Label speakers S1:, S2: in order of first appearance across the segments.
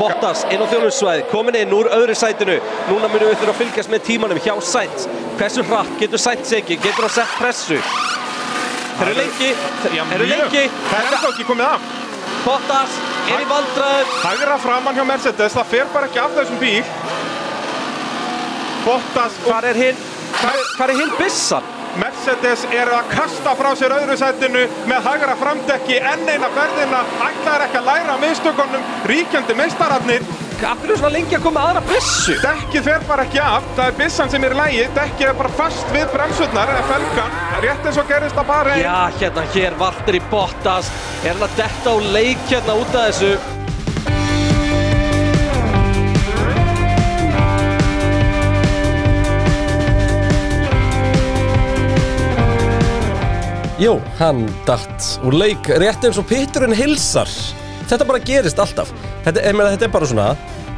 S1: Bottas inn á þjónusvæði, komin inn úr öðru sætinu. Núna munum við þurfa að fylgjast með tímanum hjá Sainz. Hversu hratt getur Sainz ekki? Getur hann sett pressu? Þeir eru lengi, þeir
S2: Já,
S1: eru
S2: mjög.
S1: lengi.
S2: Það er ennþá ekki komið af.
S1: Bottas er í vandræðum.
S2: Hægra framann hjá Mercedes, það fer bara ekki af þessum bíl. Bottas og
S1: Hvar er hinn? Hvar, hvar er hinn bissan?
S2: Mercedes eru að kasta frá sér öðru sætinu með hægra framdekki enn eina ferðina. Ætlaðir ekki að læra af mistökunum ríkjandi meistararnir.
S1: Af hverju er svona lengi að koma með aðra bissu?
S2: Dekkið fer bara ekki af, það er bissan sem er í lægi, dekkið er bara fast við bremsurnar eða felgan, rétt eins og gerist að bara einn.
S1: Já, hérna, hér Valtteri Bottas er hann að detta á leik hérna út af þessu
S3: Jú, hann datt úr leik rétt eins og pitturinn hilsar. Þetta bara gerist alltaf. Þetta, ég meina, þetta er bara svona,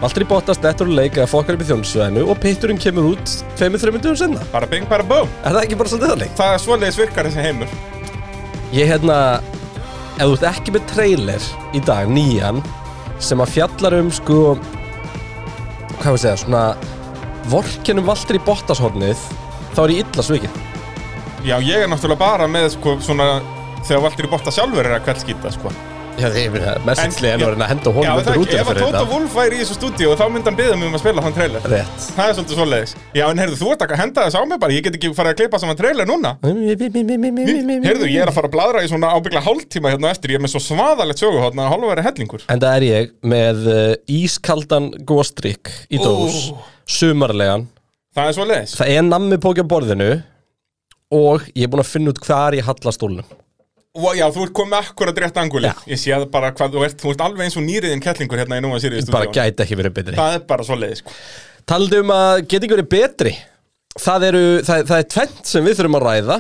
S3: aldrei bóttast nettur úr leik eða fokkar upp í þjónusvæðinu og pitturinn kemur út 2-3 dugum senna.
S2: Bara bing, bara búm.
S3: Er það ekki bara svolítið þannig?
S2: Það er svoleiðis virkar þessi heimur.
S3: Ég hérna, ef þú ert ekki með trailer í dag, nýjan, sem að fjallar um sko, hvað við segja, svona, vorkenum Valtteri Bottas hornið, þá er ég illa svikið.
S2: Já, ég er náttúrulega bara með sko, svona, þegar Valdur í Botta sjálfur er að kveldskýta, sko.
S3: Já, það er meina,
S2: En-
S3: message en,
S2: já.
S3: að henda
S2: Já,
S3: honum
S2: það
S3: undir
S2: ekki,
S3: rútuna
S2: ef að
S3: fyrir
S2: Tóta
S3: þetta.
S2: Wolf væri í þessu stúdíu þá myndi hann byggja mig um að spila þann trailer
S3: Rétt.
S2: Það er svolítið svoleiðis Já, en heyrðu, þú ert að henda þess á mig bara, ég get ekki farið að klippa saman trailer núna Heyrðu, ég er að fara að bladra í svona ábyggla hálftíma hérna á eftir, ég er með svo svaðalegt sögu hérna að hálfa verið hellingur
S3: En það er ég með uh, ískaldan góstrykk í dós, sumarlegan,
S2: Það er svoleiðis
S3: það er nammi póki á borðinu og ég er búinn að finna út hvar ég halla stólnum.
S2: Og já, þú ert komið akkurat rétt angulið
S3: Já.
S2: Ég sé það bara hvað þú ert, þú ert alveg eins og nýriðin kettlingur hérna í núna sýrið
S3: Bara
S2: stúdíu
S3: gæti ekki verið betri.
S2: Það er bara svoleiðis sko.
S3: Taldi um að geta ekki verið betri. Það, eru, það, það er tvent sem við þurfum að ræða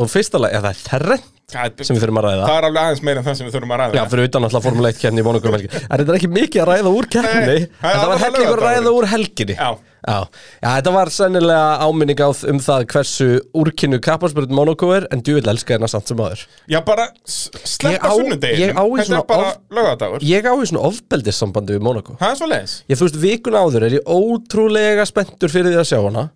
S3: og fyrsta lagi, ja, það er þerrent
S2: Það er-
S3: sem við þurfum að ræða.
S2: það er alveg aðeins meira en það sem við þurfum að ræða
S3: Já, fyrir utan alltaf formuleitt keppni í vonugur um helgi. En þetta er ekki mikið að ræða úr keppni,
S2: Nei,
S3: en
S2: það er
S3: það var
S2: alveg
S3: hellingur að ræða
S2: laugardagurinn.
S3: úr helginni.
S2: Já.
S3: Já. Já, þetta var sennilega áminning á um það hversu úrkynnu kapparspyrut Monaco er, en djúvill elska hérna samt sem aður.
S2: Já, bara s-
S3: Ég á-
S2: sleppa
S3: ég
S2: sunnudeginum
S3: á í
S2: Þetta
S3: svona
S2: er bara
S3: of-
S2: lögadagur
S3: Ég á í svona ofbeldissambandi við Monaco.
S2: Það er svoleiðis
S3: Ég, þú veist, vikun áður er ég ótrúlega spenntur fyrir því að sjá hana.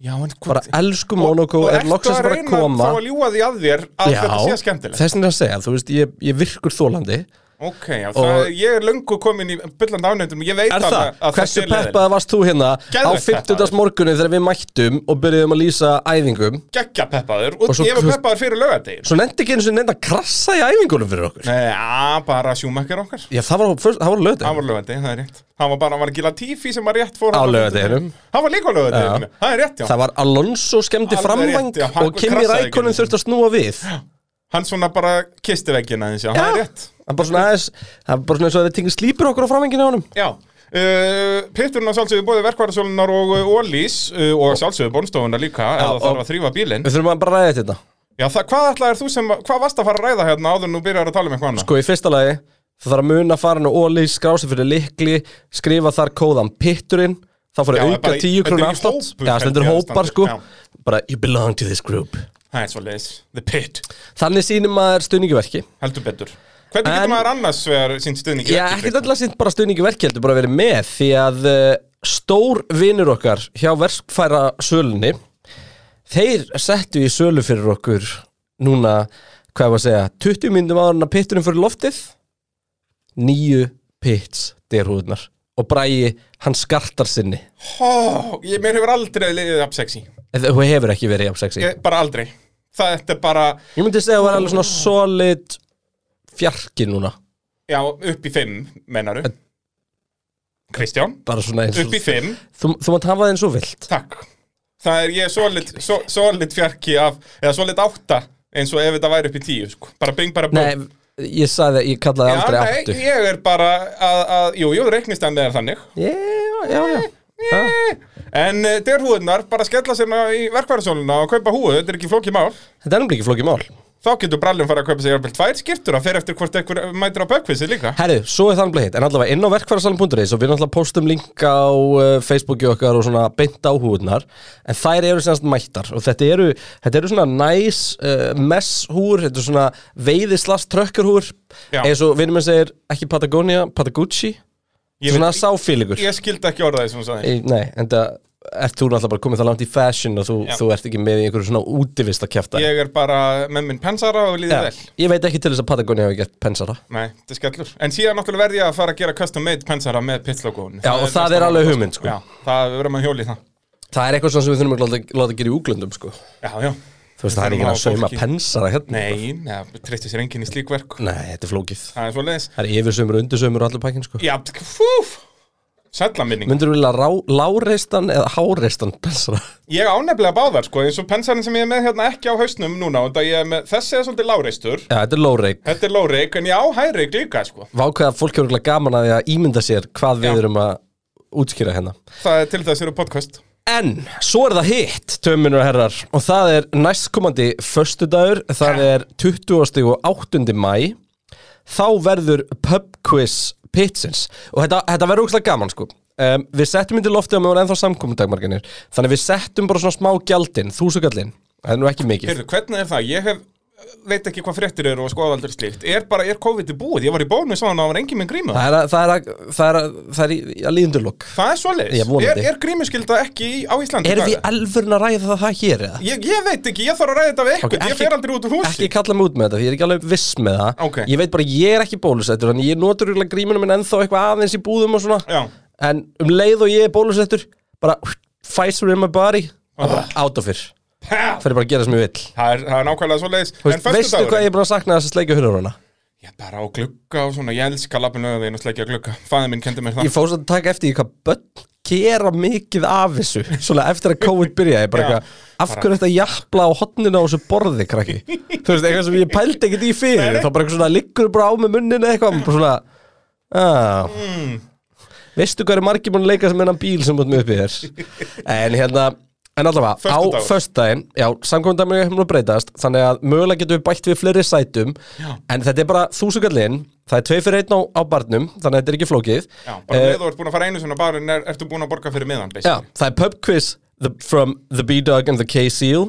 S2: Já, en hvað
S3: Bara elsku Monaco, er
S2: ertu
S3: loksins bara að
S2: reyna þá
S3: koma.
S2: að ljúa því að þér að þetta sé skemmtilegt
S3: þess vegna er að segja, þú veist, ég, ég virkur þólandi.
S2: Ok, já, það, ég er löngu komin í byllandi ánættum Ég veit
S3: Er
S2: alveg
S3: það?
S2: að
S3: Hversu
S2: er leiðin.
S3: peppaði varst þú hérna á
S2: Geðveikt
S3: 50. morgunni þegar við mættum og byrjuðum að lýsa æfingum?
S2: Geggja peppaður og,
S3: Og svo-
S2: ég var
S3: svo-
S2: peppaður fyrir lögadegin
S3: Svo nefndi ekki eins og nefndi að krassa í æfingunum fyrir okkur.
S2: Nei, já, bara sjúmekkar okkar
S3: Já, það var, fyrst, það var lögdeg.
S2: Það var lögadegin, það er rétt Það var bara, var ekki Latifi sem var rétt fór
S3: Á
S2: hann-
S3: laugardeginum.
S2: Hann var líka á lögadeginu, það er rétt, já
S3: Það var Alonso skemmti
S2: Alveg
S3: framvang
S2: rétt, já, hann
S3: og Kimi
S2: krassaði
S3: Rækonin
S2: ekki.
S3: þurfti að snúa við.
S2: Hann svona bara kisti veggina eins, já, það er rétt
S3: Það er bara svona aðeins, það er bara svona eins og það er tingið slípur okkur á framvanginu á honum.
S2: Já Uh, Pitturinn á sjálfsögðu bóði verkvarðarsólunar og uh, Ólís uh, og sjálfsögðu bónstofuna líka ef það
S3: og-
S2: þarf að þrýfa bílinn
S3: Við þurfum að bara ræða þetta. hérna.
S2: Já, það, hvað ætlaðir þú sem, hvað varst að fara að ræða hérna áður en þú byrjar að tala um eitthvað annað?
S3: Sko, í fyrsta lagi, það þarf að muna að fara inn á Oli, skrása fyrir likli, skrifa þar kóðan pitturinn, þá fóru
S2: Já,
S3: auka
S2: bara í-
S3: 10
S2: þetta
S3: krónu
S2: er í
S3: afslátt.
S2: hópur,
S3: Já,
S2: held
S3: stendur
S2: ég að
S3: hópar,
S2: stendur,
S3: sko.
S2: já.
S3: Bara, you belong to this group.
S2: Það er svolítið, the pit,
S3: Þannig sýnir maður stuðningiverki.
S2: heldur betur Hvernig
S3: En-
S2: getur maður annars vegar sín stuðningi?
S3: Já, ekkert alltaf sínt bara stuðningiverki, heldur bara að vera með, því að eh, stór vinur okkar hjá verkfæra sölunni, þeir settu í sölu fyrir okkur núna, hvað ég var að segja, 20 myndum áður en að pitturinn fyrir loftið, nýju pits derhúðunar og Bragi, hann skartar sinni
S2: Hó, ég, mér hefur aldrei liðið upp sexy
S3: eða hún hefur ekki verið jafn sexy ég,
S2: ég, Bara aldrei Það þetta er bara,
S3: myndi segja að hún er alveg svona solid fjarki núna
S2: já, upp í fimm, meinaru Kristján,
S3: bara svona eins og
S2: upp í fimm,
S3: þú, þú mátt hafa það eins og vilt
S2: takk Það er, ég er svolít, svo- svolít fjarki af, eða svolít átta eins og ef þetta væri upp í tíu, sko Bara bing, bara bing
S3: nei, ég sagði að ég kallaði
S2: Já,
S3: aldrei
S2: nei,
S3: áttu ég,
S2: ég er bara að, að jú, jú, reiknist hann með þannig
S3: já, já, já Ah,
S2: En uh, derhúðunar, bara skella sérna í verkvæðarsóluna og kaupa húðu, þetta er ekki flókið mál
S3: þetta er náttúrulega ekki flókið mál
S2: Þá getur brallin fara að kaupa sér jafnvel tvær skiptur að fer eftir hvort ekkur mætir á bökvissi líka
S3: Herru, svo er það alveg hitt, en allavega inn á verkfærasalum.is og við náttúrulega postum link á uh, Facebooki okkar og svona beint áhúðunar en þær eru semst mættar og þetta eru, þetta eru svona næs uh, messhúr, þetta eru svona veiðislast trökkurhúr,
S2: Já.
S3: eins og vinnum við segir ekki Patagonia, Patagucci
S2: Ég
S3: Svona
S2: veit-
S3: sáfílingur
S2: Ég skildi ekki orða því sem hún sagði
S3: Í- Nei, en það ert þú náttúrulega bara komið það langt í fashion og þú,
S2: Já.
S3: þú ert ekki með í einhverju svona útivist að kjæfta
S2: Ég er bara með minn pensara og líðið vel
S3: ég veit ekki til þess að Patagonia hafi gert pensara
S2: Nei, þetta er skellur En síðan náttúrulega verði ég að fara að gera custom made pensara með pitslogónu
S3: Já, og það er alveg hugmynd, sko.
S2: Já, það verður maður hjóli það
S3: Það er eitthvað svona sem við þurfum að láta, láta gera í úglöndum sko.
S2: Já, já
S3: Þú veist, það er ekki að sauma pensara hérna
S2: Nei, neða, treysti sér enginn í slík verk
S3: Nei, þetta er flókið
S2: Það er svo leiðis
S3: Það er yfirsaumur og undirsaumur og allur pakkin sko.
S2: Já, fúf Sælla minning
S3: Myndur þú vilja rá- láreistan eða háreistan pensara?
S2: Ég ánefnilega báðar, sko eins og pensarin sem ég er með hérna ekki á hausnum núna og þetta ég er með, þessi er svolítið láreistur
S3: Já, þetta er lóreik
S2: Þetta er láreik, en ég á hæreik líka, sko
S3: Vákvæða fólk hefur örugglega gaman að því að ímynda sér hvað
S2: Já.
S3: við erum að útskýra hérna
S2: Það er til þess eru podcast
S3: En, svo er það hitt, tömminur og herrar Og það er næstkomandi Föstudagur, það er 20. og 8. mæ Þá verður pubquiz pitsins Og þetta, þetta verður úkslega gaman sko um, Við settum yndir loftið á meðan ennþá samkomundagmarginir Þannig við settum bara svona smá gjaldinn, þúsugallinn Það er nú ekki mikið
S2: Heyrðu, hvernig er það? Ég hef, veit ekki hvað fréttir eru og skoða aldrei slíkt Er bara, er COVID í búið? Ég var í bónus á hann og það var engin með gríma
S3: Það er að, það er að, það er að, það er í- að líðundurlokk
S2: Það er
S3: Ég
S2: svoleiðis
S3: vonandi.
S2: er, er grímuskylda ekki í, á Íslandi?
S3: Erum
S2: í
S3: við
S2: dag?
S3: alvörn að ræða það hér eða?
S2: Ég, ég veit ekki, ég þarf að ræða þetta við eitthvað,
S3: Ok,
S2: ég fer aldrei út úr húsi
S3: Ekki kalla mig út með þetta, því ég er ekki alveg viss með það
S2: Ok.
S3: Ég veit bara, að ég er ekki bólusettur Þannig ég notur úrlega grímunum minn ennþá eitthvað aðeins í búðum og svona
S2: Já.
S3: En um leið og ég er bólusettur Bara Pfizer in my body Það er
S2: Ah.
S3: bara out of it
S2: Ha!
S3: Það er bara að gera sem ég vil
S2: Það er, það er nákvæmlega svoleiðis
S3: Þú veist, Veistu hvað ég er búin að sakna þess að sleika hurðurana?
S2: Ég bara á glugga og svona, ég elska lappinu og þeirnast leikja glugga Fæði minn kendi
S3: Ég
S2: mér það
S3: fór svo að taka eftir í hvað börn gera mikið af þessu Svona eftir að COVID byrjaði bara
S2: Já.
S3: eitthvað Af hverju þetta jafla á hotninu á þessu borði, krakki? Þú veist, eitthvað sem ég pældi ekkert í fyrir Þá bara eitthvað svona liggur bara á með munninu eitthvað bara Svona ah.
S2: Mm.
S3: Veistu hvað er margir búin að leika sem enn bíl sem búin með uppið þér En hérna En allavega, á
S2: Föstudagur.
S3: föstudaginn, já, samkvæmdæmi er hefnum að breytast, þannig að mögulega getum við bætt við fleiri sætum, já. en þetta er bara þúsugallinn, það er tvei fyrir einn á, á barnum, þannig að þetta er ekki flókið.
S2: Já, bara
S3: Eh,
S2: með þú ert búin að fara einu sinna bara er, ertu búin að borga fyrir miðan
S3: Já, það er pub quiz the, from the B-Dog and the K-Seal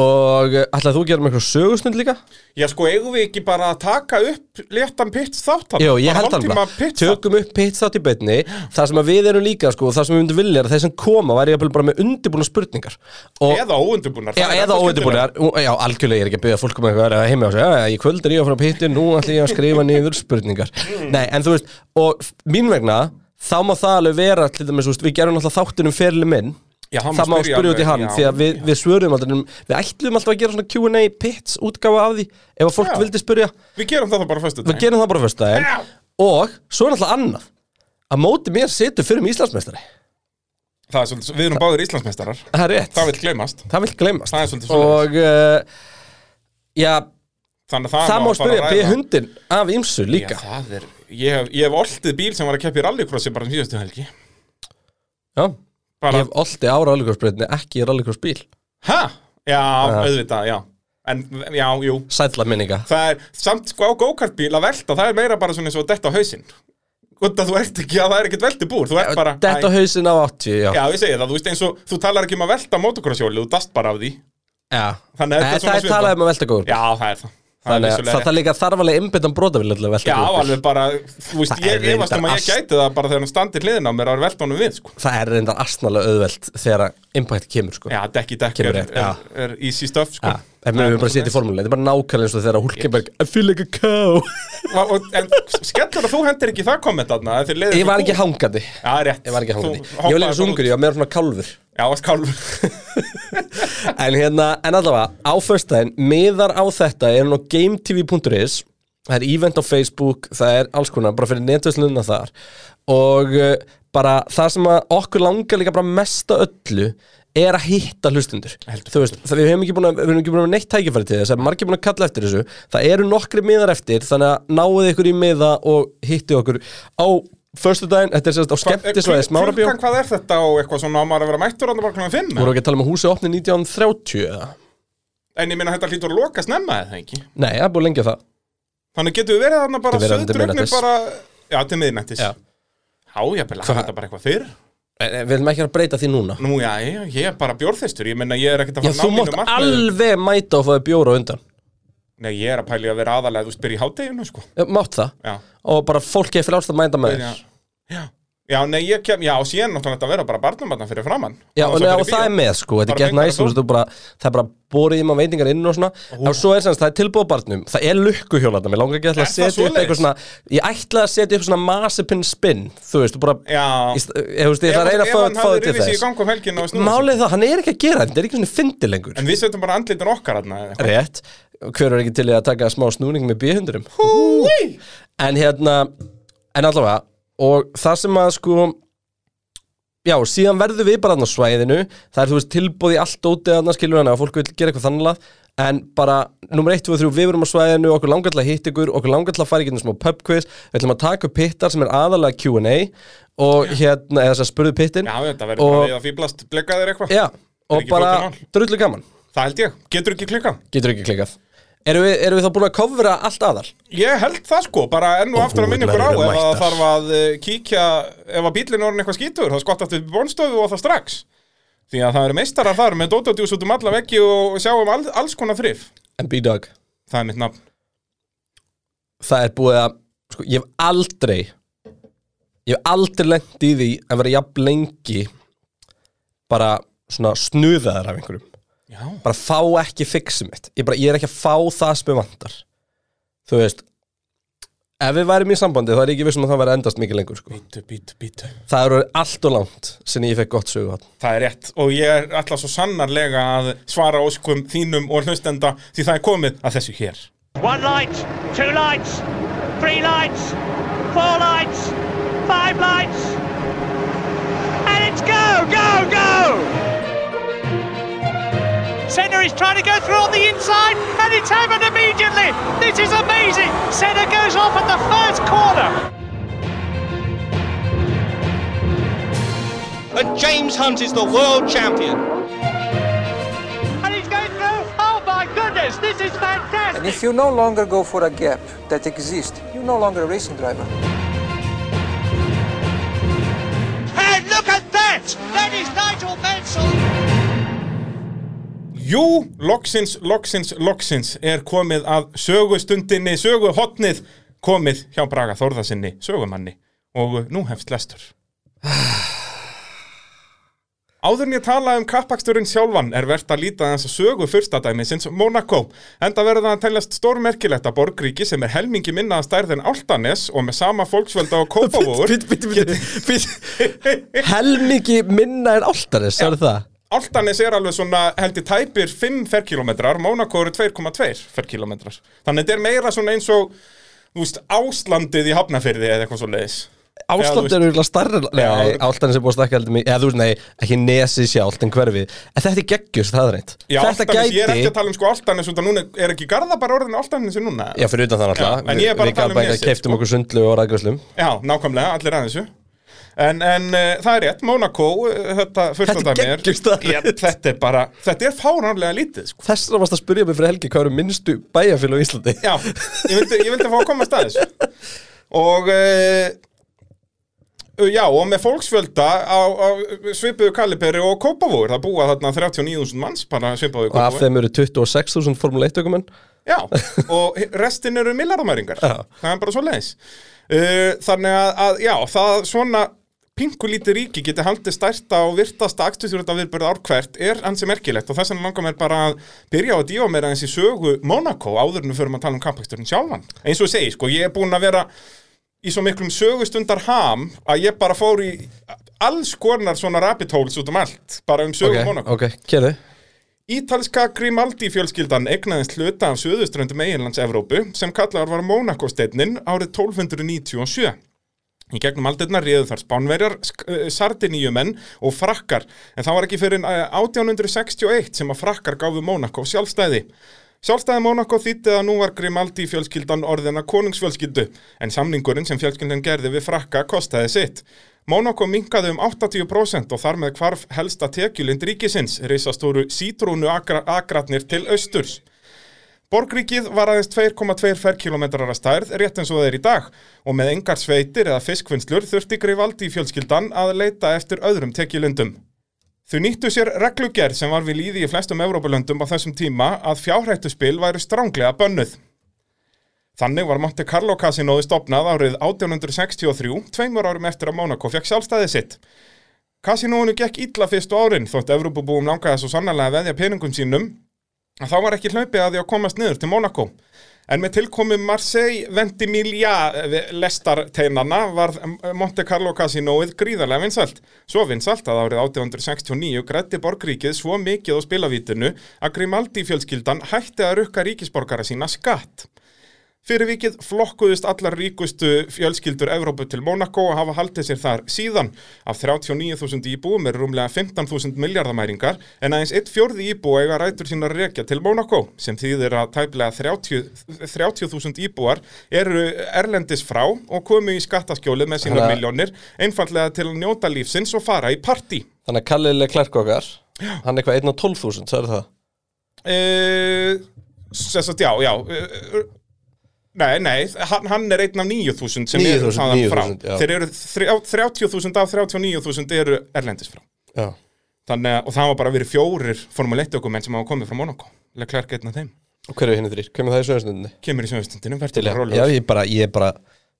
S3: og uh, ætlaði þú að gera með einhver sögustund líka?
S2: Já, sko, eigum við ekki bara að taka upp léttan pits þátt
S3: Jú, ég held
S2: alveg
S3: alveg Tökum upp pitstát í beinni Það sem að við erum líka, sko, og það sem við myndum vilja er að þeir sem koma væri jafnvel bara með undirbúna spurningar og,
S2: Eða óundurbúnar
S3: Já, eða óundirbúnar, já, algjörlega ég er ekki að byggja fólk um eitthvað að heima og segja, já, já, ég kvöld er ég að fara á pittin, nú ætla ég að skrifa niður spurningar.
S2: Mm.
S3: Nei, en þú veist, og f- mín vegna, þá má það alveg vera, til dæmis, þú veist, við gerum alltaf þáttin um ferli minn,
S2: Já, hann má
S3: það má
S2: spyrja
S3: spyrja út í
S2: alveg,
S3: hann,
S2: já,
S3: því að við, við svörum alltaf, um- við ætlum alltaf að gera svona Q&A pits útgáfa af því, ef að fólk
S2: Já.
S3: vildi spyrja,
S2: Við gerum það þá bara fyrstu
S3: við gerum það bara fyrst daginn,
S2: Já.
S3: og svo er alltaf annað, að móti mér situr fyrir um Íslandsmeistari,
S2: Það er svolítið, við erum báðir Íslandsmeistarar
S3: það er rétt,
S2: Það vil gleymast
S3: það vil gleymast,
S2: Það er svolítið svolítið
S3: og uh, já,
S2: Þannig að
S3: það má
S2: fara að
S3: spyrja,
S2: ræða.
S3: beð hundin af ýmsu líka
S2: Já, það er Ég hef, ég hef oltið bíl sem var að keppa í rallycrossi bara um síðustu helgi
S3: Já. Ég
S2: Bara,
S3: hef olti á rallikorsbreytni, ekki í rallikorsbíl
S2: hæ? Já, auðvitað, já En, já, jú
S3: Sætla minninga
S2: Það er, samt sko á go-kartbíl að velta Það er meira bara svona eins og að detta á hausinn Út að þú ert ekki, já, það er ekkert veltibúr Þú ert bara
S3: Þetta
S2: Æ,
S3: hausin á 80, já,
S2: Já, ég segi það, þú veist eins og Þú talar ekki um að velta motocrossjóli, þú dast bara af því
S3: já.
S2: Þannig að
S3: Nei,
S2: þetta er svona
S3: Það er
S2: svipað.
S3: talað um að velta góður
S2: Já, það er það Það er
S3: Þannig að
S2: vissulega
S3: það
S2: rétt.
S3: er líka þarfalega innbyttan brotavill að velta
S2: Já,
S3: góður
S2: alveg bara, þú veist,
S3: Það er
S2: ég efast
S3: reyndar
S2: um að ég
S3: allt.
S2: gæti það bara þegar hann standi hliðin á mér að velta honum við, sko.
S3: Það er reyndar astnalega auðvelt þegar að impact kemur sko.
S2: Já, dekki, dekki
S3: Kemur
S2: er,
S3: rétt,
S2: er, er easy stuff, sko.
S3: Já. En við höfum bara setið í formúli Þetta er bara nákvæmlega eins og þegar að Hulkenberg I feel like a cow
S2: Og, og, en skellur að þú hendir ekki það komment aðna, þegar leiðir
S3: Ég var ekki hangandi
S2: Já, rétt.
S3: Ég var ekki hangandi
S2: Þú
S3: Ég var
S2: hoppaðir
S3: líka sungur,
S2: bara út.
S3: ég var meira svona kálfur
S2: Já, varst kálfur.
S3: En hérna, en allavega, á föstudaginn, miðar á þetta er nú gametv.is Það er event á Facebook, það er alls konar, bara fyrir netvæslunna þar Og uh, bara það sem að okkur langar líka bara mesta öllu er að hitta hlustundur Þú veist, það, við hefum ekki búin að, við hefum ekki búin að hafa neitt tækifæri til þess Það er margir búin að kalla eftir þessu Það eru nokkri miðar eftir, þannig að náuð ykkur í miða og hitti okkur á föstudaginn Þetta er sérst á skemmtisvæði smárabjó
S2: Klukkan, hvað er þetta og eitthvað svona, á maður að vera mættur að bara klukkan fimm?
S3: Þú voru
S2: eða?
S3: ekki að tala um að húsið opni 1930 eða?
S2: En ég minna þetta hlýtur að loka snemma eða ekki?
S3: Nei, það er búin lengja það
S2: Þannig getum við verið þarna bara
S3: Getum verið þarna til
S2: söðdrugnir
S3: miðnættis.
S2: bara... Já, til miðnættis.
S3: Já.
S2: Já, ég byrja að þetta bara eitthvað fyrr.
S3: En, en Við viljum ekki að breyta því núna
S2: Nú, já, ég, ég er bara bjórþestur, ég minna ég er ekkert að
S3: Já,
S2: fara að
S3: þú
S2: ná
S3: mátt
S2: mínu markmiðum.
S3: alveg mæta og fáið bjóra undan
S2: Nei, ég er að pæli að vera aðalega, þú spyrir í hátteginu, sko.
S3: Já, Mátt það
S2: Já.
S3: Og bara fólk er frjálst að mæta með þér
S2: Já. Já, já nei, ég kem, já, síðan náttúrulega þetta verða bara barnabarna fyrir framann
S3: Já,
S2: Án
S3: og,
S2: þess að
S3: neða, og
S2: fara í
S3: það er
S2: bíó.
S3: með sko, þetta er
S2: Bara
S3: gett
S2: fengar
S3: næst
S2: þú?
S3: þú veist, þú bara, það er bara borið í maður veitingar inn og svona og svo er semst, það er tilbúið á barnum, það er lukkuhjólarna mér langar ekki að
S2: Er það
S3: setja upp eitthvað
S2: svoleiðis?
S3: svona ég ætla að setja upp svona masipin spinn þú veist, þú bara,
S2: Já.
S3: ég, ég, veist, ég
S2: Ef
S3: það
S2: hann-
S3: reyna að fá
S2: ef hann
S3: fá
S2: hafði
S3: þetta til
S2: rifið sig í
S3: þess
S2: gang um helgina og snúið sér.
S3: Málið er það, hann er ekki að gera þetta, þetta er ekki svona fyndi lengur
S2: En við setjum bara andlitin okkar hérna
S3: Rétt, hver er ekki til í að taka smá snúning með bíhundurum
S2: Húi
S3: En hérna, en allavega Og það sem að sko Já, síðan verðum við bara þarna á svæðinu Það er, þú veist, tilbúð í allt ótið annars skilur hann að fólk vil gera eitthvað þannlega En bara, nummer 1, 2, 3, við verum á svæðinu Okkur langar til að hitta ykkur, okkur langar til að fara í getum smá pub quiz Við ætlum að taka upp pittar sem er aðalega Q&A Og hérna, eða þess að spurðu pittin
S2: Já, þetta verður
S3: Og-
S2: bara við að fýblast, blegga þér eitthvað
S3: Já, og
S2: ekki
S3: bara
S2: flókið
S3: drullu gaman
S2: Það held ég, getur ekki klikkað
S3: Getur ekki klikkað Erum við, erum við þá búin að kofra allt aðal?
S2: Ég held það sko, bara enn og aftur að minna ykkur á
S3: Óhúðlegar
S2: ef
S3: eru
S2: að
S3: mættar.
S2: þarf að eh, kíkja ef að bílinn orðin eitthvað skítur þá skottast við bónstöðu og það strax Því að það eru meistarar þar með dótadjús út um alla veggi og sjáum all, alls konar þrif
S3: En B-Dog
S2: Það er mitt nafn
S3: það er búið að sko, ég hef aldrei ég hef aldrei lent í því að vera jafn lengi bara svona snuðaðar af einhverjum
S2: Já,
S3: bara fá ekki fixið mitt ég, bara, ég er ekki að fá það sem ég vantar þú veist ef við værim í sambandi þá er ég ekki vissum að það væri að endast mikið lengur sko.
S2: bítu, bítu, bítu
S3: það eru allt og langt sinni ég fekk gott sögu hann
S2: Það er rétt og ég er alltaf svo sannarlega að svara óskum þínum og hlustenda því það er komið að þessu hér.
S4: One light, two lights, three lights, four lights, five lights. And it's go, go, go! Senna is trying to go through on the inside and it's happened immediately. This is amazing. Senna goes off at the first corner.
S5: and James Hunt is the world champion.
S4: And he's going through. Oh my goodness, this is fantastic.
S6: And if you no longer go for a gap that exists, you're no longer a racing driver.
S4: And look at that! That is Nigel Mansell.
S2: Jú, loksins, loksins, loksins er komið að sögustundinni, söguhotnið komið hjá Braga Þórðarsinni, sögumanni og nú hefst lestur. Áður en ég tala um kappaksturinn sjálfan er verðt að líta þess að sögu fyrstadæmi sinns Monaco, enda verða það að teljast stórmerkilegt að borgríki sem er helmingi minna að stærð en Altanes og með sama fólksvelda og Kópavóur
S3: Bíddu, bíddu, bíddu, bíddu. helmingi minna en áltaris, það er það
S2: Altanes er alveg svona heldur tæpir 5 ferkilometrar, Monaco eru 2,2 ferkilometrar. Þannig þetta er meira svona eins og þú veist, áslandið í hafnafyrði eða eitthvað svo leiðis. Já, þú
S3: Ásland
S2: veist.
S3: er auðvitað starra Nei,
S2: Já.
S3: Áltanis er búið að stakka heldur mig Eða þú veist, nei, ekki nesið sjálft en hverfið En þetta er geggjus, það er reynd
S2: Já,
S3: Þetta
S2: Altanes, ég er ekki
S3: gæti
S2: að tala um sko Altanes, út af núna er ekki Garðabar orðin Altanes núna?
S3: Já, fyrir utan það náttúrulega
S2: Já, en
S3: Við-
S2: ég er bara að
S3: Við
S2: tala um
S3: gafum ekki að
S2: nesið,
S3: keiftum
S2: sko.
S3: okkur sundlu og ræðgjöslum
S2: Já, nákvæmlega, allir aðeins En, en uh, það er rétt, Monaco uh, þetta fyrsta
S3: Þetta er
S2: dæmi er
S3: geggjum staðreynd.
S2: Jep, þetta er bara, þetta er fáránlega lítið sko.
S3: Þess vegna varst að spyrja mig fyrir helgi Hvað eru minnstu bæjarfélag í Íslandi
S2: Já, ég vildi, ég vildi fá að komast að þessu og uh, já, og með fólksfjölda á, á svipuðu kaliberi og Kópavóur, það búa þarna 39.000 manns bara svipaðu í
S3: Og af
S2: Kópavóur
S3: þeim eru 26.000 Formule 1 ökumenn
S2: Já, og restin eru millardamæringar
S3: Já.
S2: það er bara svo leiðis uh, þannig að, að, já, það svona pinkulítið ríki geti haldið stærta og virtasta aktusjúrta viðbörð ár hvert er ansi merkilegt og þess vegna langar mér bara að byrja á að dífa mér aðeins í sögu Monaco áður en við förum að tala um kampaksturinn sjálfan eins og ég segi, sko, ég er búinn að vera í svo miklum sögustundar ham að ég bara fór í alls konar svona rabbit holes út um allt bara um sögu
S3: Ok,
S2: Monaco
S3: ok, kérðu
S2: Ítalska Grimaldi fjölskyldan egnaðist hluta af söðuströndum eiginlands Evrópu sem kallaðar var Mónakosteinnin árið 1297. Í gegnum aldirna réðu þar spánverjar, sk- eh, sardiníumenn og frakkar en eh, það var ekki fyrir 1861 sem að frakkar gáfu Mónakó sjálfstæði. Sjálfstæði Mónakó þýtti að nú var Grimaldi fjölskyldan orðina konungsfjölskyldu en samningurinn sem fjölskyldan gerði við frakka kostaði sitt. Mónakó minkaði um 80% og þar með hvarf helsta tekjulind ríkisins, reisastóru sítrúnu akratnir til austurs. Borgríkið var aðeins 2,2 ferkilometrar að stærð, rétt eins og það er í dag, og með engar sveitir eða fiskvinnslur þurfti Grivaldi í fjölskyldan að leita eftir öðrum tekjulundum. Þau nýttu sér reglugerð sem var við líði í flestum Evrópulöndum á þessum tíma að fjárhættuspil væru stránglega bönnuð. Þannig var Monte Carlo kasinóði stopnað árið 1863, tveimur árum eftir að Monaco fekk sjálfstæði sitt. Kasinóinu gekk illa fyrstu árin þótt Evrópubúum langaði svo sannarlega að veðja peningum sínum að þá var ekki hlaupið að því að komast niður til Monaco. En með tilkomi Marseille eh, Ventimiglia lestarteinana var Monte Carlo kasinóið gríðarlega vinsalt. Svo vinsalt að árið 1869 grætti borgríkið svo mikið á spilavítinu að Grimaldi fjölskyldan hætti að rukka ríkisborgara sína skatt. Fyrir vikið flokkuðust allar ríkustu fjölskyldur Evrópu til Mónakó og hafa haldið sér þar síðan. Af 39.000 íbúum eru rúmlega 15.000 miljardamæringar en aðeins eitt fjórði íbúa eiga rætur sína að rekja til Mónakó sem þýðir að tæplega 30 30.000 íbúar eru erlendis frá og komu í skattaskjólið með sína
S3: Þannig að-
S2: miljónir einfallega til að njóta lífsins og fara í partí.
S3: Þannig að Kallileg Klerk okkar Hann er eitthvað 1 á 12.000, sagði það
S2: Uh, sess að já, já uh, Nei, nei, hann, hann er einn af 9.000 sem eru
S3: 9.000,
S2: þaðan frá
S3: 9.000, já.
S2: Þeir eru þrjá- 30.000 af 39.000 eru erlendis frá
S3: Já
S2: Þannig að, og það var bara verið fjórir formuleitt okkur menn sem hafa komið frá Monaco Leclerc einn af þeim,
S3: Og hver er hinn þrýr? Hvernig það í sögustundinni?
S2: kemur í sögustundinu, verður
S3: Já,
S2: bara rólegur.
S3: ég er bara, ég er bara,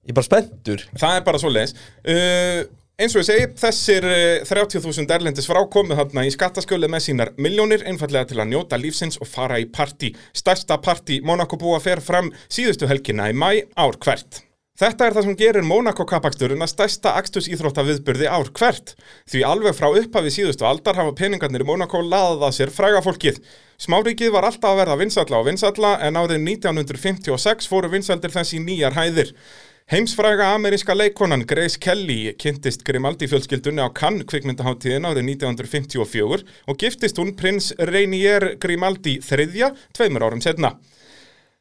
S3: ég er bara spenntur
S2: Það er bara svo leiðis uh, Eins og ég segi, þessir uh, 30.000 erlendis frá komu þarna í skattaskjólið með sínar miljónir einfallega til að njóta lífsins og fara í partí Stærsta partí Monaco búa fer fram síðustu helgina í mæ ár hvert Þetta er það sem gerir Monaco kappaksturinn að stærsta akstus íþrótta viðburði ár hvert. Því alveg frá upphafi síðustu aldar hafa peningarnir í Monaco laðað að sér fræga fólkið. Smáríkið var alltaf að verða vinsalla og vinsalla en árið 1956 fóru vinsaldir þess í nýjar hæðir. Heimsfræga ameríska leikonan Grace Kelly kynntist Grimaldi fjölskyldunni á Cannes kvikmyndaháttíðin árið 1954 og giftist hún prins Rainier Grimaldi III tveimur árum setna.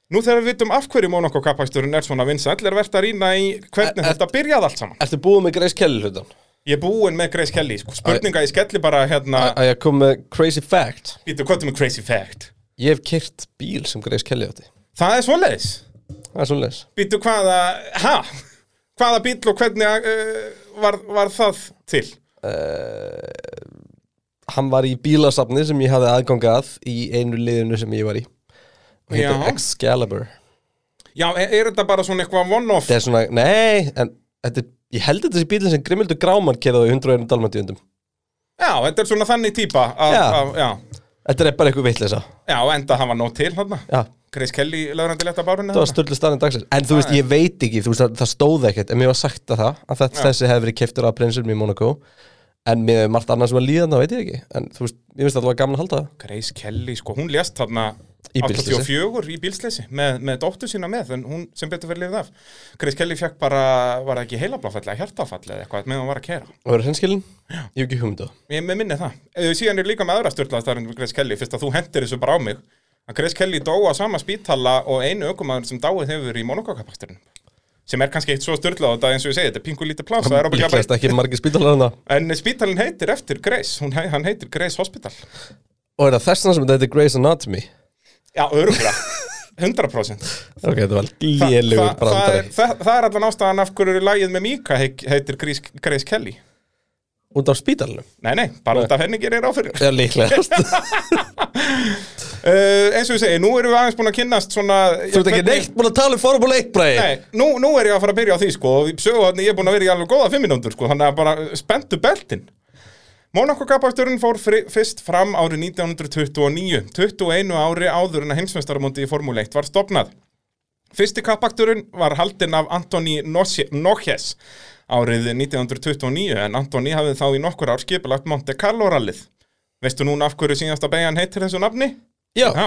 S2: Nú þegar við vitum af hverju Monaco kappaksturinn er svona vinsall er verðt að rýna í hvernig
S3: Er- er-
S2: þetta byrjaði allt saman.
S3: Ertu búið með Grace Kelly hlutan?
S2: Ég er búinn með Grace Kelly, sko, spurninga ég skelli bara hérna,
S3: Að ég kom með crazy fact
S2: býtu, hvað er með Crazy Fact?
S3: Ég hef kyrt bíl sem Grace Kelly átti
S2: Það er svoleiðis.
S3: Það er svolítið
S2: Býtu hvaða, ha? Hvaða bíl og hvernig uh, var, var það til?
S3: Hann var í bílasafni sem ég hafði aðgang að í einu liðinu sem ég var í og heitir
S2: Já.
S3: Excalibur
S2: Já, er, er þetta bara svona eitthvað one-off?
S3: Þetta er svona, nei, en þetta er Ég held þetta sé bílinn sem Grimildur Gráman kerði á í 100 erum dalmatíundum
S2: Já, þetta er svona þannig típa að,
S3: Já.
S2: Að, já.
S3: Þetta er bara eitthvað vitleisa
S2: já, og enda hann var nóg til hann
S3: Já,
S2: Grace Kelly lögrandi letta bárunni
S3: þetta var störlu staðin dagsins En þú veist, ég veit ekki, þú veist, það, það stóð ekkert En mér var sagt að það, að þetta, þessi hefði verið keiftur af prinsinum í Monaco En með margt annað sem var líðan, það veit ég ekki En þú veist, ég veist að það var gaman að halda það
S2: Grace Kelly, sko, hún lést þarna
S3: Í bílslysi.
S2: 84 í bílsleysi með, með dóttu sína með, en hún sem betur verið lifið af Grace Kelly fekk bara, var það ekki heilablafall eða hjartafall eða eitthvað meðan hún var að kera
S3: Og verður hreinskilin? Ég hef ekki hugmynd á það.
S2: Ég með minni það, Eh, síðan er líka með aðra styrlaðastarinn Grace Kelly, fyrst að þú hendir þessu bara á mig að Grace Kelly dó á sama spítala og einu ökumaður sem dáið hefur í monokokapakturinn sem er kannski eitt svo styrlað og þetta eins og ég segi, þetta er pingu lítið plása það er ábyggilega bara
S3: Líklegast ekki margir spítalar hana
S2: En spítalinn heitir eftir Grace, hún, hei- hann heitir Grace Hospital.
S3: Og er það þess vegna sem þetta heitir Grey's Anatomy
S2: Já, öruglega. 100%.
S3: Ok, þetta var
S2: Þa-
S3: lélugur
S2: það- það,
S3: brandari
S2: er- það, það er allan ástæðan af hverju lagið með Mika heik- heitir Grace, Grace Kelly.
S3: Út af spítalunum
S2: Nei, nei, bara út af henni gerir á fyrir.
S3: Já, líklegast Þú
S2: Uh, eins og ég segi, nú erum við aðeins búin að kynnast svona...
S3: ert ekki neitt búin að tala um Formule 1 bræði
S2: Nei, nú, nú er ég að fara að byrja á því, sko, og söguhotni ég er búin að vera í alveg góða fimm mínútur, sko, þannig að bara spenntu beltin. Monaco kappaksturinn fór fri- fyrst fram árið 1929, 21 ári áður en að heimsmeistaramóti í Formule 1 var stopnað. Fyrsti kappakturinn var haldinn af Antoni Nókjes árið 1929 en Antoni hafði þá í nokkur ár skipulagt Monte Carlo-rallið. Veistu núna af hverju síðasta beigjan heitir þessu nafni?
S3: Já,
S2: Já,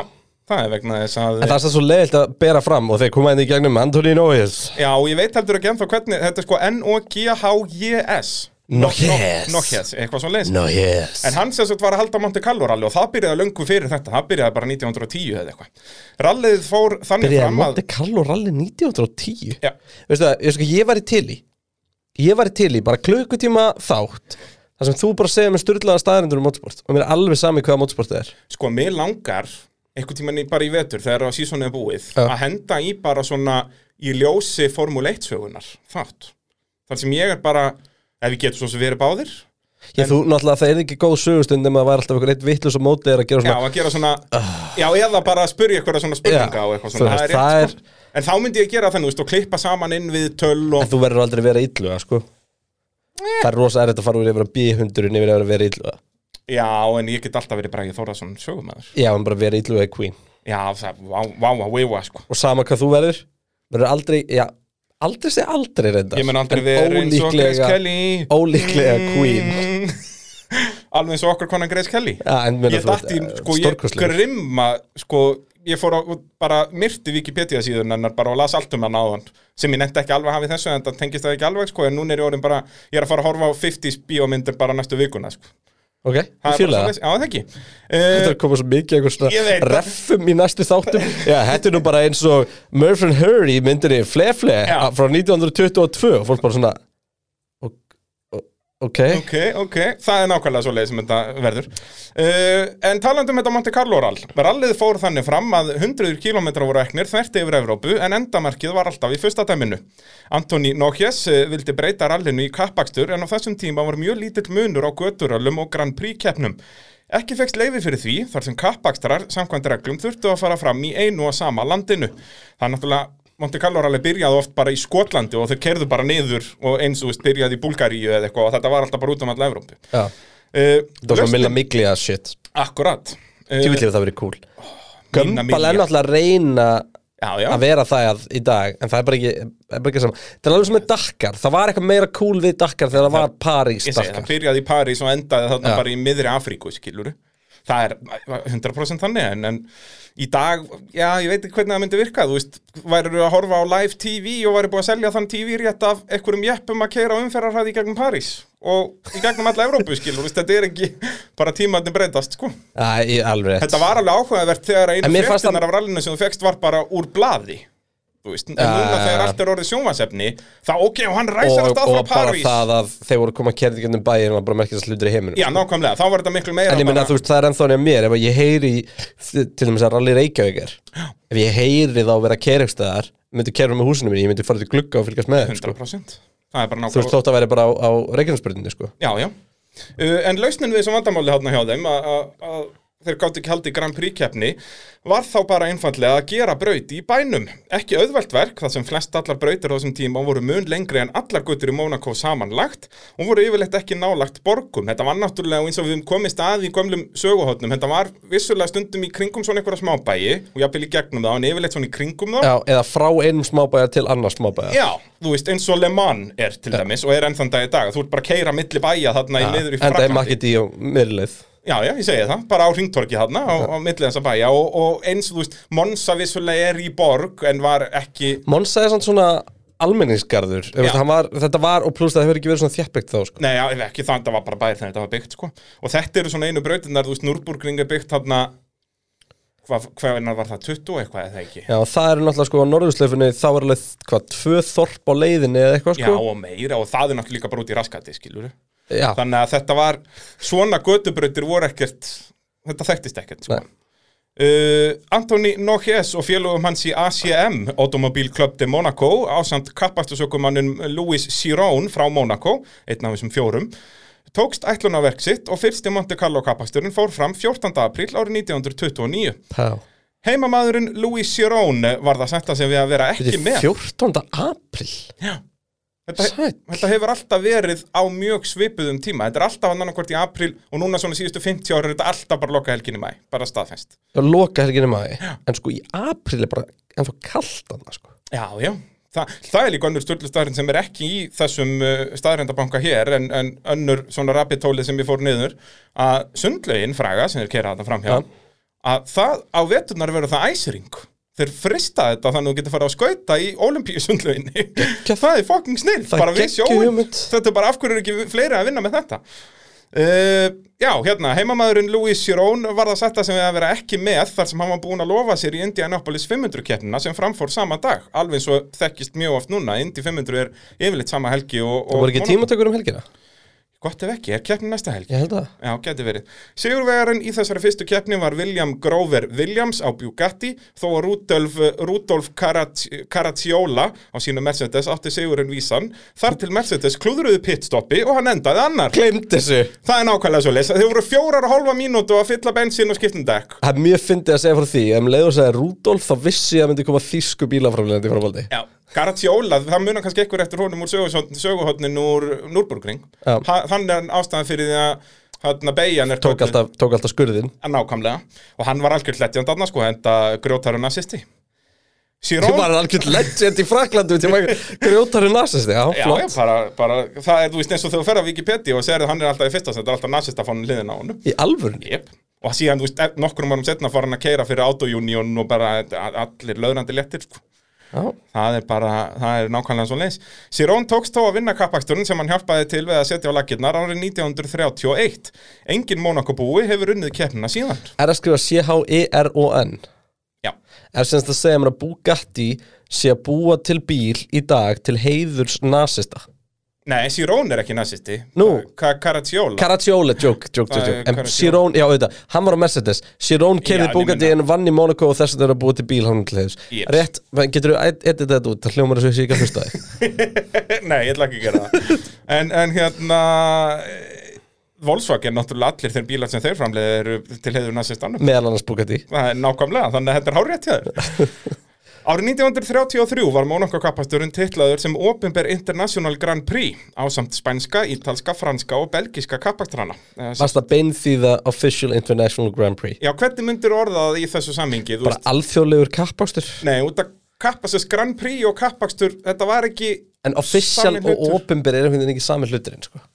S2: það er vegna þess að...
S3: en það er svo leiðilt að bera fram Og þeir koma inn í gegnum Anthony Noyes
S2: Já, og ég veit heldur ekki ennþá hvernig, þetta er sko N-O-G-H-J-S
S3: Noches.
S2: Noches, eitthvað svo leiðis
S3: Noyes
S2: En hann sem sagt var að halda Monte Carlo rally og það byrjaði löngu fyrir þetta, það byrjaði bara 1910 eða eitthvað Rallið fór þannig
S3: Byrjaði
S2: fram að
S3: Monte Carlo Rally 1910
S2: Já.
S3: Veistu það, ég, sko, ég var í til í Ég var í til í bara klukkutíma þátt þar sem þú bara segir mér styrlaða staðarindur um motorsport Og mér er alveg sami hvaða motorsport það er
S2: Sko, mér langar, einhvern tímann í- bara í vetur þegar að sísonu er búið
S3: Já.
S2: að henda í bara svona í ljósi Formule 1-sögunar, þátt Þar sem ég er bara, ef við getum svo sem verið báðir
S3: Ég, þú, náttúrulega, það er ekki góð sögustund nema að það var alltaf einhver eitt vittlus og mótið er að gera
S2: Já,
S3: svona
S2: að gera svona, já, eða bara að spurja eitthvað svona spurninga og eitthvað
S3: þú
S2: svona,
S3: veist,
S2: rétt,
S3: það er,
S2: sko. En þá myndi ég gera þannig, þú veist, og klippa saman inn við töl og...
S3: En þú verður aldrei að vera illuga, sko
S2: Eh.
S3: Það er rosa erfitt að fara úr yfir að B-hundurinn yfir að vera illuga
S2: Já, en ég get alltaf verið Bragi Þórðarsson sögumæður.
S3: Já, en bara vera illuga í Queen
S2: Já, það, vá, vá, vá, vá, sko.
S3: Og sama hvað þú verður Verður aldrei, já, aldrei segja aldrei reynda
S2: Ég menn aldrei verið eins og Grace Kelly.
S3: Ólíklega Queen
S2: Mm. Alveg eins og okkur konan Grace Kelly.
S3: Já, en meina
S2: ég
S3: þú ert,
S2: dætti,
S3: eh,
S2: sko, ég
S3: stórkostlegur.
S2: grimma, sko, ég fór á, bara myrti Wikipedia síðan hennar bara og las allt um hann áðan sem ég nefndi ekki alveg að hafa í þessu en það tengist það ekki alveg, sko, en núna er ég orðin bara, ég er að fara að horfa á 50s bíómyndir bara næstu vikuna, sko.
S3: Ok, ég
S2: er bara
S3: fíla það
S2: svoleiðis. Já, það ekki. Uh,
S3: Þetta er að koma svo mikið eitthvað
S2: Ég
S3: svona
S2: veit það.
S3: reffum í næstu þáttum Já, þetta er nú bara eins og Murphy and Hurry myndinni Fle Fle uh,
S2: Já.
S3: frá 1922 og fólk bara svona Ok, ok
S2: Eh, Ok, ok, það er nákvæmlega svo leið sem þetta verður uh, En talandi um þetta Monte Carlo rall Rallið fór þannig fram að 100 km voru eknir þvert yfir Evrópu en endamarkið var alltaf í fyrsta dæminu Antoni Nókjes uh, vildi breyta rallinu í kappakstur en á þessum tíma var mjög lítill munur á göturallum og Grand Prix keppnum Ekki fekst leiði fyrir því þar sem kappakstrar samkvæmt reglum þurftu að fara fram í einu og sama landinu Það er náttúrulega Monte Carlo rally byrjaði oft bara í Skotlandi og þeir kerðu bara niður og eins og þú veist byrjaði í Búlgaríu eða eitthvað og þetta var alltaf bara út um alla Evrópu.
S3: Já, það
S2: Uh,
S3: var svona milla mikli að shit
S2: akkurat. Uh,
S3: Tjúvillir það verið cool Gumball er
S2: Miglia.
S3: náttúrulega að reyna
S2: Já, já.
S3: að vera það að- í dag en það er bara ekki, það er bara ekki saman Það er alveg sem með Dakkar, það var eitthvað meira cool við Dakkar þegar það var París
S2: Ég segi, það
S3: Dakkar
S2: byrjaði í París og endaði þarna
S3: Já.
S2: bara í miðri Afríku, skilur Það er 100% þannig, en, en í dag, já, ég veit ekki hvernig það myndi virka, þú veist, væru að horfa á live TV og væri búið að selja þann TV rétt af einhverjum jeppum að keira á umferðarhæði í gegnum París og í gegnum alla Evrópu, skilur, veist, þetta er ekki bara tímaðni breytast, sko.
S3: Já, ég- alveg rétt.
S2: Þetta var alveg áhugavert þegar einu
S3: En mér fannst
S2: fréttinar
S3: það-
S2: af rallinu sem þú fekst var bara úr blaði Þú veist, en núna
S3: Ja.
S2: þegar allt er orðið sjónvansefni þá ok, og hann ræsar
S3: og,
S2: alltaf frá
S3: og bara
S2: París
S3: það að þeir voru að koma að kerði gennum bæin var bara merkist hlutur í heiminum
S2: Já, nákvæmlega, þá var þetta miklu meira
S3: En ég minna, þú veist, það er ennþá nefn mér ef að ég heyri, í- til dæmis að rally Reykjavík er ef ég heyri þá vera að kera ykkur staðar, myndi kera með húsinu mín ég myndi fara til glugga og fylgjast með þeim, sko.
S2: 100% Það er bara
S3: þú veist,
S2: nákvæmlega
S3: þótt að vera bara á, á Reykjavíkspyrðinni, sko
S2: Já, já uh, En lausnin við þessum vandamáli hátna hjá þeim að- að að þeir gátt ekki haldi Grand Prix keppni var þá bara einfallega að gera braut í bænum ekki auðvelt verk, þar sem flest allar brautir á þessum tíma voru mun lengri en allar guttur í Mónakó samanlagt og voru yfirleitt ekki nálagt borgum þetta var náttúrulega eins og við höfum komist að í gömlum söguhóttnum, þetta var vissulega stundum í kringum svona einhverja smábæi og jafnvel í gegnum þá en yfirleitt svona í kringum þá
S3: Já, eða frá einum smábæjar til annars smábæjar
S2: Já, þú veist, eins og Le Mans er til dæmis og er enn þann dag í dag, þú ert bara að keira milli bæja þarna í niður í
S3: enda er
S2: Frakklandi.
S3: makkið í og miðurleið
S2: Já, já, ég segi það, bara á ringtorki þarna á, á milli þessa bæja og, og eins, þú veist, Monsa vissulega er í borg en var ekki,
S3: Monsa er samt svona almenningsgarður Þú veist,
S2: Já.
S3: hann var, þetta var og pluss það hefur ekki verið svona þjæppbyggt þá sko.
S2: nei, já, ef ekki þannig, það var bara bæðir þegar þetta var byggt, sko og þetta eru svona einu brautinnar, þú veist, Núrburgring er byggt þarna hvað, hvernig var það, 20 og eitthvað eða ekki
S3: Já, og það eru náttúrulega sko á norðurslöfunni þá er alveg hvað, tvö þorp á leiðinni eða eitthvað
S2: Já,
S3: sko
S2: og meira, og það er náttúrulega líka bara út í raskati, skilur
S3: Já,
S2: Þannig að þetta var, svona götubrautir voru ekkert, þetta þekktist ekkert, sko.
S3: Nei.
S2: Uh, Antoni Noches og félögum hans í ACM, Automobile Club de Monaco, ásamt kappastusökumannum Louis Chiron frá Monaco, einn af þessum fjórum, tókst ætlunarverk sitt og fyrsti Monte Carlo kappasturinn fór fram 14. april árið 1929.
S3: já
S2: Heimamaðurinn Louis Chiron var það setta sem við að vera
S3: Þetta
S2: ekki
S3: er
S2: með.
S3: 14. april
S2: Þetta,
S3: Sæll.
S2: þetta hefur alltaf verið á mjög svipuðum tíma Þetta er alltaf annarkvort í april og núna svona síðustu 50 ára er þetta alltaf bara loka helginni mæ bara staðfest
S3: Já, loka helginni maður En sko í apríl er bara ennþá kalt annað sko
S2: Já, já Þa, það er líka önnur stöldlustæðarinn sem er ekki í þessum uh, staðrendabanka hér en, en önnur svona rapidtólið sem ég fór niður að sundlaugin fræga sem er kerað þetta framhjá
S3: Já.
S2: að það á veturnar verður það æsring þeir frista þetta þannig að þú getur fara að skauta í olimpíu sundlauginni það er fucking snill,
S3: Það er
S2: bara við
S3: geggjuð
S2: sjóum
S3: hugmynd.
S2: þetta er bara af hverju er ekki fleiri að vinna með þetta Uh, já, hérna, heimamaðurinn Louis Chiron var það setta sem við að vera ekki með þar sem hann var búinn að lofa sér í Indianapolis 500 keppnina sem framfór sama dag alveg eins og þekkist mjög oft núna Indy 500 er yfirleitt sama helgi og, og
S3: Það voru ekki
S2: Monaco.
S3: tímatökur um helgina
S2: Gott ef ekki, er keppni næsta helgi?
S3: Ég held að
S2: Já, geti verið. Sigurvegarinn í þessari fyrstu keppni var William Grover Williams á Bugatti þó að Rudolf, Rudolf Carac- Caracciola á sínu Mercedes átti Sigurinn vísan þar til Mercedes klúðruðu pitstoppi og hann endaði annar.
S3: Gleimd þessu
S2: Það er nákvæmlega svo leys. Þeir voru fjórar og hálfa mínútu að fylla bensín og skiptum dekk.
S3: Það er mjög fyndið að segja frá því Ef um leiður segja Rudolf þá vissi ég að myndi koma þýsku bílaframlegandi í framhaldi
S2: Já. Caracciola, það munar kannski eitthvað eftir honum úr söguhotnin, söguhotnin úr Núrburgring.
S3: Já.
S2: Þannig er ástæðan fyrir því að Þarna beigjan er
S3: Tók
S2: kölluð-
S3: alltaf, tók alltaf skurðin
S2: En nákvæmlega, og hann var algjörð hlettjand annars sko, enda grjótarinn assisti
S3: Þú
S2: Sírón,
S3: var algjörn legend í Fraklandu til maður grjótari nasisti Já,
S2: já, já,
S3: flott
S2: bara, bara, það er, þú veist, eins og þegar þú ferð á Wikipedia og segir að hann er alltaf í fyrsta set, það er alltaf nazista fónum liðin á honum
S3: Í alvörunni
S2: yep. og síðan, þú veist, e- nokkrum árum setna fór hann að keira fyrir Auto Union og bara e- a- allir löðrandi léttir, sko
S3: Já,
S2: Það er bara, það er nákvæmlega svo leis. Sirón tókst þó að vinna kappaksturinn sem hann hjálpaði til við að setja á laggirnar árið 1931. Engin Mónakobúi hefur unnið keppnina síðan.
S3: er að skrifa E C-H-E-R-O-N
S2: Já.
S3: Er semst að segja mér að Bugatti sé að búa til bíl í dag til heiðurs nasista
S2: Nei, Sirón er ekki nazisti.
S3: Nú.
S2: Caracciola.
S3: Caraccioli, joke, joke,
S2: Það
S3: joke,
S2: er
S3: joke. En
S2: Caraccioli.
S3: Sirón, já auðvitað, hann var á Mercedes Sirón kerði
S2: Ah, Já, ég
S3: Bugatti
S2: meina-
S3: en vann í Monaco og þess að þeirra búið til bíl hann til heiðurs
S2: Yes.
S3: Rétt, menn, getur þú edit þetta út, það hljómar þessu sé ekki að hlusta þig
S2: Nei, ég ætla ekki að gera það en, en hérna eh, Volkswagen, náttúrulega allir þeir bílar sem þeir framleiði eru til heiður næstist annum
S3: Meðal annars Bugatti
S2: Það er nákvæmlega, þannig að þetta er hárétt hjá þér Árið 1933 var Monaco kappasturinn titlaður sem Opinber International Grand Prix ásamt spænska, ítalska, franska og belgiska kappastrana
S3: Varst að beinþýða Official International Grand Prix
S2: Já, hvernig myndir orðað í þessu sammingi?
S3: Bara alþjóðlegur kappakstur
S2: Nei, út að kappasturs Grand Prix og kappakstur, þetta var ekki
S3: En official
S2: Sami
S3: og
S2: hlutur.
S3: opinber er einhvern veginn ekki sami hluturinn sko.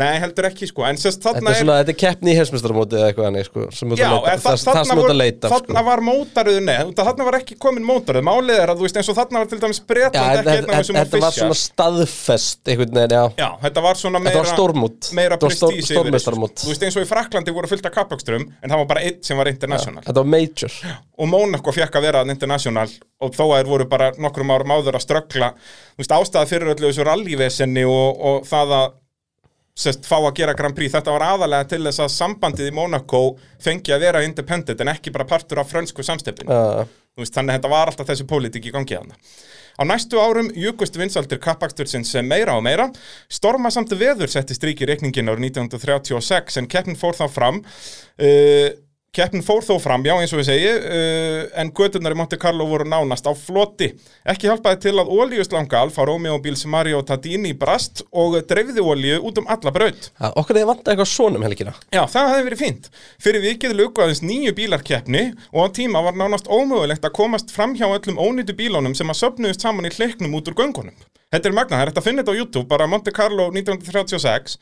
S2: Nei, heldur ekki sko, en sérst
S3: Þetta
S2: þarna
S3: er svona, þetta er keppni í heimsmestarmóti eða eitthvað annir sko, sem þú ert
S2: Já,
S3: að leita,
S2: en
S3: það,
S2: þa-
S3: það sem
S2: þarna
S3: þú ert
S2: voru-
S3: að leita
S2: þarna
S3: sko.
S2: var mótaröðu, nei, út af þarna var ekki komin mótaröðu Málið er að þú veist eins og þarna var til dæmis
S3: Já,
S2: Bretland
S3: en
S2: ekki
S3: þetta
S2: einn af
S3: þetta-
S2: þessum
S3: þetta var svona
S2: official
S3: staðfest einhvern veginn, já,
S2: Já, þetta var svona meira
S3: Þetta var stórmót.
S2: Meira
S3: Þetta var stór-
S2: prestísi
S3: stórmeistaramót.
S2: Þú veist eins og í Fraklandi voru fullt af kappaksturum En það var bara einn sem var international
S3: þetta var major
S2: Og Monaco fekk að vera international Og þó að þeir voru bara nokkrum árum áður að ströggla Þú veist, ástæða fyrir öllu þessu rallyvesenni og, og það að sest, fá að gera Grand Prix, þetta var aðalega til þess að sambandið í Monaco fengi að vera independent en ekki bara partur af frönsku samstefinu
S3: Já.
S2: Þú veist, þannig að þetta var alltaf þessi pólitík í gangi hana. Á næstu árum jukust vinsaldir kappakstursin sem meira og meira. Storma samt veður setti strík í reikningin árið 1936 en keppnin fór þá fram. Uh, keppnin fór þó fram, já eins og ég segi, uh, en göturnar í Monte Carlo voru nánast á floti. Ekki hjálpaði til að olíuslanga Alfa Romeo bíls Mario Tadini brast og dreifði olíu út um alla braut.
S3: Já, Okkur hefði vantað eitthvað svonum helgina
S2: Já, það hefði verið fínt. Fyrir vikið luku aðeins nýju bílarkeppni og á tíma var nánast ómögulegt að komast fram hjá öllum ónýtu bílunum sem að söpnuðust saman í hleiknum út úr göngunum. Þetta er magnað, það er hægt að finna þetta á YouTube, bara Monte Carlo 1936,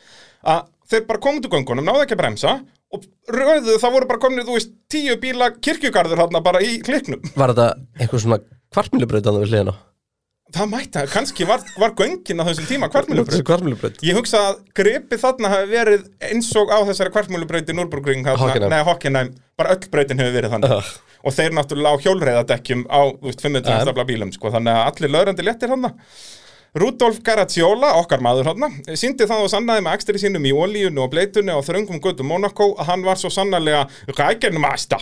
S2: að þeir bara komið út úr göngunum, náðu ekki að bremsa og röðuðu, það voru bara komin, þú veist, tíu bíla kirkjugarður hérna bara í hleiknum.
S3: Var þetta einhver svona kvartmjölubraut annað við hliðina
S2: Það mætti, kannski var, var göngin á þessum tíma kvartmjölubröð.
S3: Kvartmjölubraut
S2: Ég hugsa að gripið þarna hafi verið eins og á þessari kvartmúlubrauti Núrburgring,
S3: Hockenheim.
S2: neða Hockenheim, bara öll brautin hefur verið þannig.
S3: Ah.
S2: Og þeir náttúrulega á hjólreiðadekkjum á, þú veist, 500
S3: Já.
S2: stafla bílum, sko, þannig að allir löðrandi léttir hann. Rudolf Garacciola, okkar maður hann, síndi það og sannaði með ekstri sínum í olíunu og bleitunni og þröngum götu Monaco að hann var svo sannarlega Rækenmasta,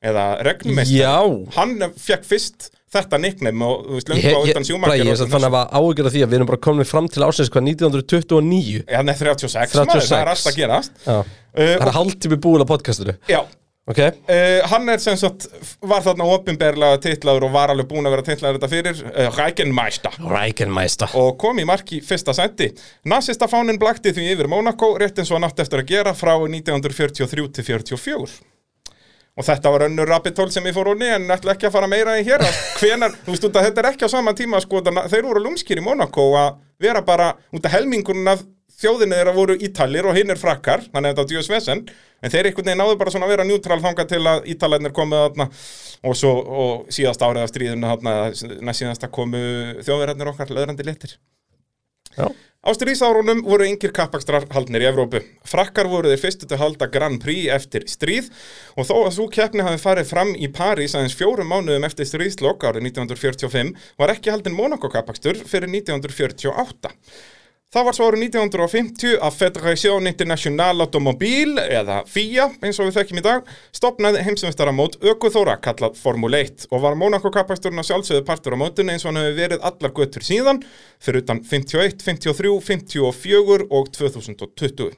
S2: eða regnumista.
S3: Já
S2: Hann fekk fyrst þetta nickname og, þú veist,
S3: Ég,
S2: löngu á
S3: ég,
S2: undan
S3: bara,
S2: sjúmakir.
S3: ég satt þannig að var áhyggjur af því að við erum bara komin fram til ásins hvað 1929
S2: Já, nei, 36, maður, það
S3: 36.
S2: er alltaf að gerast.
S3: Já.
S2: Uh,
S3: Það er hálftími búin á podcastinu
S2: Já,
S3: Ok,
S2: uh, hann er sem sagt, var þarna ofinberlega titlaður og var alveg búin að vera titlaður þetta fyrir, uh, Rækenmæsta
S3: Rækenmæsta
S2: og kom í mark í fyrsta sendi. Nasista fáninn blakti því yfir Mónakó, rétt eins og hann átti eftir að gera frá 1943 til 44. Og þetta var önnur rabbit hole sem ég fór honni, en ætla ekki að fara meira í hér. að Hvenar, þú veist, út að þetta er ekki á sama tíma, sko, þannig að þeir voru lúmskir í Mónakó að vera bara, út að helmingunum af þjóðinni þeirra voru ítalir og hinn er frakkar, þannig að þetta var djöðs vesen, en þeir einhvern veginn náðu bara svona að vera njútrál þangað til að ítalarnir komið þarna og svo og síðast árið af stríðinu þarna, næst síðasta komu þjóðverðarnir okkar löðrandi litir.
S3: Já.
S2: Á stríðsárunum voru yngir kappakstrar haldnir í Evrópu. Frakkar voru þeir fyrstu til að halda Grand Prix eftir stríð og þó að svo keppni hafi farið fram í París aðeins fjórum mánuðum eftir stríðslokk árið 1945 var ekki haldin Monaco kappakstur fyrir 1948. Það var svo árið 1950 að Federation International Automobile, eða FIA, eins og við þekkjum í dag, stopnaði heimsumstaramót Ökuþóra, kallað Formule 1, og var Monaco kappasturinn að sjálfsögðu partur á mótinu eins og hann hefur verið allar göttur síðan, fyrir utan 51, 53, 54 og 2020.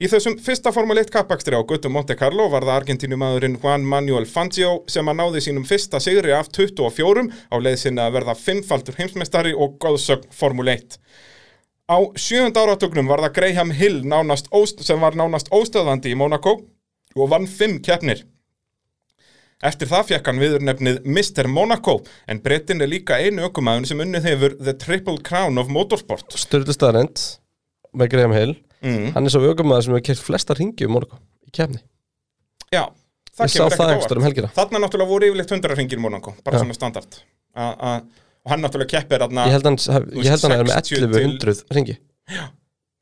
S2: Í þessum fyrsta Formule 1 kappakstri á Götu Monte Carlo var það argentínumadurinn Juan Manuel Fangio sem að náði sínum fyrsta sigri af 24 á leið sinni að verða fimmfaldur heimsmeistari og góðsögn Formule 1. Á sjöfund áratögnum var það Graham Hill nánast óst, sem var nánast óstöðandi í Monaco og vann fimm keppnir. Eftir það fekk hann viður nefnið Mr. Monaco en breytin er líka einu ökumæðun sem unnið hefur The Triple Crown of Motorsport.
S3: Sturlustaðarend með Graham Hill
S2: Mm.
S3: hann er svo aukumæður sem hefur kert flesta ringi um morgun í kefni
S2: Já,
S3: Ég sá það einhvers staðar um helgina.
S2: Þarna náttúrulega voru yfirleitt 100 ringir í Monaco, bara svona standard. A, a, og hann náttúrulega keppir þarna,
S3: ég held hann, ég held hann er með
S2: 60 til-
S3: 1100 ringi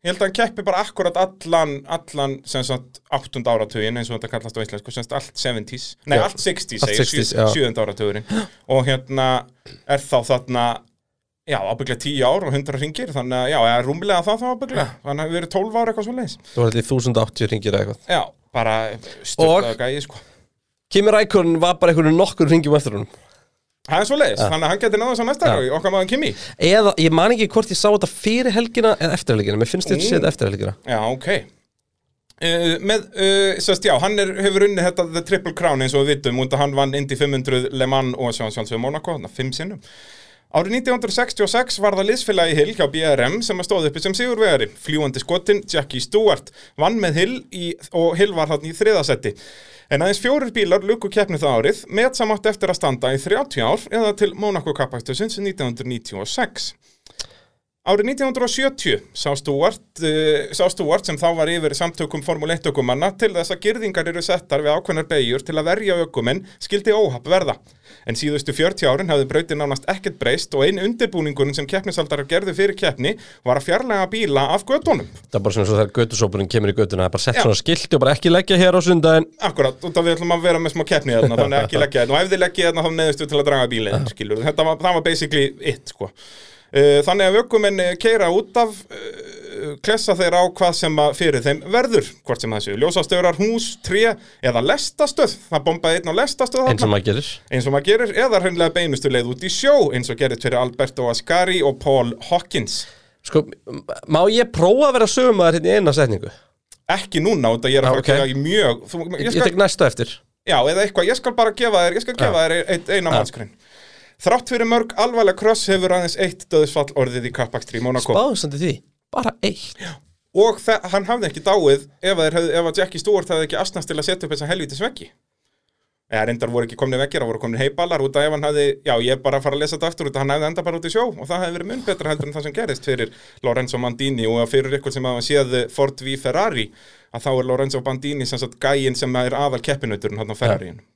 S2: ég held að hann keppir bara akkurat allan, allan sem sagt 8. áratugin eins og þetta kallast á íslensku, sem sagt allt 70s, nei
S3: Já.
S2: allt 60s,
S3: Allt
S2: segir,
S3: 60s,
S2: 60s
S3: já.
S2: 7. áratugurinn. Og hérna er þá þarna, já, ábygglega 10 ár og 100 ringir, þannig að, já, eða rúmlega það þá ábygglega, þannig að við erum 12 ára eitthvað svo leiðis.
S3: það var allir 1080 ringir eða eitthvað
S2: Já, bara stöldaða gæi, sko.
S3: Kimi Rækonin var bara einhvern nokkur ringjum eftir honum
S2: Það er svo leiðis, þannig að hann getur náðast á næsta
S3: Já.
S2: ári, okkar maður Kimi.
S3: eða ég man ekki hvort ég sá þetta fyrir helgina eða eftir helgina, mér finnst þetta
S2: Mm.
S3: sé þetta eftir helgina
S2: Já, ok uh, Með, uh, sérst, já, hann er, hefur unnið þetta The Triple Crown eins og við vitum og hann vann Indy 500, Le Mans og sjálf sjálfsög Monaco, þannig að fimm sinnum Árið 1966 var það liðsfélagi Hill hjá BRM sem að stóð uppi sem sigurvegari. Fljúandi skotin Jackie Stewart vann með Hill í, og Hill var hann í þriðasetti. En aðeins fjórir bílar lukku keppni það árið með samátt eftir að standa í 30 ár eða til Monaco kappaktusins 1996. Árið 1970 sá Stúart, uh, sá Stúart sem þá var yfir samtökum Formule 1 ökumanna til þess að girðingar eru settar við ákveðnar beigjur til að verja ökumenn skildi óhapp verða. En síðustu 40 árin hafði brautin nánast ekkert breyst og ein undirbúningurinn sem keppnisaldarar gerðu fyrir keppni var að fjarlæga bíla af gödunum.
S3: það er bara svona eins og þegar götusópurinn kemur í götuna það er bara sett
S2: Já.
S3: svona skilti og bara ekki leggja hér á sundaginn
S2: Akkurat, út af við ætlum að vera með smá keppni þarna, þannig að ekki leggja þarna og ef þið leggja þarna þá neðustu til að draga bílinn, skilur þetta var, það var basically it, sko. Eh, Þannig að vökumenn keira út af eh, klessa þeir á hvað sem að fyrir þeim verður, hvort sem það séu ljósastörar, hús, tré eða lestastöð, það bombaði einn á lestastöð
S3: eins og
S2: þarna,
S3: maður gerir
S2: eins og maður gerir, eða hreinlega beinustu leið út í sjó, eins og gerist fyrir Alberto Ascari og Paul Hawkins
S3: sko, m- má ég prófa að vera sögumæður hérna í eina setningu
S2: ekki núna, út að ég er
S3: Já,
S2: að fara
S3: ok.
S2: að gera í mjög þú,
S3: ég, tek næsta eftir
S2: Já, eða eitthvað, ég skal bara gefa þér, ég skal gefa þér ein, eina mannskrin. Þrátt fyrir mörg alvarlega kross hefur aðeins eitt döðsfall orðið í kappakstri í Monaco
S3: báðsandi því, bara eitt
S2: og þa- hann hafði ekki dáið ef, að þeir hefðu, ef að Jackie Stewart hafði ekki asnast til að setja upp þessa helvítis veggi. Eða reyndar voru ekki komni veggir, það voru komni heibalar út af ef hann hafði, já ég er bara að fara að lesa þetta aftur út að hann hafði enda bara út í sjó og það hefði verið mun betra heldur en það sem gerist fyrir Lorenzo Mandini og fyrir ykkur sem hafa séð Ford V Ferrari að þá er Lorenzo Bandini sem sagt gæin sem er aðal keppinuturinn hann á Ferrariinu.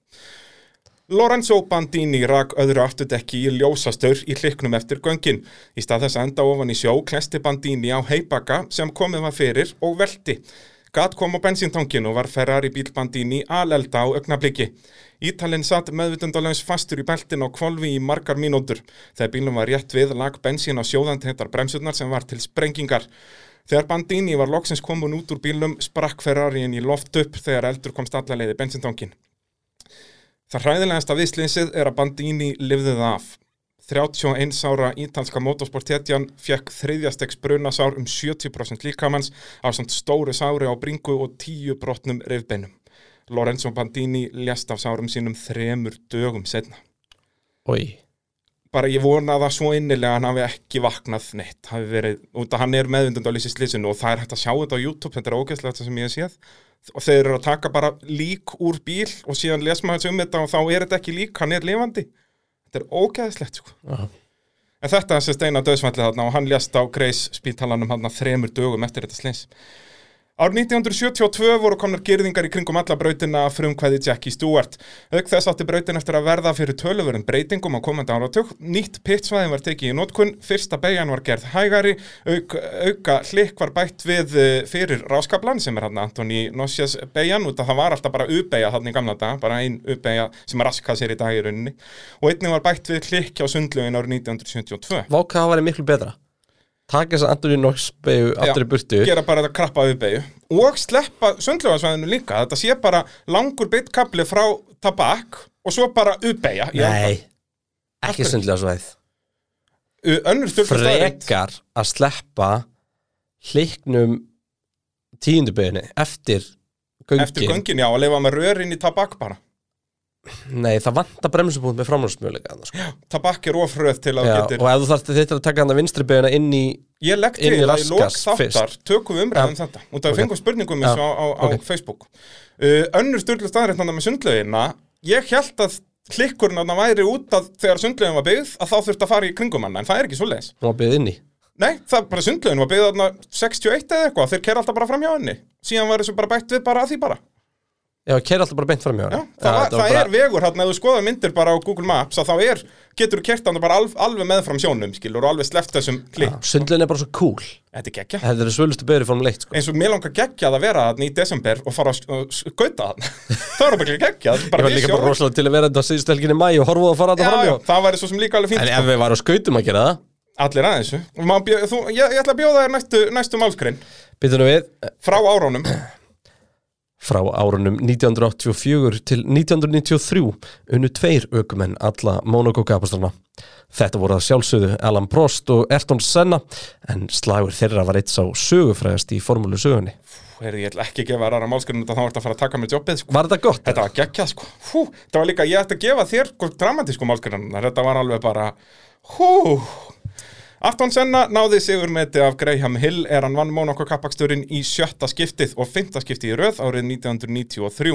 S2: Lorenzo Bandini rak öðru afturdekki í ljósastaur í hliknum eftir göngin. Í stað þess að enda ofan í sjó klesti Bandini á heibaka sem komið var fyrir og velti. Gat kom á bensíntangin og var Ferrari bíl Bandini alelda á augnabliki. Ítalinn satt meðvitundalans fastur í beltin á kvolfi í margar mínútur. Þegar bílum var rétt við lag bensín á sjóðandheitar bremsurnar sem var til sprengingar. Þegar Bandini var loksins komin út úr bílum sprakk Ferrariin í loft upp þegar eldur komst alla leiði bensíntangin. Það hræðilegasta viðslinsið er að Bandini lifði það af. 31 ára ítalska motorsporthetjan fekk þriðjastegs brunasár um 70% líkamanns á samt stóru sári á bringu og 10 brotnum reyfbeinum. Lorenzo Bandini lést af sárum sínum þremur dögum setna.
S3: Oi.
S2: Bara ég vona það svo innilega að hann hafi ekki vaknað neitt. Hafi verið, út að hann er meðvindund á lýsi slísinu og það er hægt að sjá þetta á YouTube, þetta er ógeðslega þetta sem ég hef séð. Og þeir eru að taka bara lík úr bíl og síðan les maður þessu um þetta og þá er þetta ekki lík, hann er lifandi. Þetta er ógeðslegt sko.
S3: Já.
S2: En þetta er sérst eina döðsvallið þarna og hann lést á Greis spítalanum hann þremur dögum eftir þetta slins. Árið 1972 voru komnar gerðingar í kringum alla brautina af frumkvæði Jackie Stewart. Auk þess átti brautin eftir að verða fyrir töluverum breytingum á komandi áratug. Nýtt pittsvæði var tekið í notkun, fyrsta beigjan var gerð hægari, auk, auka hlikk var bætt við eh, fyrir ráskablan sem er hann Antoni Nossias beigjan út að það var alltaf bara ubeigja hann í gamla dag, bara ein ubeigja sem raskað sér í dag í rauninni. Og einnig var bætt við hlikk á sundlögin árið 1972.
S3: Váka það væri miklu betra taka þess að Antoni Knox beigju aftur í burtu
S2: gera bara þetta krappa við beigju og sleppa sundlöfansvæðinu líka þetta sé bara langur beitt kapli frá tabak og svo bara uppeyja
S3: Nei, ekki sundlega svæð
S2: önnur stjórnum
S3: frekar að sleppa hliknum tíundubeginni eftir göngin.
S2: eftir göngin, já, að lifa með rörin í tabak bara
S3: Nei, það vantar bremsupunkt með framhaldsmjöleika sko.
S2: tabak er ofröð til að
S3: Já,
S2: þú
S3: og
S2: getur
S3: ef þú þarft þetta að taka hann að vinstri beina inn í
S2: ég legg
S3: inn í
S2: til að í lók
S3: raskas
S2: þáttar
S3: fyrst.
S2: tökum við umræðum
S3: Já.
S2: þetta og það
S3: Ok.
S2: okay. fengum spurningum
S3: Já,
S2: eins og á, á,
S3: ok.
S2: á Facebook uh, önnur stjórnum staðrættnanda með sundlöginna ég held að hlikkurinn að væri út að þegar sundlögin var byggð að þá þurfti að fara í kringum hann, en það er ekki svoleiðis
S3: og beðið inn í.
S2: Nei, það er bara sundlaun var byggð þarna 61 eða eitthvað, þeir kerra alltaf bara fram hjá henni síðan var þessu bara bætt við bara að því bara Já,
S3: Já, kæra alltaf bara beint fram hjá hann.
S2: það, var, það er vegur hérna, ef þú skoðar myndir bara á Google Maps að þá er, getur þú kert hann bara alv, alveg meðfram sjónum, skilur, og alveg sleppt þessum klikk,
S3: Sundlegin er bara svo cool.
S2: þetta er geggja
S3: Þetta eru svölustu beigri formule 1 sko.
S2: eins og mér langar geggjað að vera þarna í desember og fara að sk- og sk- skauta þarna það er bara geggjað,
S3: Ég
S2: bara
S3: var
S2: við
S3: líka bara
S2: sjónum
S3: rosalega til að vera þetta síðust helgin í mæ og horfa á að fara
S2: Já,
S3: þetta fram
S2: já,
S3: hjá.
S2: það væri svo sem líka alveg fínt
S3: En
S2: sko.
S3: ef við varum á skautum að gera það,
S2: Allir aðeins bjó, þú, ég, ég ætla að bjóða þér næstu, næstu málskrin
S3: býtum við,
S2: Frá áránum
S3: Frá árunum 1984 til 1993 unnu tveir ökumenn alla Monaco kapastrana. Þetta voru að sjálfsögðu Alan Prost og Ayrton Senna en slagur þeirra var eitt sá sögufræðast í formúlu sögunni.
S2: Heri, Ég ætla ekki að gefa þér aðra málskrin Þá ertu að fara að taka mér jobbið sko.
S3: Var þetta gott?
S2: Þetta var geggjað sko Hú, Það var líka, ég ætti að gefa þér sko, dramatísku málskrinnar Þetta var alveg bara Hú Afton Senna náði sigurmeti af Graham Hill er hann vann Monaco kappaksturinn í sjötta skiptið og fymta skiptið í röð árið 1993.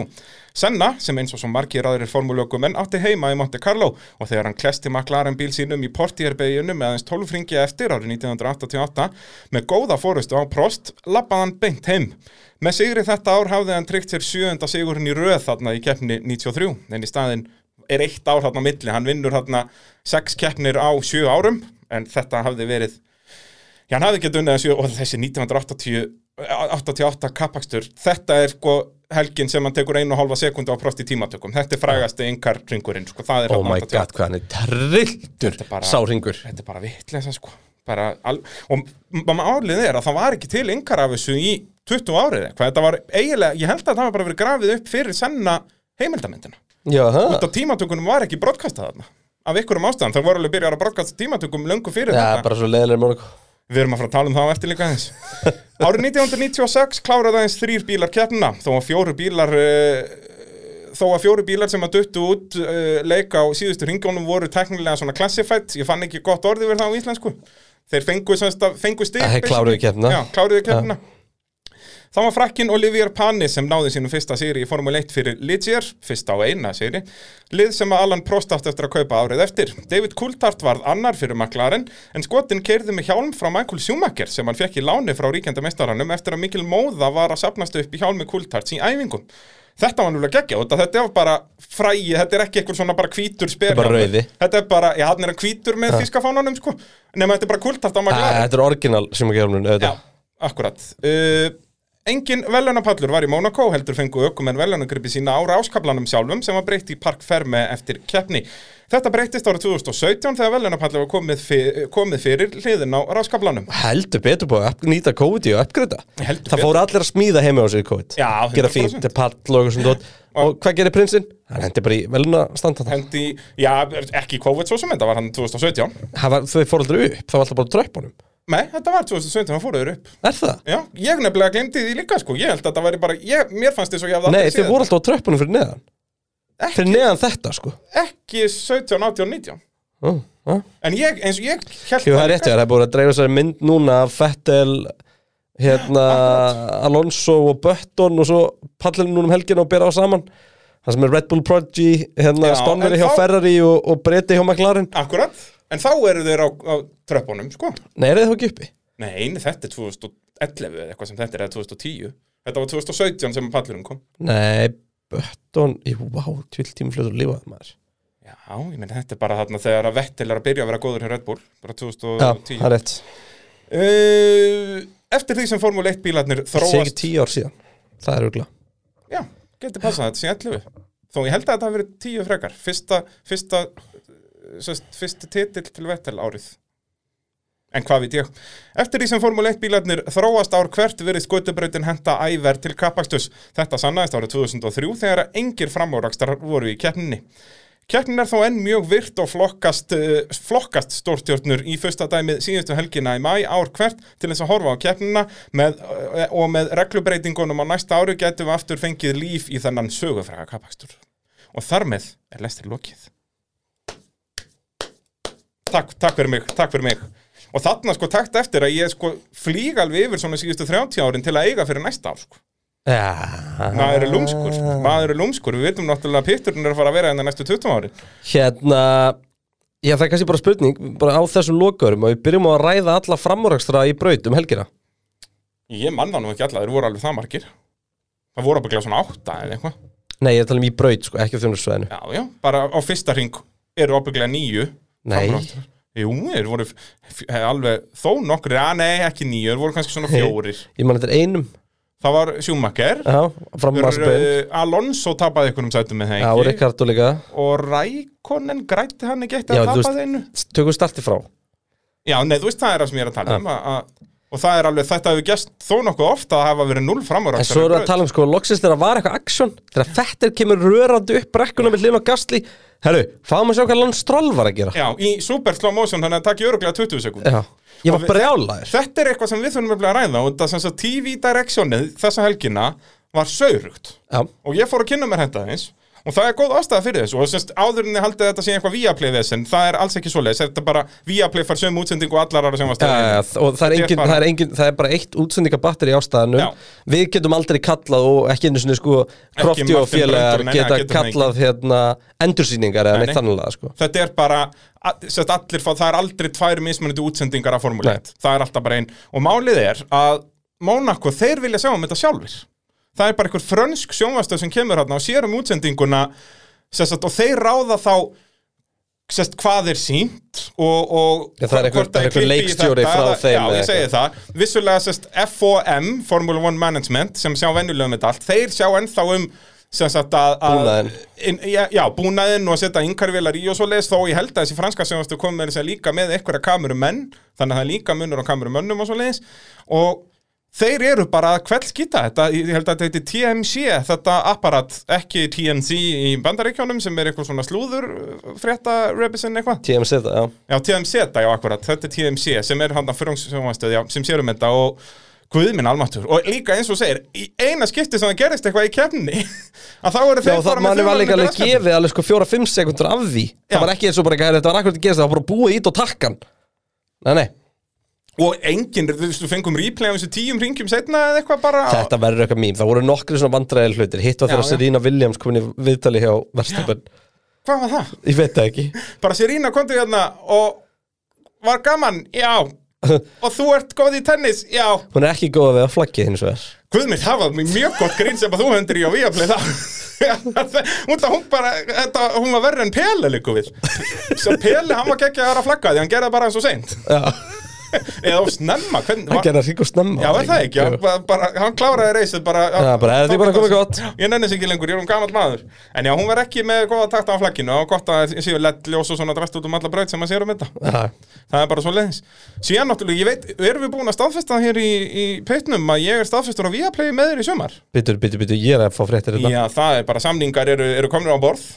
S2: Senna, sem eins og svo margir aðrir formúlökum en átti heima í Monte Carlo og þegar hann klesti McLaren bíl sínum í portierbeginum með aðeins 12 ringi eftir árið 1988 með góða fórustu á Prost, lappaði hann beint heim. Með sigri þetta ár hafði hann tryggt sér sjöunda sigurinn í röð þarna í keppni 93, en í staðinn er eitt ár þarna á milli, hann vinnur þarna sex keppnir á sjö árum en þetta hafði verið já, hann hafði ekki unnið að sjö og þessi 1988 kappakstur þetta er sko helgin sem hann tekur einu og hálfa sekundu á prost í tímatökum þetta er frægasti yngar ringurinn sko. það er
S3: Oh
S2: þarna
S3: my
S2: 88.
S3: god, hvað hann er trilltur
S2: Þetta er bara-
S3: sáringur.
S2: þetta er bara vitleisa sko bara al... og málið er að það var ekki til yngar af þessu í 20 árið eitthvað, þetta var eiginlega, ég held að það var bara verið grafið upp fyrir senna heimildamyndina
S3: Já,
S2: út
S3: það
S2: af tímatökunum var ekki brotkastað þarna af ykkurum ástæðan, það voru alveg byrjar að brotkasta tímatökum löngu
S3: er
S2: fyrir þetta
S3: bara svo leðilega Monaco.
S2: Við erum að fara að tala um það á eftir líka aðeins. Árið 1996 kláraði aðeins þrýr bílar keppnina, þó að fjóru bílar uh, þó að fjóru bílar sem að duttu út uh, leik á síðustu ringjónum voru teknilega svona classified, ég fann ekki gott orðið verið það á íslensku. Þeir fengu, semst að- fengu stig.
S3: Þeir kláruðu
S2: basically.
S3: keppnina.
S2: Já, kláruðu keppnina. Þá var frakkin Olivier Panis sem náði sínum fyrsta sigri í Formule 1 fyrir Ligier, fyrsta og eina sigri, lið sem að Alan Prost átti eftir að kaupa árið eftir. David Coulthard varð annar fyrir McLaren, en skotin keirði með hjálm frá Michael Schumacher sem hann fekk í láni frá ríkjandi mestaranum eftir að Mikil Móða var að sapnast upp í hjálmi Coulthards í æfingum. Þetta var náttúrulega geggja út að þetta var bara frægi, þetta er ekki eitthvað svona bara hvítur spyrir.
S3: bara rauði.
S2: Þetta er bara, já, hann er hann hvítur með þýskafánanum, sko. Nefnum þetta er bara Coulthard á
S3: Æ,
S2: McLaren.
S3: Þetta er orginal sem að gera hún auðvitað.
S2: Já, akkurat uh, Engin velunapallur var í Monaco heldur fengu ökumenn velunagrippi sína á ráskablanum sjálfum sem var breytt í Park Ferme eftir keppni. Þetta breyttist árið 2017 þegar velunapallur var komið, fyr, komið fyrir hliðin á ráskablanum.
S3: Heldur betur búið að upp- nýta COVID í og uppgreita.
S2: Heldur
S3: Það fóru allir að smíða heima á sig í COVID.
S2: Já, 100%.
S3: Gera fínt, pall og svona dót. Og hvað gerir prinsinn? Hann hendi bara í veluna standan.
S2: Hendi, já, ekki COVID svo sem þetta var hann 2017.
S3: Þau fóru aldrei upp, það var alltaf bara á tröppunum.
S2: Nei, þetta var 2017, hann fóruður upp.
S3: Er það?
S2: Já, ég nefnilega glemdi því líka sko, ég held að þetta væri bara, ég, mér fannst þess að ég hefði
S3: Nei,
S2: aldrei
S3: þau
S2: séð
S3: voru alltaf á tröppunum fyrir neðan.
S2: Ekki.
S3: Fyrir neðan þetta, sko.
S2: þetta. ekki 17, 18, 19.
S3: Jú, já.
S2: En ég, eins og ég held
S3: Jú, það er rétt, já, það er búið að dreifa sér mynd núna af Fettel, hérna, Alonso og Button og svo pallinu núna um helgina og bera á saman. Það sem er Red Bull Prodigy, hérna,
S2: Já,
S3: Spanveri
S2: en
S3: hjá
S2: þá-
S3: Ferrari og, og Breti hjá McLaren.
S2: Akkurat, en þá eru þeir á, á tröppunum, sko.
S3: Nei, er það ekki uppi?
S2: Nei, einu þetta er 2011 eða eitthvað sem þetta er, eða 2010. Þetta var 2017 sem pallurinn kom.
S3: Nei, Button, jú, vá, tvill tími fljóður að lifa það maður.
S2: Já, ég meina þetta er bara þarna þegar að Vettel er að byrja að vera góður hjá Red Bull, bara
S3: Já, það
S2: 2010.
S3: er rétt.
S2: uh, eftir því sem Formule 1 bílarnir
S3: Það sé ekki
S2: þróast...
S3: tíu ár síðan. Það er örgla.
S2: Já, getur passað þetta sem 11. Þó ég held að þetta hafi verið 10 frekar. Fyrsta, fyrsta, sest, fyrsti titill til Vettel árið. En hvað veit ég? Eftir því sem Formule 1 bílarnir þróast ár hvert verið skötubrautin henta æver til kapakstus. Þetta sannaðist árið 2003 þegar að engir framórakstarar voru í keppninni. Keppnin er þó enn mjög virt og flokkast, eh, flokkast stórstjórnur í fyrsta dæmið síðustu helgina í mæ ár hvert til þess að horfa á keppnina með, eh, og með reglubreitingunum á næsta ári getum við aftur fengið líf í þennan sögufræga kapakstur. Og þar með er lestir lokið. Takk, takk fyrir mig, takk fyrir mig. Og þarna sko takt eftir að ég sko flýg alveg yfir svona síðustu 30 árin til að eiga fyrir næsta ár sko.
S3: Já,
S2: Maður er lúmskur, maður er lúmskur, við veitum náttúrulega að pitturinn er að fara að vera enn næstu 20 árin.
S3: hérna Já, það er kannski bara spurning, bara á þessum lokaðurum að við byrjum á að ræða alla framúrækstra í braut um helgina
S2: Ég mann það nú ekki alla, þeir voru alveg það margir Það voru bara svona átta eða eitthvað
S3: Nei, ég er að tala um í braut, sko, ekki á þjónursvæðinu
S2: Já, já, bara á fyrsta ring eru ábygglega nýju
S3: Nei.
S2: Framráttur. Jú, þeir voru f- f- alveg þó nokkri, að nei, ekki nýju, þeir voru kannski svona fjórir
S3: Ég man þetta er einum,
S2: Það var Schumacher
S3: já, framúræksböðin
S2: Þeir, uh, Alonso tapaði einhvernum sætum með
S3: Já,
S2: það
S3: og
S2: ekki
S3: Ricardo líka
S2: Og Rækonen grætti hann ekki eitt
S3: Já,
S2: að
S3: þú
S2: tapaði einu
S3: veist, tökum starti frá
S2: Já, nei, þú veist, það er það sem ég er að
S3: Ah.
S2: tala um að, að, Og það er alveg, þetta hefur gest þó nokkuð ofta að hafa verið null framur
S3: En svo erum við að tala um sko, loksins þegar var eitthvað aksjón Þegar þetta kemur rörandi upp brekkuna með hlifna gasli Herru, fáum við að sjá hvað Lance Stroll var að gera
S2: Já, í super slow motion, þannig að takk ég öruglega 20 sekund
S3: Já, ég
S2: Og
S3: var
S2: við-
S3: brjálaður
S2: Þetta er eitthvað sem við þurfum nefnilega að ræða og þetta sem svo TV Directionið þessa helgina var saurugt
S3: Já,
S2: og ég fór að kynna mér þetta eins og það er góð ástæða fyrir þessu og semst áður en þið haldið að þetta sé eitthvað Viaplay vesen, það er alls ekki svoleiðis þetta er bara Viaplay fær sömu útsendingu og allar aðra sem var
S3: Já, já, já, og það er,
S2: Þetta er
S3: engin,
S2: bara-
S3: það, er engin, það er bara eitt útsendingabatteri í ástæðanum
S2: Já.
S3: Við getum aldrei kallað og ekki einu sinni sko Krofti og
S2: Martin
S3: félagar
S2: Brundle, nei, nei,
S3: geta
S2: getum það ekki.
S3: kallað hérna endursýningar eða
S2: Nei,
S3: neitt
S2: nei.
S3: þannlega sko
S2: Þetta er bara, að- sem sagt, allir, fá- það er aldrei tvær mismunandi útsendingar af
S3: Nei.
S2: formulegt. Það er alltaf bara einn. Og málið er að Monaco, þeir vilja sjá um þetta sjálfur. Það er bara einhver frönsk sjónvastöð sem kemur hérna og sér um útsendinguna sem sagt, og þeir ráða þá sest, hvað er sínt og, og
S3: Já, það er einhver-
S2: hvort
S3: það er einhver
S2: klippi í
S3: leikstjóri
S2: þetta
S3: frá
S2: eða-
S3: þeim
S2: Já,
S3: eða
S2: ég segi það. Vissulega sest, FOM, Formula One Management, sem sjá venjulega um þetta allt, þeir sjá ennþá um sem sagt að, að
S3: Búnaðinn.
S2: inn, já, já, búnaðinn og að setja yngarvélar í og svo leis þó ég held að þessi franska sjónastu komið með þess að segja líka með einhverja kamerumenn þannig að það er líka munur á kamerumönnum og svo leis og þeir eru bara að kveld skita þetta, ég held að þetta heiti TMC þetta apparat, ekki TNC í bandaríkjónum sem er eitthvað svona slúður uh, frétta repisinn eitthvað
S3: TMC það, já
S2: já, TMC þetta, já, akkurat, þetta er TMC sem er hann að fyrrungssjónastuð, já, sem sérum þetta og Guðminn almatur og líka eins og þú segir, í eina skipti sem það gerist eitthvað í kefni að þá eru
S3: Já,
S2: þeir
S3: og það manni var líka alveg
S2: grasfætur.
S3: gefið alveg sko fjóra-fimm sekundur af því
S2: Já.
S3: Það var ekki eins og bara eitthvað, þetta var akkurat að gerast það var bara búið ít og takkan Nei, nei,
S2: og enginn, þú veist, við fengum replay á þessu tíum ringjum setna eða eitthvað bara
S3: þetta verður eitthvað mím, það voru nokkri svona vandræðil hlutir Hitt var
S2: Já,
S3: þegar
S2: já.
S3: Serena Williams komin í viðtali hjá Verstappen
S2: hvað var það?
S3: Ég veit það ekki
S2: bara Sirína komdu hérna og var gaman, já og þú ert góð í tennis, já
S3: Hún er ekki góð við að flaggið hins vegar
S2: Guðmund, það var mjög gott grín sem að þú hendur í á Viaplay það Útla, hún, bara, þetta, hún var verri en Pele líku við sem Pele, hann var geggjaður að flagga því hann gerði það bara eins og seint
S3: Já,
S2: eða of snemma, hvernig
S3: hann
S2: var
S3: gerði það ríkur snemma
S2: Já, er það ekki, já, bara, bara, hann kláraði reysið bara
S3: Já, bara, þetta er bara komið gott.
S2: Ég nenni þess ekki lengur, ég er um gammal maður En já, hún var ekki með góða takt á flagginu og gott að séu lett ljós og svona drast út um alla braut sem maður sér um þetta
S3: Já,
S2: Það er bara svo leiðis Síðan náttúrulega, ég veit, erum við búin að staðfesta hér í, í peitnum að ég er staðfestur og við að playa með þér í sumar
S3: bitur, bitur, bitur, ég er að fá fréttir hérna. þetta
S2: Já, það er bara samningar eru, eru komnir á borð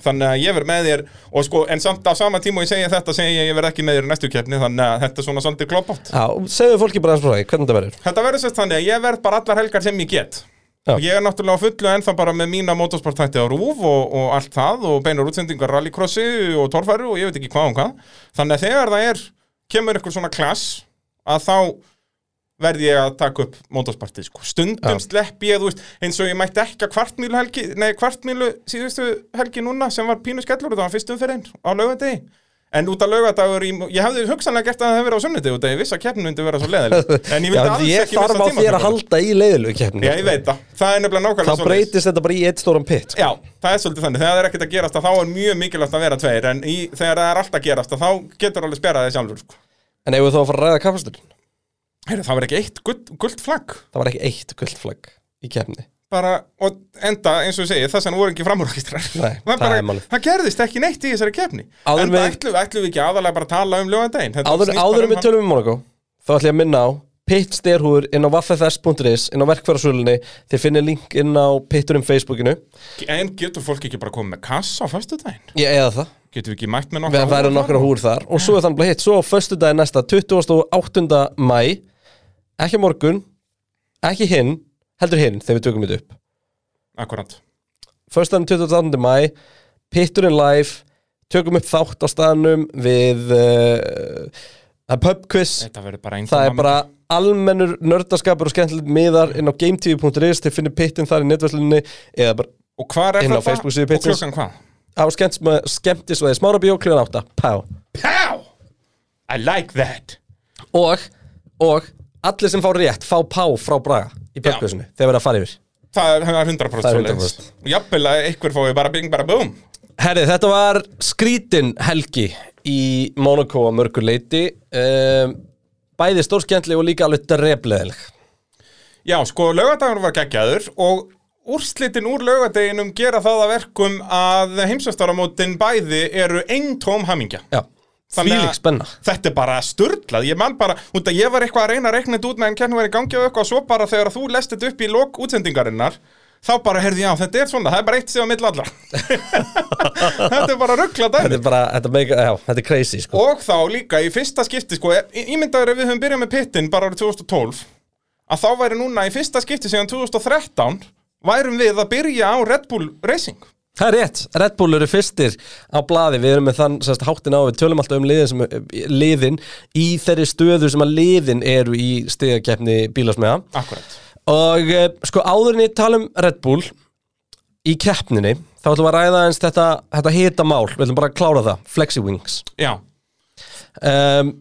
S2: Þannig að ég verð með þér og sko, en samt á sama tíma og ég segja þetta segja ég að ég verð ekki með þér í næstu keppni þannig að þetta er svona svolítið kloppátt
S3: Já, segðu fólki bara eins og frá því, hvernig það verður
S2: Þetta verður sérst þannig að ég verð bara allar helgar sem ég get
S3: Já.
S2: Og ég er náttúrulega á fullu ennþá bara með mína motorsportætti á RÚV og, og allt það og beinur útsendingar rallycrossi og torfæru og ég veit ekki hvað og hvað Þannig að þegar það er, kemur einhver svona klass að þá verð ég að taka upp motorsportið sko. Stundum
S3: Já.
S2: slepp ég, þú veist, eins og ég mætti ekki að kvartmílu helgi, nei kvartmílu síðustu helgi núna sem var pínu skellur það var fyrst umferðin á laugardegi En út af laugadagur í, ég hefði hugsanlega gert að það hefði verið á sunnudegi út af ég vissi að keppnum myndi vera svo leðileg En
S3: Já,
S2: ég vildi
S3: en
S2: alls
S3: ég
S2: ekki
S3: þarf á
S2: missa
S3: þér
S2: tíma
S3: að halda í leiðilegu keppnum
S2: Já, ég veit það, það er nefnilega nákvæmlega
S3: Þá
S2: svoleiðis.
S3: breytist þetta bara í eitt stóran pitt
S2: Já, það er svolítið þannig, þegar það er ekkert að gerast að þá er mjög mikilvægt að vera tveir En í, þegar það er allt að gerast að þá getur alveg spjarað þig sjálfur sko.
S3: En eigum við þá að fara að ræða kaffasturinn
S2: Heyrðu, það var ekki eitt guld, guld flagg
S3: Það var ekki eitt guldflagg í keppni
S2: bara, og enda, eins og ég segi, þess að hann voru ekki framúrkistrar
S3: Nei, það er málið.
S2: það gerðist ekki neitt í þessari kefni
S3: Áður
S2: en það
S3: við-
S2: ætlum, ætlum við ekki aðalega bara að tala um lögandaginn Þetta
S3: áður,
S2: snýst bara
S3: áður en við
S2: hann.
S3: tölum um Monaco þá ætlum ég að minna á Pitt styrhúður inn á vaffefs.is inn á verkfærasölunni þið finnir link inn á Pitturum Facebookinu
S2: en getur fólk ekki bara komið með kassa á föstudaginn
S3: ég eða það,
S2: getur við ekki mætt með
S3: við
S2: nokkra
S3: verðum nokkra húr þar og svo er þannig að hitt, svo á föstudaginn næsta 28. mæ ekki á morgun, ekki hinn heldur hinn þegar við tökum þetta upp
S2: akkurat
S3: föstudaginn 28. mæ Pitturinn live tökum upp þátt á staðnum við uh, það er pub quiz
S2: Þetta verður bara einn
S3: Það er
S2: tíma
S3: bara almennur nördaskapur og skemmtilegt miðar inn á gametv.is þið finnir pittin þar í netverslinni eða bara
S2: mynd. Og hvar er
S3: inn á
S2: þetta?
S3: Facebook síðu
S2: Og
S3: Pitsins.
S2: klukkan hvað?
S3: á skemmtisvæði smárabíó kljóðan átta Pá.
S2: Pow! I like that
S3: og, og allir sem fá rétt fá pá frá Braga í pökkvössinu þegar verða að fara yfir
S2: Það er- það er 100%
S3: Það er
S2: svoleiðis.
S3: 100%.
S2: Jafnvel að einhver fóði bara bing bara boom
S3: Herri, þetta var skrítin helgi í Monaco að mörgur leiti um, bæði stórskemmtli og líka alveg drefleðileg
S2: Já, sko, lögadagur var geggjaður og úrslitin úr lögadaginum gera það að verkum að heimsveistaramótin bæði eru einn tóm hamingja.
S3: Já,
S2: Þannig að-
S3: þvílík spenna
S2: Þetta er bara sturlað, ég man bara, út að ég var eitthvað að reyna að reikna þetta út meðan kemni var í gangi og eitthvað og svo bara þegar þú lest þetta upp í lok útsendingarinnar þá bara heyrði ég á, þetta er svona, það er bara eitt sem að milla allar. þetta er bara ruggla dæmi.
S3: Þetta er bara, þetta er, mega, já, þetta er crazy sko.
S2: Og þá líka í fyrsta skipti sko, í- ímyndaður ef við höfum byrjað með pittin bara árið 2012 að þá væri núna í fyrsta skipti síðan 2013 værum við að byrja á Red Bull Racing
S3: Það er rétt, Red Bull eru fyrstir á blaði, við erum með þann sérst, háttin á, við tölum alltaf um liðin, sem, liðin í þeirri stöðu sem að liðin eru í stigakeppni bílasmiða
S2: Akkurat
S3: og eh, sko áðurinn í talum Red Bull í keppninni, þá ætlum við að ræða eins þetta, þetta hita mál, við ætlum bara að klára það Flexi Wings
S2: Já,
S3: um,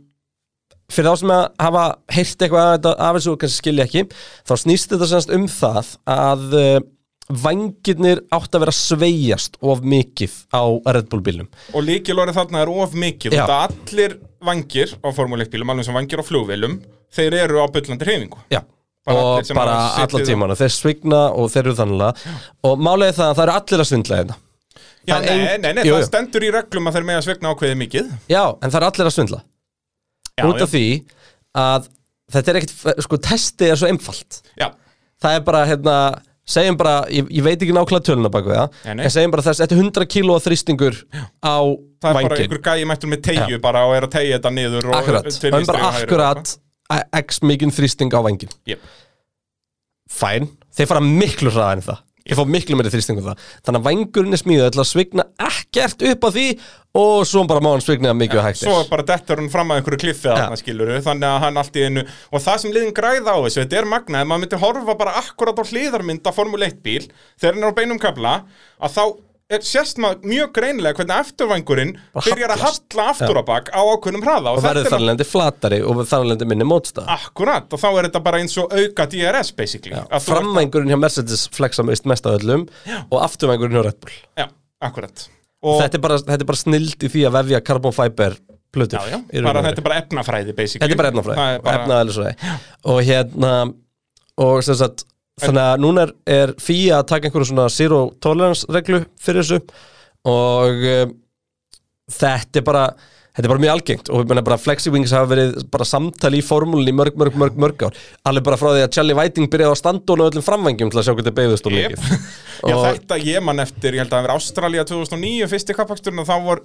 S3: fyrir þá sem að hafa heyrt eitthvað af þetta- af þessu og kannski skilja ekki þá snýst þetta semst um það að uh, vangirnir átt að vera að sveigjast of mikið á Red Bull bílum
S2: og líkilorið þarna er of mikið
S3: Já.
S2: Þetta allir vangir á formúleikbílum alveg sem vangir á flugvélum þeir eru á byllandi hreyfingu
S3: Já
S2: Bara allir
S3: og
S2: sem
S3: bara
S2: hafa
S3: alla
S2: setið á-
S3: tímana, þeir svigna og þeir eru þannlega og málega það að það eru allir að svindla hérna
S2: Já,
S3: Það er
S2: nei,
S3: ein-
S2: nei, nei,
S3: jú,
S2: það
S3: jú.
S2: stendur í reglum að þeir mega svegna ákveðið mikið
S3: Já, en það eru allir að svindla
S2: Já,
S3: út af
S2: já.
S3: því að þetta er ekkert, sko testið er svo einfalt
S2: Já,
S3: það er bara, hérna, segjum bara ég, ég veit ekki nákvæmlega töluna bak við það
S2: Nei, nei.
S3: en segjum bara þess, þetta er 100 kílóa þrýstingur á
S2: það er bara
S3: vangin
S2: einhver gæi mættur með tegju bara og er að tegja þetta niður og
S3: akkurat,
S2: til
S3: það er
S2: vinstri
S3: bara
S2: og hægri og
S3: akkurat
S2: sko.
S3: a- x mikinn þrýsting á vangin
S2: eitthvað. Jep.
S3: fæn, þeir fara miklu hraðar en það þeir fá miklu meiri þrýsting en það þannig að vangurinn er smíðað til að svigna ekkert upp á því og svo bara má hann svigna mikið hægt
S2: svo
S3: er
S2: bara dettur hann fram að einhverju kliffi þarna skilur þannig að hann allt í einu og það sem liðin græða á þessu, þetta er magna ef maður myndi horfa bara akkurat á hliðarmynda Formule 1 bíl, þegar hann er á beinum kabla að þá er, sérst maður mjög greinilega hvernig afturvængurinn byrjar að
S3: hallast.
S2: halla aftur á bak á ákveðnum hraða og,
S3: og verður
S2: þetta er
S3: þarlendi flatari og þarlendi minni mótstað
S2: akkurat og þá er þetta bara eins og auka DRS basically Að þú-
S3: framvængurinn hjá Mercedes flexa mest mest af öllum og afturvængurinn hjá Red Bull
S2: já, akkurat og
S3: þetta, er bara, þetta er bara snild í því að vefja carbon fiber plötur
S2: já, já,
S3: í raun og
S2: bara,
S3: veru.
S2: þetta er bara efnafræði basically
S3: þetta er bara efnafræði
S2: Það er bara-
S3: efnaðalisfræði og hérna og sem sagt þannig að núna er, er FIA að taka einhverju svona zero tolerance reglu fyrir þessu og um, þetta er bara Þetta er bara mjög algengt og ég meina bara Flexi Wings hafa verið bara samtali í formúlinni í mörg, mörg, mörg, mörg ár alveg bara frá því að Charlie Whiting byrjaði á standónu öllum framvængjum til að sjá hvernig beigðust og
S2: Jep.
S3: mikið
S2: Já,
S3: Og-
S2: þetta ég man eftir, ég held að það verið Ástralía 2009, fyrsti kappaksturinn og þá vor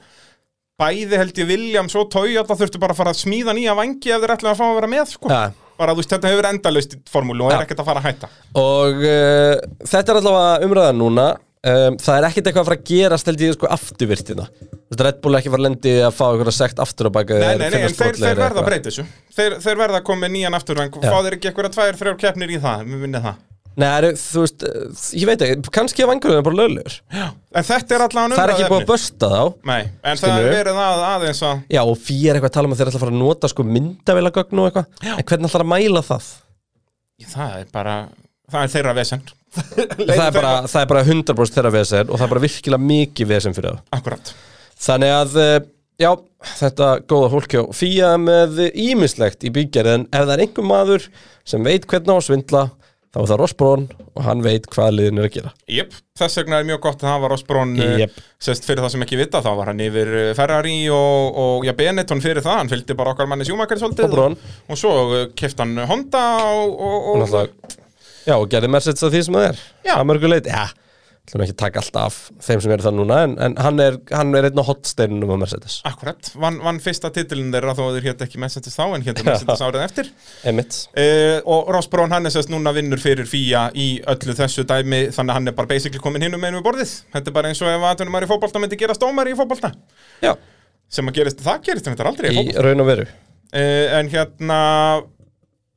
S2: bæði held ég Williams og Toyota þurftu bara að fara að smíða nýja vangi ef þeir ætlaði að fá að vera með, sko.
S3: Ja.
S2: Bara, þú veist, þetta hefur endalaust í formúlu og
S3: Ja.
S2: er ekkert að fara að hætta.
S3: Og uh, þetta er allavega umræðan núna um, Það er ekkit eitthvað að fara að gerast held ég sko afturvirtina Þú veist, Red Bull er ekki að fara að lendi að fá eitthvað sekt aftur á baka
S2: Nei, nei, nei, en þeir, þeir verða að breyta þessu. Þeir, þeir verða að koma með nýjan afturvæng,
S3: Já.
S2: fá þeir ekki eitthvað tvær, þrjár keppnir í það, við minnið það.
S3: Nei, það eru, þú veist, eh, ég veit ekki, kannski að vangurinn er bara löglegur
S2: En þetta er allavega
S3: Það er ekki búið að börsta þá
S2: Nei, en það
S3: Skilurðu?
S2: er verið að aðeins að...
S3: Já, og fyrir er eitthvað að tala um að þeir ætla að fara að nota sko myndavélagögn og eitthvað En hvernig ætlar að mæla það?
S2: Það er bara... Það er þeirra vesend.
S3: Það er, bara, það er bara 100% þeirra vesen og það er bara virkilega mikið vesen fyrir það
S2: Akkurat.
S3: Þannig að, eh, já, þetta góða hólk hjá Fía með ímislegt í byggjarið en ef það er einhver maður sem veit hvernig á að svindla þá er það Rosbrón og hann veit hvað liðin er að gera
S2: Jep, þess vegna er mjög gott að hafa Rosbrón
S3: Jep.
S2: yep. sest fyrir það sem ekki vita þá var hann yfir eh, Ferrari og, og ja, Benetton fyrir það, hann fylgdi bara okkar manni sjúmakar svolítið
S3: Og Braun.
S2: og svo keft hann Honda og,
S3: og
S2: og, og
S3: náttúrulega Já, og gerði Mercedes að því sem það er Já, að mörgu leiti, já, ætlum ekki að taka allt af þeim sem eru það núna, en, en hann, er, hann er einn á hotsteinunum á Mercedes
S2: akkurat, vann van fyrsta titilin þeirra þó að þeir hétt ekki Mercedes þá en hétt Mercedes árið eftir
S3: Emmitt
S2: Uh, og Rosbrón hann er sérst núna vinnur fyrir FIA í öllu þessu dæmi þannig að hann er bara basically komin hinn um einu við borðið þetta er bara eins og ef aðtunumar í fótbolta myndi gerast dómar í fótbolta
S3: Já,
S2: sem að gerist, það gerist þetta aldrei í
S3: í
S2: fótbolta
S3: raun og veru
S2: uh, en hérna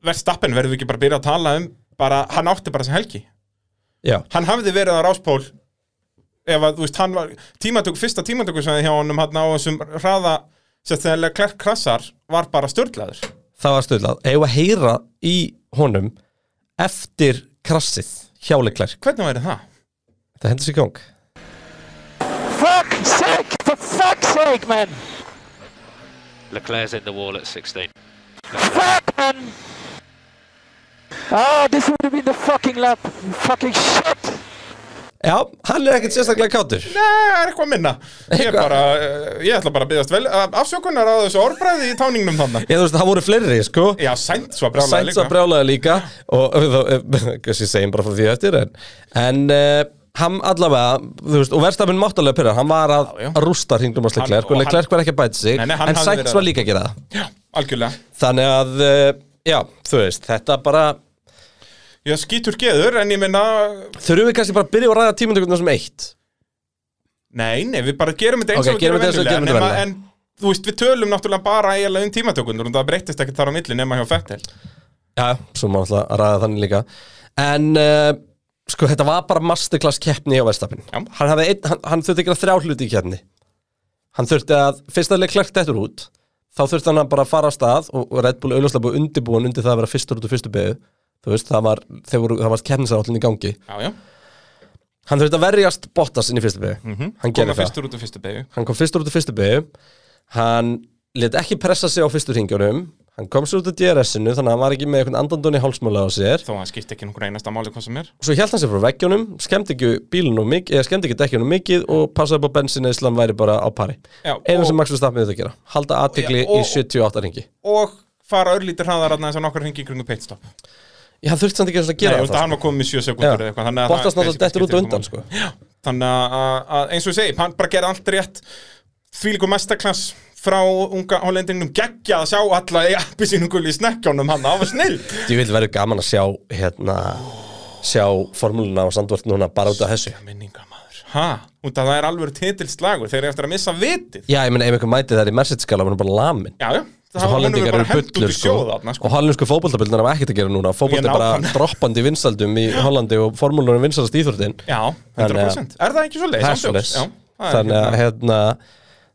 S2: Verstappen verðum við ekki bara að byrja að tala um bara, hann átti bara sem helgi
S3: Já,
S2: hann hafði verið á ráspól ef að, þú veist, hann var tímatöku, fyrsta tímatöku sem hjá honum hann á þessum hraða sérst þegar Klerk Krassar var bara störlaður
S3: það var stöðlað Eða að heyra í honum eftir krassið hjáleiklar
S2: hvernig væri það?
S3: Það hendur sér í gang
S7: fuck's sake! For fuck's sake, man!
S8: Leclerc's in the wall at 16.
S7: Fuck, man! Oh, this would have been the fucking lap. You fucking shit!
S3: Já, hann er ekkert sérstaklega kátur
S2: Nei, það er eitthvað minna Ég,
S3: Eitthvað.
S2: bara, eh, ég ætla bara að byggast vel afsökunar á þessu orðbræði í táningnum þannig
S3: Ég þú veist, það voru fleiri, sko
S2: Já, sænt svo að brjálaði
S3: Sainz
S2: líka
S3: að brjálaði líka og og þá, kannski segjum bara frá því eftir en, en uh, hann allavega, þú veist, og verðstafinn máttalega pyrra, hann var að,
S2: já.
S3: að rústa hringlum hans
S2: Hann-
S3: Leclerc
S2: og
S3: og
S2: hann-
S3: Leclerc var ekki að bæta sig
S2: Nei, nei, hann
S3: en
S2: hafði verið
S3: Sainz
S2: að-
S3: var líka að gera það
S2: Já, algjörlega
S3: þannig að, uh, já, þú veist, þetta bara
S2: Ég skýtur geður, en ég minna
S3: þurfum við kannski bara að byrja að ræða tímundökunum sem eitt
S2: Nei, nei, við bara gerum þetta eins
S3: Ok,
S2: og
S3: gerum þetta eins og
S2: venjulega,
S3: gerum þetta
S2: nema-
S3: venjulega.
S2: En þú veist, við tölum náttúrulega bara eiginlega um tímatökundur og það breytist ekkert þar á milli nema hjá Fettel
S3: já, svo má alltaf að ræða þannig líka en uh, sko, þetta var bara masterclass keppni hjá verðstafinn
S2: Já.
S3: hann, hafði einn- hann, hann þurfti að gera þrjá hluti í keppni hann þurfti að, fyrst að Leclerc dettur út þá þurfti hann að bara fara á stað og, og Red Bull auðvitað búið undirbúin undir það að vera fyrstur út úr fyrstu beigðu þú veist, það var, þeir voru, það var keppnisarállin í gangi
S2: Já, já,
S3: hann þurfti að verjast Bottas inn í fyrstu beigðu hann
S2: koma
S3: gerði það,
S2: Mhm. fyrstur út á fyrstu begu
S3: hann kom fyrstur út úr fyrstu beigðu hann let ekki pressa sig á fyrstu ringjónum hann kom svo út úr DRS-inu þannig að hann var ekki með einhvern andandunni hálsmála á sér
S2: Þó að það skipti ekki nokkur einasta máli hvað sem er
S3: svo hjælt hann sér frá veggjónum, skemmt ekki bílunum mikið, eða skemmt ekki dekkjónum mikið og passaði upp á bensin eða hann væri bara á pari
S2: Já,
S3: eina
S2: og-
S3: sem Max Verstappen þetta að gera, halda aðtikli
S2: Já, og-
S3: í 78 ringi
S2: Og fara örlítið hraðar að þess að nokkur hringi í kringu pitstop
S3: Já, hann þurfti samt ekki einu sinni að
S2: Nei,
S3: gera
S2: þú veist,
S3: það
S2: hann var komið með 7 sekundur eða eitthvað þannig að
S3: Bottas
S2: það
S3: náttúrulega dettur út og
S2: basically skiptir
S3: undan
S2: engu
S3: sko.
S2: máli. þannig að- að að eins og ég segi, hann bara gerði allt rétt þvílíku mestaklass frá unga hollendingnum geggjað að sjá alla í appisínungul í snekkjónum hann, það var snill
S3: Ég vil verið gaman að sjá hérna, sjá formúluna á Sandvort núna bara út af þessu
S2: minningamæður, ha, út að það er alveg titilslagur, þeir eru eftir að missa vitið
S3: Já, ég meina, ef einhver mæti þær í Mercedes-skala, hann er bara lamin
S2: já, já,
S3: Þessi
S2: honum er
S3: hollendingar
S2: bara
S3: eru
S2: hent út
S3: bullur
S2: í
S3: sko.
S2: sjóða sko.
S3: og hollensku fótboltabildnar hafa ekkert að gera núna fótbolt
S2: Ég
S3: er bara
S2: nákvæmlega.
S3: droppandi í vinsaldum í Hollandi og formúlunum vinsaldast íþjórtin
S2: já,
S3: Þannig að-
S2: 100%, er það ekki svo leið?
S3: það er svoleiðis þannig að hérna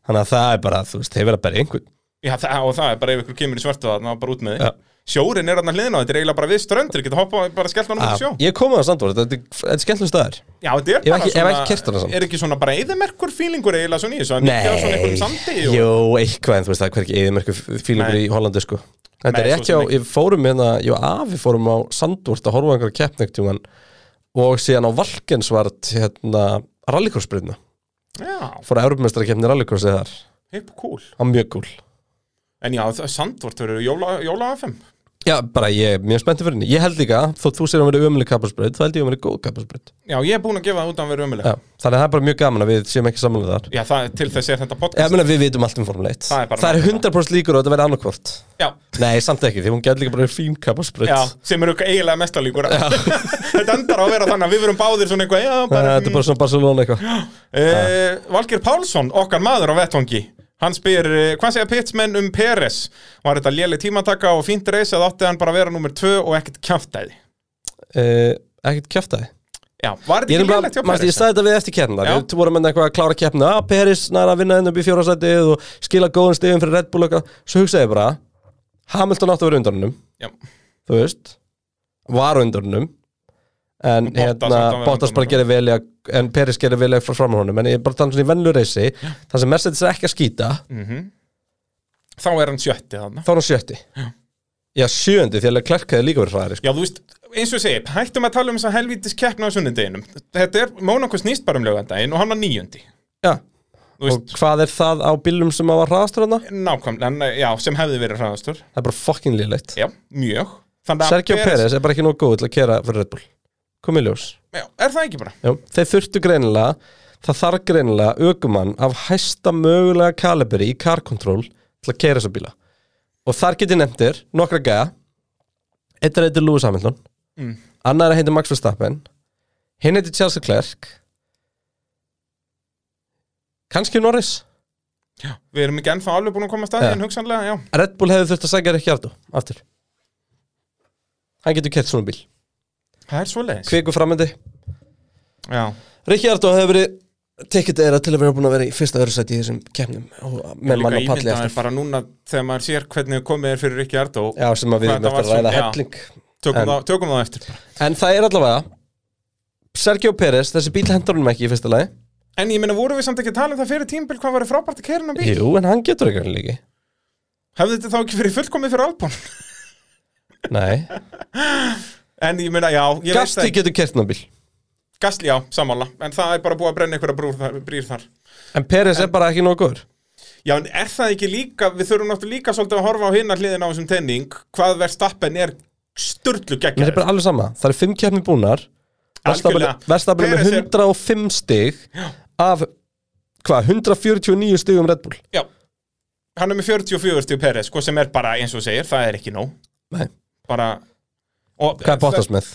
S3: þannig að það er bara, þú veist, hefur að berja einhvern
S2: Já, það, og það er bara ef ykkur kemur í svartu það, það er bara út með þig.
S3: Já.
S2: Sjórin er hann að hliðna á, þetta er eiginlega bara við ströndir, geta hoppa bara skellt hann út í sjó.
S3: að, Ah, ég kom að það sandvort, þetta er- þetta er skemmtlum staðar
S2: Já, þetta
S3: Ég hef
S2: er bara
S3: ekki- hef ekki keyrt hana samt.
S2: er ekki svona bara eðimerkur fílingur eiginlega svona í þessu, að mikið á svona einhverjum sandi og...
S3: jú, eitthvað en þú veist það er hverki eðimerku fílingur
S2: Nei.
S3: í Hollandi sko þetta er
S2: Nei, svo
S3: ekki
S2: sem
S3: á,
S2: ekki.
S3: ég fórum hérna ég og afi fórum á sandvort að horfa á einhverja keppnæktjúman og síðan á Valkensvart hérna rallycrossbrytna
S2: Já,
S3: fór að Europamestara keppni rallycrossi þar það
S2: hip cool.
S3: var mjög cool
S2: En já, það- sandvort verður jóla, jóla FM.
S3: já, bara ég er mjög spenntið fyrir henni ég held líka, þó þú sér að vera ömuleg kapparsbreyt þá held ég að vera góð kapparsbreyt
S2: Já, ég er búin að gefa það út að vera
S3: Já,
S2: ömulega.
S3: þannig að það er bara mjög gaman að við séum ekki samanlega þar
S2: Já, það, til þess er þetta
S3: Ég
S2: podcast.
S3: meina við vitum allt um Formule 1
S2: Það er bara
S3: Það er
S2: nákvæmlega.
S3: 100% líkur og þetta verði annarkvort
S2: Já,
S3: Nei, samt ekki, því hún gæti líka bara fímkapp og sprit
S2: já, sem eru eiginlega mestalíkur. þetta endar á að vera þannig að við verum báðir svona eitthvað, já, bara...
S3: Þetta er bara svona Barcelona eitthvað
S2: Uh, Valgir Pálsson, okkar maður á vettvangi Hann spyr, eh, hvað segja pitsmenn um Peres? Var þetta léleg tímataka og fínt reis eða átti hann bara að vera nummer 2 og ekkert kjáftæði?
S3: uh, Ekkert kjaftaði
S2: Já, var þetta
S3: Ég,
S2: ekki
S3: nefnilega-
S2: lélegt hjá
S3: manstu, ég
S2: Peres?
S3: sagði þetta við eftir kérna
S2: Já.
S3: Við vorum með eitthvað að klára keppna ah, Peris næra að vinna henni upp í fjórasætið og skila góðum stegum fyrir Red Bull og eitthvað Svo hugsaði ég bara Hamilton átti að vera undanunum,
S2: Já,
S3: þú veist Var undanunum En
S2: Bottas átti að
S3: hérna,
S2: vera á
S3: Bottas bara
S2: undanum.
S3: gerir velja En Peris gerir velja frá framhónum En ég er bara að tala um svona í venlu reisi Það
S2: Mm.
S3: sem Mercedes er ekki að skýta
S2: Þá er hann sjötti þarna
S3: þá er hann sjötti Já, sjöndi, því að Leclerc hefði líka verið hraðari sko.
S2: Já, þú veist, eins og ég segi, hættum að tala um þess að helvítis keppna á sunnudeginum Þetta er, Mónako snýst bara um lögandaginn og hann var níundi
S3: Já,
S2: Þú veist,
S3: og hvað er það á bílum sem að var hraðastur hana?
S2: nákvæmlega, nei, já, sem hefði verið hraðastur
S3: Það er bara fucking lélegt
S2: Já, mjög Þannig að
S3: Sergio Pérez er bara ekki nóg góð til að kera fyrir Red Bull Komið ljós
S2: Já, er það ekki bara?
S3: Já, þeir þurftu greinilega Það þarf greinilega aukumann af hæsta mögulega kaliberi í car control til að kera þessa bíla Og þar geti nefndir nokkra gæja Eitt er heitir Lewis Hamilton mm. Annar heitir Max Verstappen Hinn heitir Charles Leclerc Kanski Norris
S2: Við erum ekki ennþá alveg búin að koma að staði
S3: Já.
S2: en hugsanlega, já
S3: Red Bull hefði þurft að segja Ricciardo aftur Hann getur kert svona bíl
S2: Það er svoleiðis
S3: Kviku framöndi
S2: Já,
S3: Ricciardo hefur verið tekið eira til að vera búin að vera í fyrsta öðru sæti í þessum kemnum og með mann á
S2: líka
S3: palli
S2: ímynda er
S3: eftir
S2: bara núna þegar maður sér hvernig komið er fyrir Rikki Ardó
S3: Já, sem að við
S2: Hvað
S3: erum eftir
S2: þetta
S3: að
S2: var
S3: ræða
S2: svona- já.
S3: helling
S2: tökum,
S3: en-
S2: þá- tökum það eftir
S3: En það er allavega Sergio Pérez, þessi bíl hendur honum ekki í fyrsta lagi
S2: En ég meina, vorum við samt ekki að tala um það fyrir tímbil hvað var frábært að keira hann á bíl?
S3: Jú, en hann getur ekki hann líki
S2: Hefði þetta þá ekki verið fullkomið fyrir Albon?
S3: Nei,
S2: En ég meina, já, ég
S3: Gasti
S2: veit það
S3: getur kert hann á bíl
S2: Gastli, já, sammála En það er bara búið að brenna einhverja brúr þar, brýr þar
S3: En Pérez er bara ekki nóg góður
S2: Já, en er það ekki líka, við þurfum náttúrulega líka svolítið að horfa á hinna hliðina á þessum tenning Hvað verðstappen er sturlu
S3: Mér er
S2: geggjæður
S3: bara alveg sama, það er fimm kefni búnar
S2: Algjörlega.
S3: Verstafel er með
S2: Perez er-
S3: 105 stig af hvað, 149 stigum Red Bull
S2: Já, hann er með 44 stíu Peres, sko sem er bara eins og þú segir, það er ekki nóg
S3: Nei.
S2: Bara og,
S3: Hvað er Bottas með?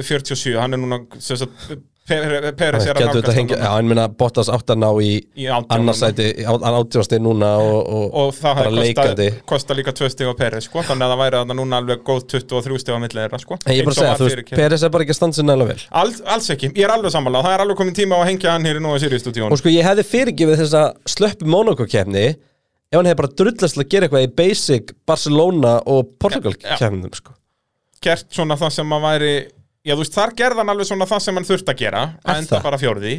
S2: 47, hann er núna sem sagt, Peres er
S3: Getur
S2: að
S3: þetta
S2: nálgast
S3: hengið, já,
S2: hann
S3: en minna Bottas átt að ná í
S2: í 18
S3: annarsæti, átjóðasti núna og, og,
S2: og
S3: bara
S2: það hefði
S3: leikandi
S2: kostað kosta líka 2 stíu á Peres, sko þannig að það væri þarna núna alveg góð 23 stíu á milli þeirra, sko
S3: En ég er bara
S2: Eins
S3: að
S2: og
S3: segja,
S2: var
S3: þú
S2: fyrir
S3: veist,
S2: keppni.
S3: Peres er bara ekki að standa sér nægilega vel
S2: Alls, alls ekki, ég er alveg sammála Það er alveg komin tíma á að hengja hann hér í Nóa Sirius stúdíón
S3: Og sko, ég hefði fyrirgefið þess að slöppu Monaco kefni ef hann hefði bara drullast til að gera eitthvað í basic Barcelona og Portugal
S2: Já, já.
S3: kefnum, sko
S2: Gert svona það sem að væri Já þú veist, þar gerði hann alveg svona það sem hann þurft að gera
S3: Er
S2: að enda
S3: það?
S2: bara fjórði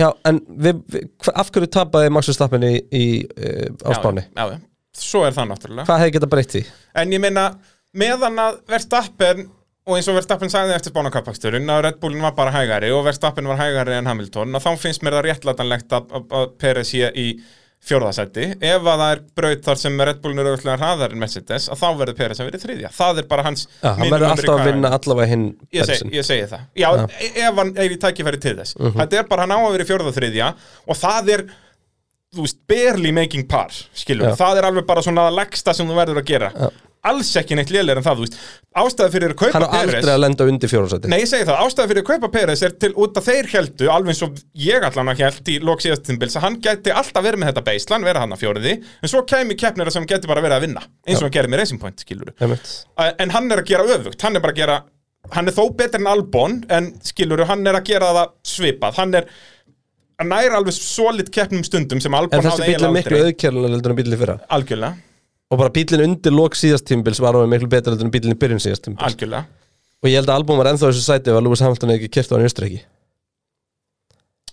S3: Já, en við, við, hva- af hverju tapaði Max Verstappen í, í, uh, á Spáni?
S2: já, já, Svo er það náttúrulega
S3: Hvað hefði getað breytt því?
S2: En ég meina, meðan að Verstappen og eins og Verstappen sagði eftir spánakapaksturinn að Red Bullin var bara hægari og Verstappen var hægari en Hamilton að þá finnst mér það réttlætanlegt að, að, að Peres sé í fjórðasæti ef að það er braut þar sem Red Bullin er auðvitað hraðar en Mercedes að þá verður Peres að verið þriðja það er bara hans
S3: Já, hann
S2: minimum
S3: verður alltaf að
S2: requirement.
S3: vinna allavega hinn
S2: Ég, seg,
S3: Bersin.
S2: ég segi það Já, e- ef hann er í tækifæri til þess
S3: Mhm.
S2: Þetta er bara hann á að vera í fjórða og þriðja og það er, þú veist, barely making par, skilur
S3: Já.
S2: það er alveg bara svona að leggsta sem þú verður að gera alls ekki neitt lélir en það, þú veist ástæði fyrir að kaupa
S3: Hann á aldrei að lenda undir fjórumsæti
S2: Nei, ég segi það, ástæði fyrir að kaupa Peres er til út að þeir heldu, alveg eins og ég allan að held í lok síðastimbils að hann gæti alltaf verið með þetta beislan, vera hann að fjóriði en svo kæmi keppnir sem gæti bara verið að vinna eins og hann gerir með Racing Point, skilur
S3: Einmitt.
S2: en hann er að gera öfugt hann er bara að gera hann er þó betur en Albon en skilur hann er að gera það svipað hann er hann nær alveg solid keppnum stundum sem Albon
S3: En þessi bíl er miklu auðkjærlega heldur en bílinn í fyrra
S2: algjörlega,
S3: Og bara bílinn undir lok síðast tímbils var alveg miklu betur heldur en bílinn í byrjun síðast tímbils
S2: algjörlega
S3: Og ég held að albúm var ennþá í þessu sæti ef að Lewis Hamilton hefði ekki kert á hann í Östuríki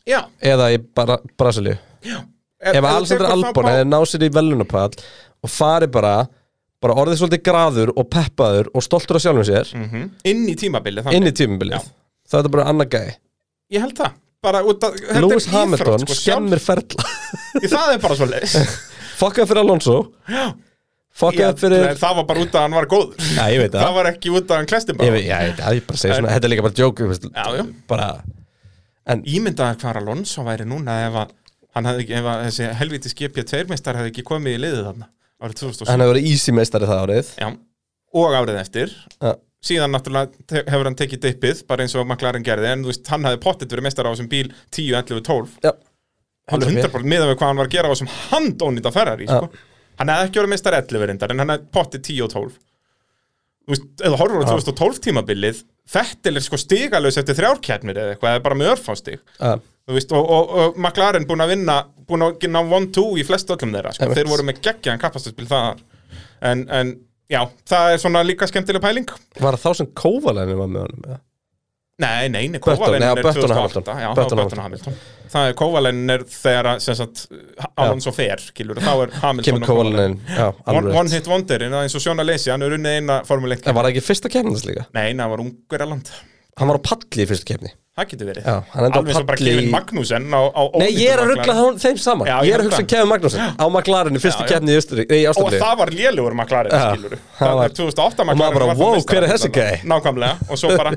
S2: já,
S3: Eða í bara Brasilíu Ef að Alexander Albon hefði náð sér í velunapall og farið bara bara orðið svolítið graður og peppaður og stoltur af sjálfum sér
S2: -hmm. inn í tímabili þannig.
S3: inn í tímabilið Það er þetta bara annað gæi
S2: ég held það bara út að þetta er
S3: Lewis
S2: íþrótt,
S3: Hamilton
S2: sko,
S3: skemmir ferla
S2: sjálf- það er bara svo leis
S3: Fokkaði fyrir Alonso Fokkaði fyrir
S2: það var bara út að hann var góður
S3: Já, ég veit
S2: það
S3: það
S2: var ekki út að hann klesti
S3: Ég
S2: bara
S3: veit, já, ég, já, ég bara segi svona, þetta er líka bara joke þú veist,
S2: Já, já.
S3: Bara,
S2: ímyndaði hvað Alonso væri núna ef að, hann hefði, ekki- ef að þessi helvitis GP2-meistar hefði ekki komið í liðið þarna árið 2007
S3: hann hefur verið easy meistari það árið
S2: Já, og árið eftir
S3: Já.
S2: síðan náttúrulega te- hefur hann tekið dippið bara eins og maklarinn gerði en þú veist, hann hefði pottet verið mestar á þessum bíl 10, 11, 12
S3: Já,
S2: alveg 100% miðan við hvað hann var að gera á þessum handónýta ferrari sko. hann hefði ekki verið mestar 11 reyndar en hann hefði pottet 10 og 12 þú veist, eða horfur á 2012 tímabilið Fettil er sko stigalaus eftir þrjárkjarnir eða eitthvað, eða bara með örfástig
S3: Já.
S2: Þú veist, og, og, og McLaren búin að vinna búin að ná 1-2 í flest öllum þeirra sko.
S3: Einmitt.
S2: þeir voru með geggjaðan kapastusbíl þar en, en já, það er svona líka skemmtileg pæling
S3: Var það þá sem Kovalænir var með honum? eða?
S2: Nei, nei, nei,
S3: Button,
S2: Kovalen
S3: já,
S2: er
S3: Button og
S2: 2008
S3: Hamilton.
S2: Já,
S3: Button og
S2: Button og Hamilton Það er Kovalen er þegar að, sem sagt, Alonso fer, skilur, þá er Hamilton
S3: Kemur
S2: og
S3: Kovalen inn, já,
S2: One,
S3: alveg
S2: one hit wonder, en eins og Sjóna Leysi, hann er unnið eina Formule 1
S3: En var það ekki fyrsta kemnis líka?
S2: Nei, nei, hann var Ungverjaland
S3: Hann var á palli í fyrstu kemni
S2: Það getur verið
S3: Já, hann endaði á
S2: Alveg svo bara
S3: palli í-
S2: Kevin Magnussen á, á
S3: Nei, ég er að
S2: ónýtum
S3: ruggla
S2: McLaren.
S3: þeim saman Ég
S2: Já,
S3: er
S2: ég
S3: að hugsa um
S2: rugla.
S3: Kevin Magnússon á McLaren í fyrstu
S2: Já, já.
S3: kemni í Östurík Nei, í
S2: Og
S3: Ásturík
S2: það var lélugur McLaren,
S3: Já,
S2: skilur
S3: hann
S2: Það
S3: var-
S2: er 2008
S3: og maður
S2: McLaren
S3: bara,
S2: var það
S3: wow,
S2: meistari
S3: hver er þessi
S2: þarna.
S3: gæi?
S2: Nákvæmlega, og svo bara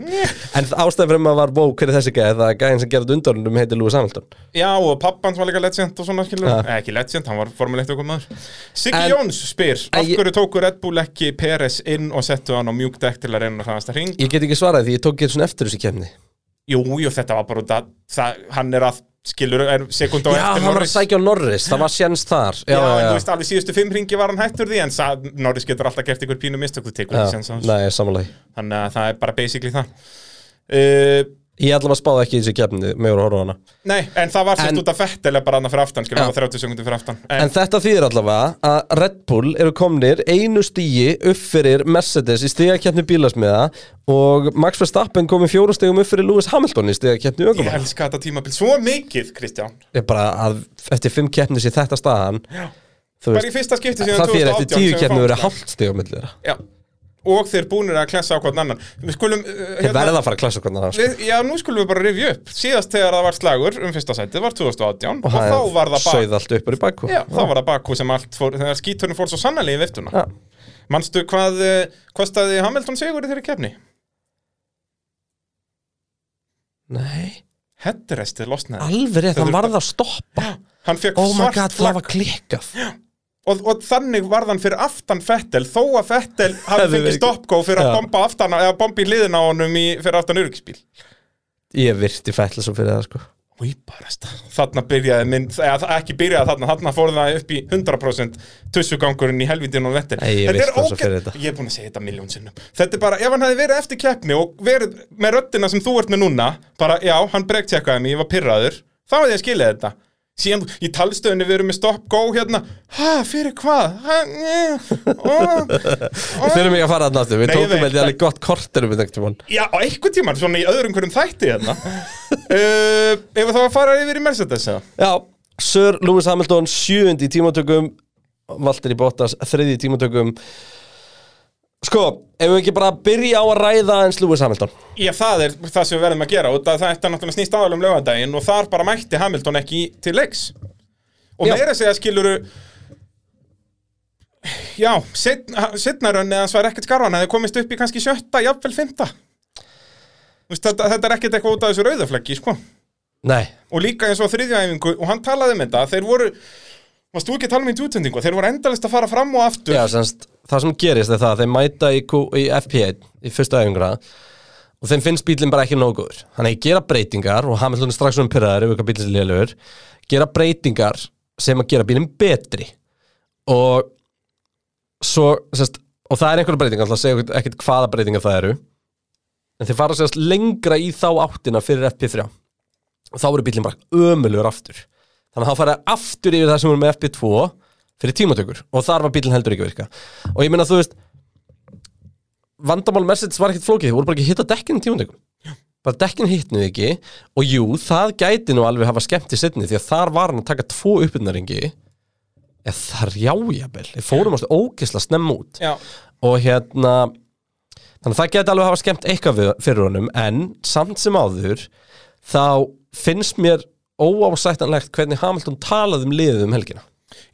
S3: En ástæðan fyrir maður var, wow, hver er þessi gæði? Það er gæðin sem gerði undorunum heiti Lewis Hamilton
S2: Já, og pappans var líka legend og svona skilur
S3: Já.
S2: Nei, Ekki legend, hann var formulegt okkur maður Siggi
S3: En-
S2: Jóns spyr
S3: En
S2: Af
S3: ég-
S2: hverju tóku Red Bull ekki Peres inn og settu hann á mjúk dekk til að reyna að hraðast að hring
S3: Ég get ekki svarað því ég tók ekki svona eftir þessu kemni
S2: Jú, jú, þetta var bara út að það, hann er að skilur er sekund á
S3: Já, hann
S2: eftir
S3: var að sækja á Norris, það var sjens þar Já,
S2: Já, en
S3: já,
S2: þú
S3: já,
S2: veist, alveg síðustu fimm ringi var hann hættur því en sa- Norris getur alltaf gert ykkur pínu mistök þú tekur því
S3: já
S2: sem
S3: Nei, samanlega
S2: þannig að það er bara basically það uh,
S3: Ég allavega spáði ekki í þessu kemni, með voru að horfa á hana
S2: Nei, en það var
S3: En-
S2: sérst út af fett eða bara annað fyrir aftan, skilur,
S3: Já.
S2: hann var 30 sekundir fyrir aftan en,
S3: En þetta þýðir allavega að Red Bull eru komnir einu stíi upp fyrir Mercedes í stígakeppni bílasmiða og Max Verstappen kom í fjóru stígum upp fyrir Lewis Hamilton í stígakeppni
S2: ég
S3: ögumann.
S2: elska þetta tímabil svo mikið, Kristján
S3: Ég bara að eftir fimm keppnis í þetta staðan, þú
S2: Bara í
S3: veist,
S2: fyrsta skipti síðan
S3: það þýðir eftir
S2: 2018
S3: tíu
S2: sem Hérna- við
S3: keppni
S2: fáum
S3: verið
S2: slag.
S3: hálft stíg á milli þeirra.
S2: Já, og þeir búnir að klessa á hvern annan Við skulum, uh,
S3: Þeir verða að fara að klasa hvernig það.
S2: við, já, nú skulum við bara rifja upp Síðast þegar það var slagur um fyrsta sætið var 2018 og, þá var það
S3: Sauð
S2: bak
S3: allt uppur í bakku.
S2: Já, þá var það bakku sem allt fór, þegar skíturinn fór svo sannlega í viftuna
S3: Já.
S2: Manstu hvað uh, kostaði Hamilton sigur í þeirri kefni?
S3: Nei,
S2: Hetturesti losnaði
S3: alveg rétt, hann
S2: Þetta er-
S3: varð að stoppa.
S2: Hann fekk
S3: Oh my
S2: svart
S3: god,
S2: flagg.
S3: það var klikkað.
S2: og, og þannig varð hann fyrir aftan Fettel þó að Fettel hafi
S3: Hefði
S2: fengið
S3: verið-
S2: stoppgó fyrir
S3: Já.
S2: að bomba aftan eða bomba í hliðina á honum í, fyrir aftan öryggisbíl
S3: Ég virti fætla svo fyrir það, sko.
S2: þarna byrjaði mynd, eða það- ekki byrjaði þarna þarna fór það upp í 100% tussugangurinn í helvindin og vettel
S3: Nei, ég
S2: Þetta er
S3: vissi það svo
S2: ógeð-
S3: fyrir þetta.
S2: ég er búin að segja þetta miljón sinnum þetta er bara, ef hann hefði verið eftir keppni og verið með röddina sem þú ert með núna bara, já, hann bregtjekkaði mig, ég var pirraður þá hefði ég skilið þetta síðan í talstöðunni við erum með stopp, go hérna ha, fyrir hvað? Ha, njö, ó,
S3: Við þurfum ekki að fara þarna aftur, við
S2: Nei, ég
S3: tókum
S2: veit,
S3: veldig alveg gott kortir um þetta tímann.
S2: já, á einhvern tíman, svona í öðrum hverjum þætti hérna uh, ef það var að fara yfir í Mercedes eða?
S3: Já, Sir Lewis Hamilton sjöund í tímatökum Valtteri Bottas þriði í tímatökum Sko, ef við ekki bara byrja á að ræða eins Lewis Hamilton
S2: Já, það er það sem við verðum að gera út að það er náttúrulega snýst aðalum lögadaginn og þar bara mætti Hamilton ekki í- til leiks og
S3: Já.
S2: meira að segja skiluru Já, setnarönni hans var ekkert skarfan hefði komist upp í kannski sjötta, jafnvel fymta Vist, þetta, þetta er ekkert eitthvað út af þessu rauðafleggi, sko
S3: Nei,
S2: og líka eins og á þriðju æfingu og hann talaði um þetta, þeir voru varst þú ekki að tala um þetta í útsendingu, þeir voru endalist að fara fram og aftur
S3: já, semst, það sem gerist er það að þeim mæta í, Q, í FP1 í fyrstu æfingra og þeim finnst bílinn bara ekki nógu góður Hann er að gera breytingar og Hamilton er strax um pyrraður ef eitthvað bílinn lélugur gera breytingar sem að gera bílinn betri og svo, sérst, og það er einhverja breytingar, alltaf segja ekkert hvaða breytingar það eru en þeir fara sérst lengra í þá áttina fyrir FP3 og þá eru bílinn bara ömulur aftur þannig að þá fara þeir aftur yfir það sem voru með FP2 fyrir tímatökur og þar var bílinn heldur ekki að virka og ég meina þú veist vandamál Mercedes var ekkert flókið, þeir voru bara ekki að hitta dekkin í tímatökum bara dekkin hittnuð ekki og jú, það gæti nú alveg hafa skemmt í setni því að þar var hann að taka tvo uppbyrnaringi eða þrjá jafnvel við fórum ástu ógisla snemma út
S2: Já,
S3: og hérna þannig að það geti alveg hafa skemmt eitthvað við- fyrir honum en samt sem áður þá finnst mér óásættanlegt hvernig Hamilton talaði um liðið um helgina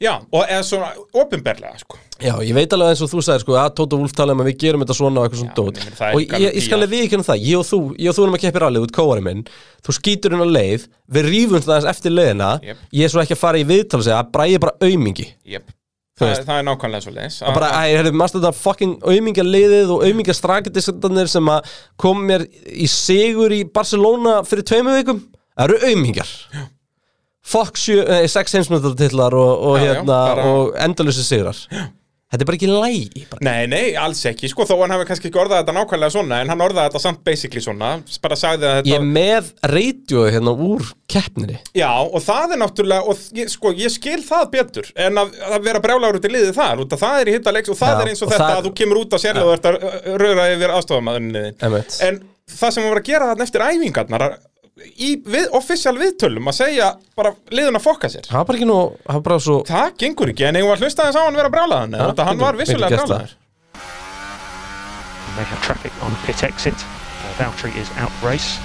S2: já og eða svona opinberlega, sko
S3: Já, ég veit alveg eins og þú sagðir sko að Tóta Wolf talaði um að við gerum þetta svona og eitthvað svona
S2: Já,
S3: dót
S2: en það er
S3: og ég,
S2: garantíð
S3: ég skal
S2: að-
S3: alveg viðkynna það, ég og þú ég og þú erum að keppi rallið út kóari minn þú skýtur hennar leið, við rýfum það aðeins eftir leiðina
S2: Jep.
S3: ég er svo ekki að fara í viðtal og segja að bræði bara aumingi
S2: yep.
S3: Þú
S2: það,
S3: veist.
S2: það er nákvæmlega svo leis
S3: að bara, æ, herrðu, mástu þetta fucking auðmingaliðið og auðmingastragetisandarnir sem að kom mér í sigur í Barcelona fyrir tveimu vikum það eru auðmingar fuck sjö, nei, sex heimsmyndartillar og, og,
S2: Já, já,
S3: hérna,
S2: bara-
S3: og endalösi sigrar já. þetta er bara ekki lægi bara.
S2: Nei, nei, alls ekki, sko, þó hann hafi kannski ekki orðað þetta nákvæmlega svona, en hann orðaði þetta samt basically svona, bara sagði að þetta
S3: ég er með reytjóðu hérna úr keppninni
S2: Já, og það er náttúrulega, og ég, sko, ég skil það betur en að, að vera brjálagur út í liðið þar út að það er í hitta leiks og það
S3: Já,
S2: er eins og,
S3: og
S2: þetta
S3: það-
S2: að þú kemur út að sérlega og ert að uh, röra yfir aðstofamæðunni
S3: Einmitt.
S2: en það sem hann var að gera þarna eftir æfingarnar í við, official viðtölum að segja bara liðun að fokka sér
S3: Það var bara ekki nú, það var bara svo
S2: það gengur ekki, en eigum við að hlusta þess á hann vera brálaðan
S3: Já,
S2: ja, þetta hann
S3: getum-
S2: var vissulega
S3: getum gert
S2: brálaðan
S4: They have traffic on pit exit. Valtteri is out race.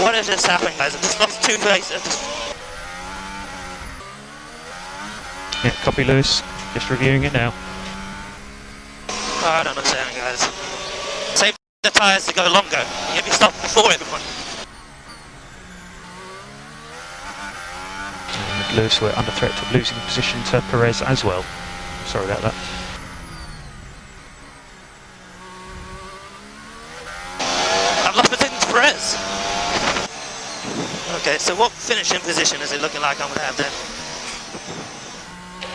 S9: What has just happened, guys? It's lost two places.
S4: Yeah, copy Lewis. Just reviewing it now.
S9: Oh, I don't understand, guys. Save the tyres to go longer. You'll be stopped before everyone.
S4: And Lewis were under threat of losing position to Perez as well. Sorry about that.
S9: I've lost position to Perez. Okay, so what finishing position is it looking like I'm going to have then?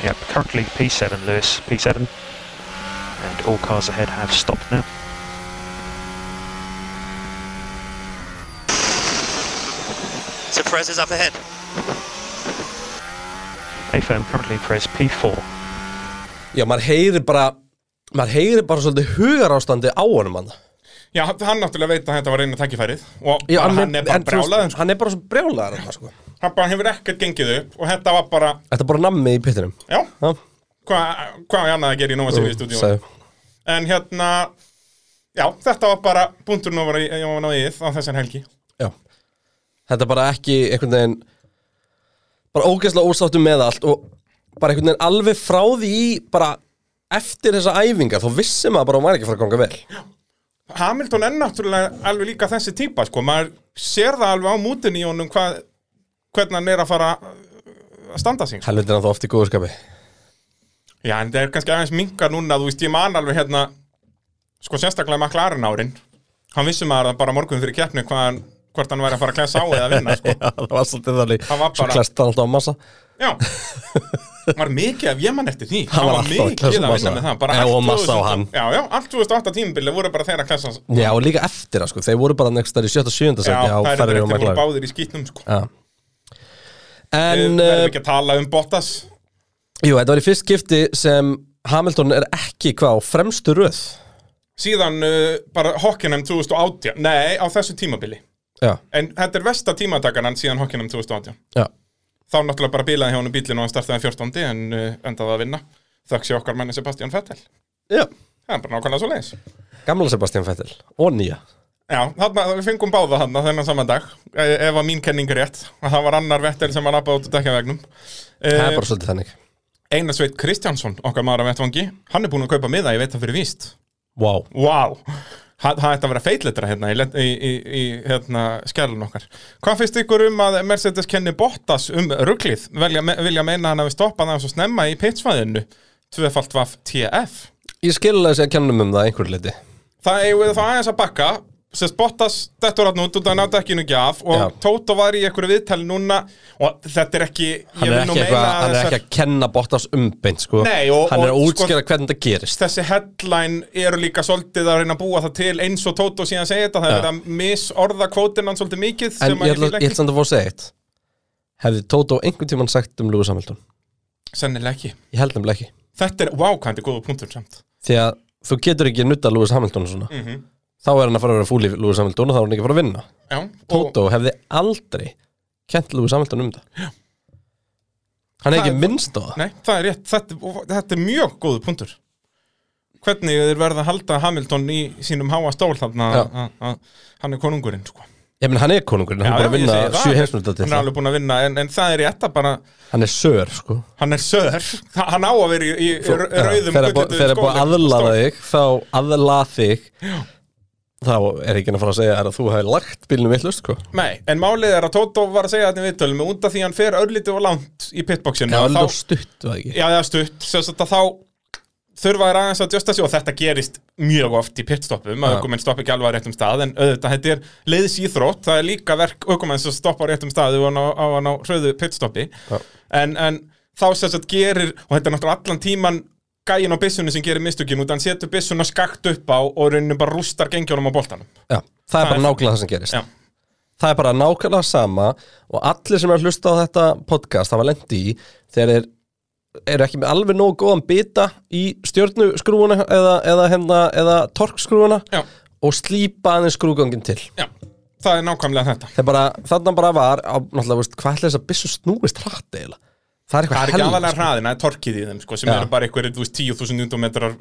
S4: Yep, currently P7, Lewis, P7. And all cars ahead have stopped now.
S9: So Perez is up ahead.
S4: AFM currently Perez P4.
S3: Já, maður heyri bara maður heyri bara svolítið hugarástandi á honum hann
S2: já, hann náttúrulega veit að þetta var einu tækifærið og
S3: Já,
S2: bara, hann er bara
S3: en
S2: sko.
S3: þú veist,
S2: brálaðan
S3: Hann er bara svo brjálaður hann, sko
S2: hann bara hefur ekkert gengið upp og þetta var bara,
S3: Þetta er bara nammi í pittinum
S2: já,
S3: Já,
S2: hvað hva ég annað að gera í Nova Series stúdíu
S3: sagði-
S2: en hérna já, þetta var bara búndurinn ofan í- ofan á íð á þessar helgi
S3: Já Þetta er bara ekki einhvern veginn bara ógeðslega ósáttum með allt og bara einhvern veginn alveg frá því í bara eftir þessa æfingar þá vissi maður bara að hún var ekki að fara að ganga vel
S2: Hamilton er náttúrulega alveg líka þessi típa sko, maður sér það alveg á mútinni í honum hvað, hvernig hann er að fara að standa sig sko.
S3: Helviti er hann þá oft í góðu skapi
S2: Já, en það er kannski aðeins minka núna, þú veist, ég man alveg hérna, sko sérstaklega McLaren árin, hann vissi maður það bara morgun fyrir keppni hvað hann, hvort hann væri að fara að klessa á eða að vinna, sko.
S3: Já, það var svolítið þannig
S2: Hann var
S3: Svo
S2: bara-
S3: klæst hann alltaf á massa
S2: Já, var mikið af, ég man eftir því, hann var
S3: alltaf að
S2: mikið
S3: klessa
S2: að
S3: massa.
S2: vinna með það, bara
S3: Já, og massa á
S2: 2000
S3: hann.
S2: Já, já, allt 2008 tímabilið voru bara þeirra að klessa, já,
S3: Já, og líka eftir það sko, þeir voru bara nekst þar í 77.
S2: já
S3: seti á
S2: það
S3: ferri og
S2: er eftir voru
S3: maklar
S2: báðir í skýtnum, sko. En,
S3: En,
S2: verðum
S3: uh,
S2: ekki að tala um Bottas,
S3: jú, þetta var í fyrst skipti sem Hamilton er ekki hvað á fremstu röð
S2: síðan uh, bara Hockenheim 2018, nei, á þessu tímabili.
S3: Já,
S2: En þetta er versta tímatakan hann síðan Hockenheim 2018.
S3: já
S2: þá náttúrulega bara bílaði hjá honum bílinn og hann startaði 14. en uh, endaði að vinna þökk sé okkar manni Sebastian Vettel
S3: Já,
S2: það er bara nákvæmlega svo leiðis
S3: gamla Sebastian Vettel og nýja
S2: já, þarna, við fengum báða þarna þennan sama dag e ef að mín kenning er rétt að það var annar Vettel sem var napað út úr dekkjavegnum
S3: Það er
S2: uh,
S3: bara svolítið þannig
S2: Einar Sveit Kristjánsson, okkar maður af vettvangi hann er búin að kaupa miða, ég veit það fyrir víst
S3: Vá wow.
S2: Vá, það það ætti að vera feitletra hérna í, lent- í, í, í hérna, skjælun okkar. Hvað finnst ykkur um að Mercedes kenni Bottas um rugglið? Vilja, me- vilja meina hann hafi stoppað hann svo snemma í pitsvæðinu, tvöfalt vaff TF.
S3: Ég skilja þessi að kennum um það að einhverju liti
S2: Það eigum við þá aðeins að bakka, sérst Bottas dettur hann út út að náta ekki nú ekki af og
S3: Já.
S2: Tóto var í einhverju viðtali núna og þetta er ekki, ég
S3: Hann er
S2: vil nú
S3: ekki,
S2: meina
S3: eitthvað,
S2: að
S3: hann er ekki að kenna Bottas umbeint sko.
S2: Nei, og-
S3: Hann er að
S2: og, sko-
S3: útskjara hvernig þetta gerist
S2: þessi headline eru líka svolítið að reyna að búa það til eins og Tóto síðan segja þetta, það er
S3: Já.
S2: verið að misorða kvótinan svolítið mikið
S3: En
S2: sem að
S3: ég ætla,
S2: fíla
S3: ég ætla samt að fá að segja eitt Hefði Tóto einhvern tímann sagt um Lewis Hamilton?
S2: Sennilega ekki.
S3: Ég held nefnilega ekki
S2: Þetta er, wow, hvað þetta er góða punktur samt.
S3: Því að þú getur ekki að nutta Lewis Hamilton svona
S2: Mhm.
S3: Þá er hann að fara að vera fúli Lewis Hamilton og þá er hann ekki að fara að vinna
S2: Já, og
S3: Tóto hefði aldrei kent Lewis Hamilton um það Hann er
S2: Það
S3: ekki
S2: er-
S3: minnst á það
S2: nei, það er rétt, þetta, og þetta er mjög góða punktur. Hvernig þeir verða að halda Hamilton í sínum háa stól þarna
S3: Já.
S2: að- að að hann er konungurinn, sko.
S3: Ég menn hann er konungurinn, hann er
S2: Já, já,
S3: bara að
S2: ég
S3: vinna
S2: segi það.
S3: sjö heimsmynda
S2: Hann er alveg búin að vinna, en, en það er rétt að bara,
S3: Hann er sör sko
S2: hann er söður, hann á að vera í, í
S3: Þú-
S2: r-
S3: já,
S2: rauðum
S3: þegar er búið-
S2: gullituðum
S3: þegar er búið að
S2: skónum,
S3: aðlaða
S2: stól.
S3: þig þá aðlað þig þá er ekki að fara að segja þér að þú hefði lagt bílnum vittlust sko.
S2: Nei, en málið er að Tóto var að segja þetta í viðtölum út af því hann fer örlítið og langt í pitboxinu
S3: það var
S2: og
S3: alveg
S2: þá-
S3: stutt var það ekki
S2: Já, það er stutt, sem sagt að þá þurfa þér aðeins að djösta sig og þetta gerist mjög oft í pitstoppum, að
S3: Já.
S2: aukumenn stoppa ekki alveg á réttum stað, en auðvitað, þetta er leiðis íþrótt, það er líka verk aukumenn sem stoppa á réttum stað og hann á, á, hann á hröðu pitstoppi,
S3: Já.
S2: en, en þá sem sagt gerir, og þetta er náttúrulega allan tíman gæin á byssunni sem gerir mistökin út, hann setur byssuna skakt upp á og rauninni bara rústar gengjunum á boltanum.
S3: Já, það er bara
S2: er-
S3: nákvæmlega það sem gerist
S2: Já.
S3: það er bara nákvæmlega sama og allir sem er að hlusta á þetta podcast hafa lendi í þegar þeir eru ekki með alveg nógu góðan bita í stjörnuskrúuna eða, eða, hérna, eða torkskrúuna
S2: Já.
S3: og slípa aðeins skrúgangin til
S2: Já, það er nákvæmlega þetta
S3: þegar bara, þarna bara var á, náttúrulega, veist, hvað ætla þess að byssu snúist hratt eiginlega það er
S2: Það
S3: eitthvað
S2: er ekki
S3: helvítis-
S2: aðalega hraðina, það er torkið í þeim sko, sem
S3: Já.
S2: eru bara einhverjir, þú veist, 10.000 newtonmetrar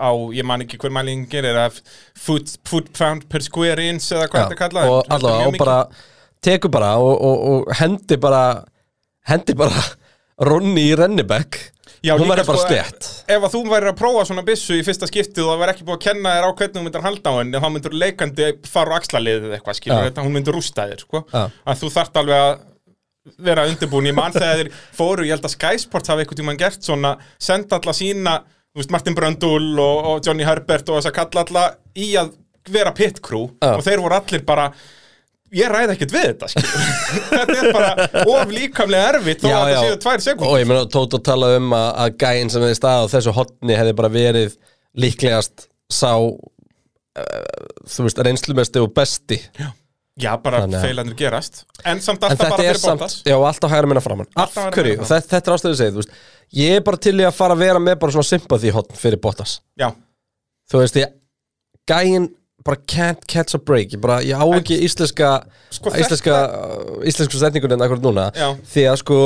S2: á, ég man ekki hver mælingin er það foot, foot pound per square inch eða hvað
S3: Já,
S2: þetta kallaði
S3: og allavega, og bara tekur bara og, og, og hendi bara hendi bara Ronni í Rennibekk hún verður
S2: sko,
S3: bara stjætt
S2: Ef að þú værir að prófa svona byssu í fyrsta skiptið og það væri ekki búið að kenna þér á hvernig þú myndir halda á henni þá myndir þú leikandi fara á axlaliðið eða eitthvað skilur
S3: Já.
S2: þetta, hún myndir rústa þér sko.
S3: Já.
S2: að þú þarft alveg að vera undirbúin ég mann þegar þeir fóru, ég held að Sky Sports hafi eitthvað tímann gert svona, senda alla sína þú veist, Martin Bröndul og, og Johnny Herbert og þess að kalla alla í að vera pit crew
S3: Já.
S2: og þeir voru allir bara ég ræð ekkert við þetta skilur. þetta er bara of líkamlega erfitt þó
S3: Já,
S2: að
S3: já.
S2: þetta séu tvær sekund
S3: og ég meina Tóto talaði um að, að gæinn sem hefði staðið á þessu hotni hefði bara verið líklegast sá uh, þú veist reynslumesti og besti
S2: Já, bara
S3: Þannig að-
S2: feilanir gerast En samt
S3: en
S2: alltaf bara
S3: þetta er
S2: fyrir
S3: samt,
S2: bóttas
S3: já alltaf hægra minna framann af
S2: Alltaf hægra
S3: hverju,
S2: minna
S3: og þetta, þetta er ástæðið að segja þú veist, ég er bara til í að fara að vera með bara svona sympathy hotn fyrir Bottas
S2: Já,
S3: þú veist ég gæinn bara can't catch a break ég, bara, ég á ekki íslenska
S2: Sko,
S3: íslenska, uh, íslensku setningunin akkur núna
S2: Já.
S3: því að sko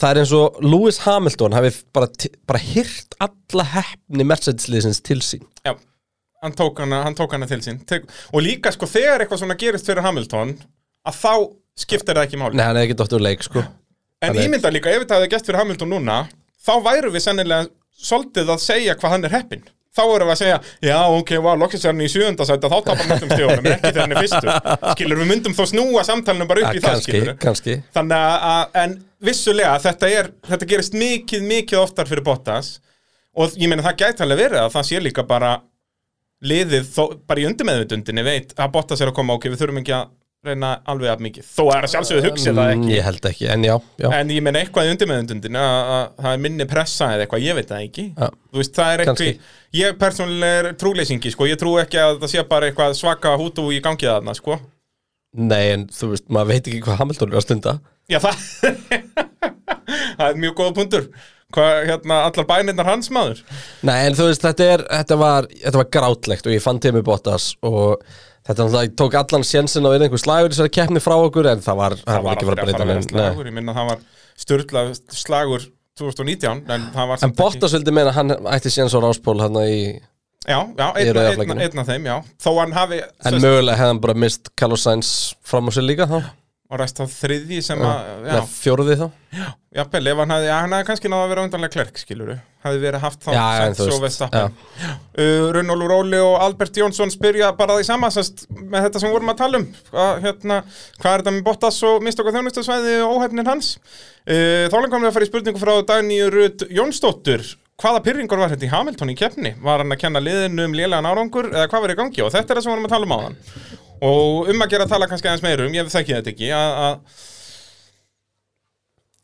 S3: það er eins og Lewis Hamilton hafi bara, ti- bara hirt alla hefni Mercedes-liðsins til sín
S2: já Hann tók hana, hann tók hana til sín Tek, Og líka sko þegar eitthvað svona gerist fyrir Hamilton Að þá skiptir það ekki máli
S3: Nei, hann hefði ekki dóttur leik sko
S2: En
S3: hann er-
S2: ímynda líka ef þetta hefði gert fyrir Hamilton núna Þá væru við sennilega svolítið að segja hvað hann er heppinn Þá erum við að segja, já ok, wow, loksins er hann í sjöunda sæti að þá tapar hann öllum stjóðunum, en ekki þegar hann er fyrstur Skilur, við myndum þá snúa samtalinu bara upp
S3: Ja,
S2: í það,
S3: Ah, kannski,
S2: skilur
S3: kannski
S2: Þannig að, að, en vissulega þetta er, þetta gerist mikið, mikið oftar fyrir Bottas og ég meina það gæti alveg verið að það sé líka bara liðið, þó, bara í undirmeðvindundinni veit að Bottas er að koma, ok, við þurfum ekki að reyna alveg að mikið, þó er að sjálfsögðu hugsið það
S3: Mm,
S2: ekki,
S3: ég held ekki, en já, já.
S2: en ég meina eitthvað í undirmeðvindundinni að, að það er minni pressa eða eitthvað, ég veit það ekki
S3: Já.
S2: þú veist, það er
S3: Kannski.
S2: eitthvað, ég persónulega er trúleysingi, sko, ég trú ekki að það sé bara eitthvað svaka hútu í gangi þarna, sko
S3: nei en þú veist, maður veit ekki hvað Hamilton er að stunda
S2: Já, það Það er mjög góða punktur Hvað, hérna, allar bænirnar hans maður
S3: Nei, en þú veist, þetta, er, þetta, var, þetta var grátlegt og ég fann Timmy Bottas og þetta náttúrulega tók allan sjensin á einhver slagur í þessari keppni frá okkur en það var, það var ekki verið að breyta
S2: með
S3: neinu, nei.
S2: slagur Ég minna það var styrla slagur 2019 En, það var
S3: En
S2: samt ekki-
S3: Bottas vildi meina að hann ætti séns á ráspól hann í,
S2: Já, já,
S3: Í
S2: einn
S3: rauða
S2: ein,
S3: flagginu.
S2: ein af þeim, já Þó hann hafi
S3: en
S2: sest,
S3: mögulega hefði hann bara mist Carlos Sainz fram á sig líka þá
S2: Og rest af þriðji sem að Já,
S3: eða fjóruði þá
S2: já vel, ef hann hafi Já, hann hafi kannski náða að vera undanlega klerk, skiluru Hafi verið haft þá
S3: Já, en þú
S2: Sainz og
S3: veist já.
S2: Verstappen. uh, Runnólu Róli og Albert Jónsson spyrja bara því sama sest, með þetta sem við vorum að tala um hvað, hérna, hvað er þetta með Bottas og mistök á þjónustasvæði og óhefnin hans uh, þá langum við að fara í spurningu frá Dagný Rut Jónsdóttur hvaða pyrringur var þetta í Hamilton í keppni var hann að kenna liðinu um lélegan árangur eða hvað var í gangi og þetta er það sem við vorum að tala um áðan og um að gera að tala kannski aðeins meirum ég þekki þetta ekki að að-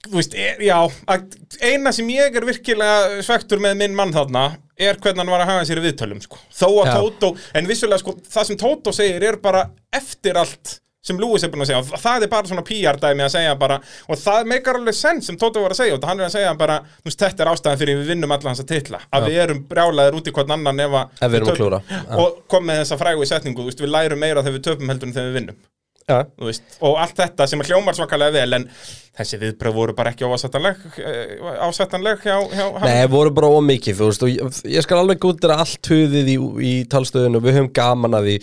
S2: þú veist, e, já að, eina sem ég er virkilega svektur með minn mann þarna er hvernig hann var að haga sér í viðtölum sko. þó að
S3: Já.
S2: Tótó, en vissulega sko, það sem Tótó segir er bara eftir allt sem Lewis er búin að segja, og það er bara svona PR dæmi að segja bara, og það meikar alveg senn sem Tótó var að segja, og hann er að segja bara þú veist, þetta er ástæðan fyrir við vinnum alla hans að titla að við erum brjálaðir út í hvern annan ef að
S3: Ef við erum að
S2: töpum.
S3: klúðra. Já.
S2: og kom með þessa frægu setningu, þú veist, við lærum meira þegar við töpum heldur en þegar við vinnum
S3: Já.
S2: Þú veist, og allt þetta sem er hljómar svakalega vel en þessi viðbröð voru bara ekki óásættanleg eh, ásættanleg hjá, hjá
S3: Nei, voru bara ómikið, þú veist, og ég, ég skal alveg gútira allt huðið í, í talstöðun og við höfum gaman að því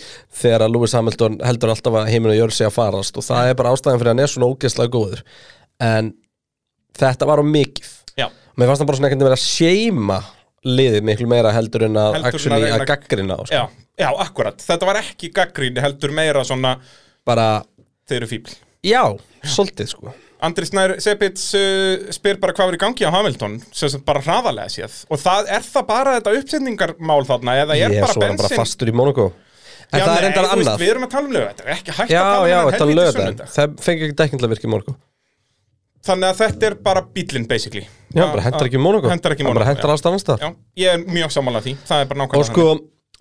S3: þegar að Lewis Hamilton heldur alltaf að heiminn og jörð sé að farast og
S2: Mm.
S3: það er bara ástæðan fyrir að hann er svona ógeðslega góður en þetta var ómikið
S2: Já.
S3: Mér fannst það bara svona ekkert að vera að seima liðið miklu meira heldur en að
S2: Heldur en að
S3: actually
S2: reyna-
S3: að gaggrina og
S2: já,
S3: sko.
S2: já, akkurat, þetta var ekki gaggríni heldur meira svona
S3: bara,
S2: þeir eru fíbl
S3: já, svolítið sko
S2: Andri Snær Sepits uh, spyr bara hvað var í gangi á Hamilton sem sem bara hraðalega séð og það, er það bara þetta uppsetningarmál þarna eða er
S3: Ég er
S2: bara
S3: svo var hann bara
S2: bensin
S3: fastur í Monaco En það er reyndar annað
S2: við erum að tala um lög, þetta er ekki hægt
S3: Já,
S2: að tala
S3: já,
S2: um þennan
S3: þetta er
S2: helvítis
S3: lögðan
S2: sunnudag.
S3: Það fengi ekki dekkinlega virkið Monaco
S2: þannig að þetta er bara bílinn basically
S3: Já, bara hentar ekki í Monaco
S2: Hentar ekki í
S3: Hann
S2: Monaco,
S3: Bara hentar
S2: já.
S3: alls annars það
S2: Já, ég er mjög sammála því, það er
S3: Og
S2: bara nákvæmlega
S3: sko,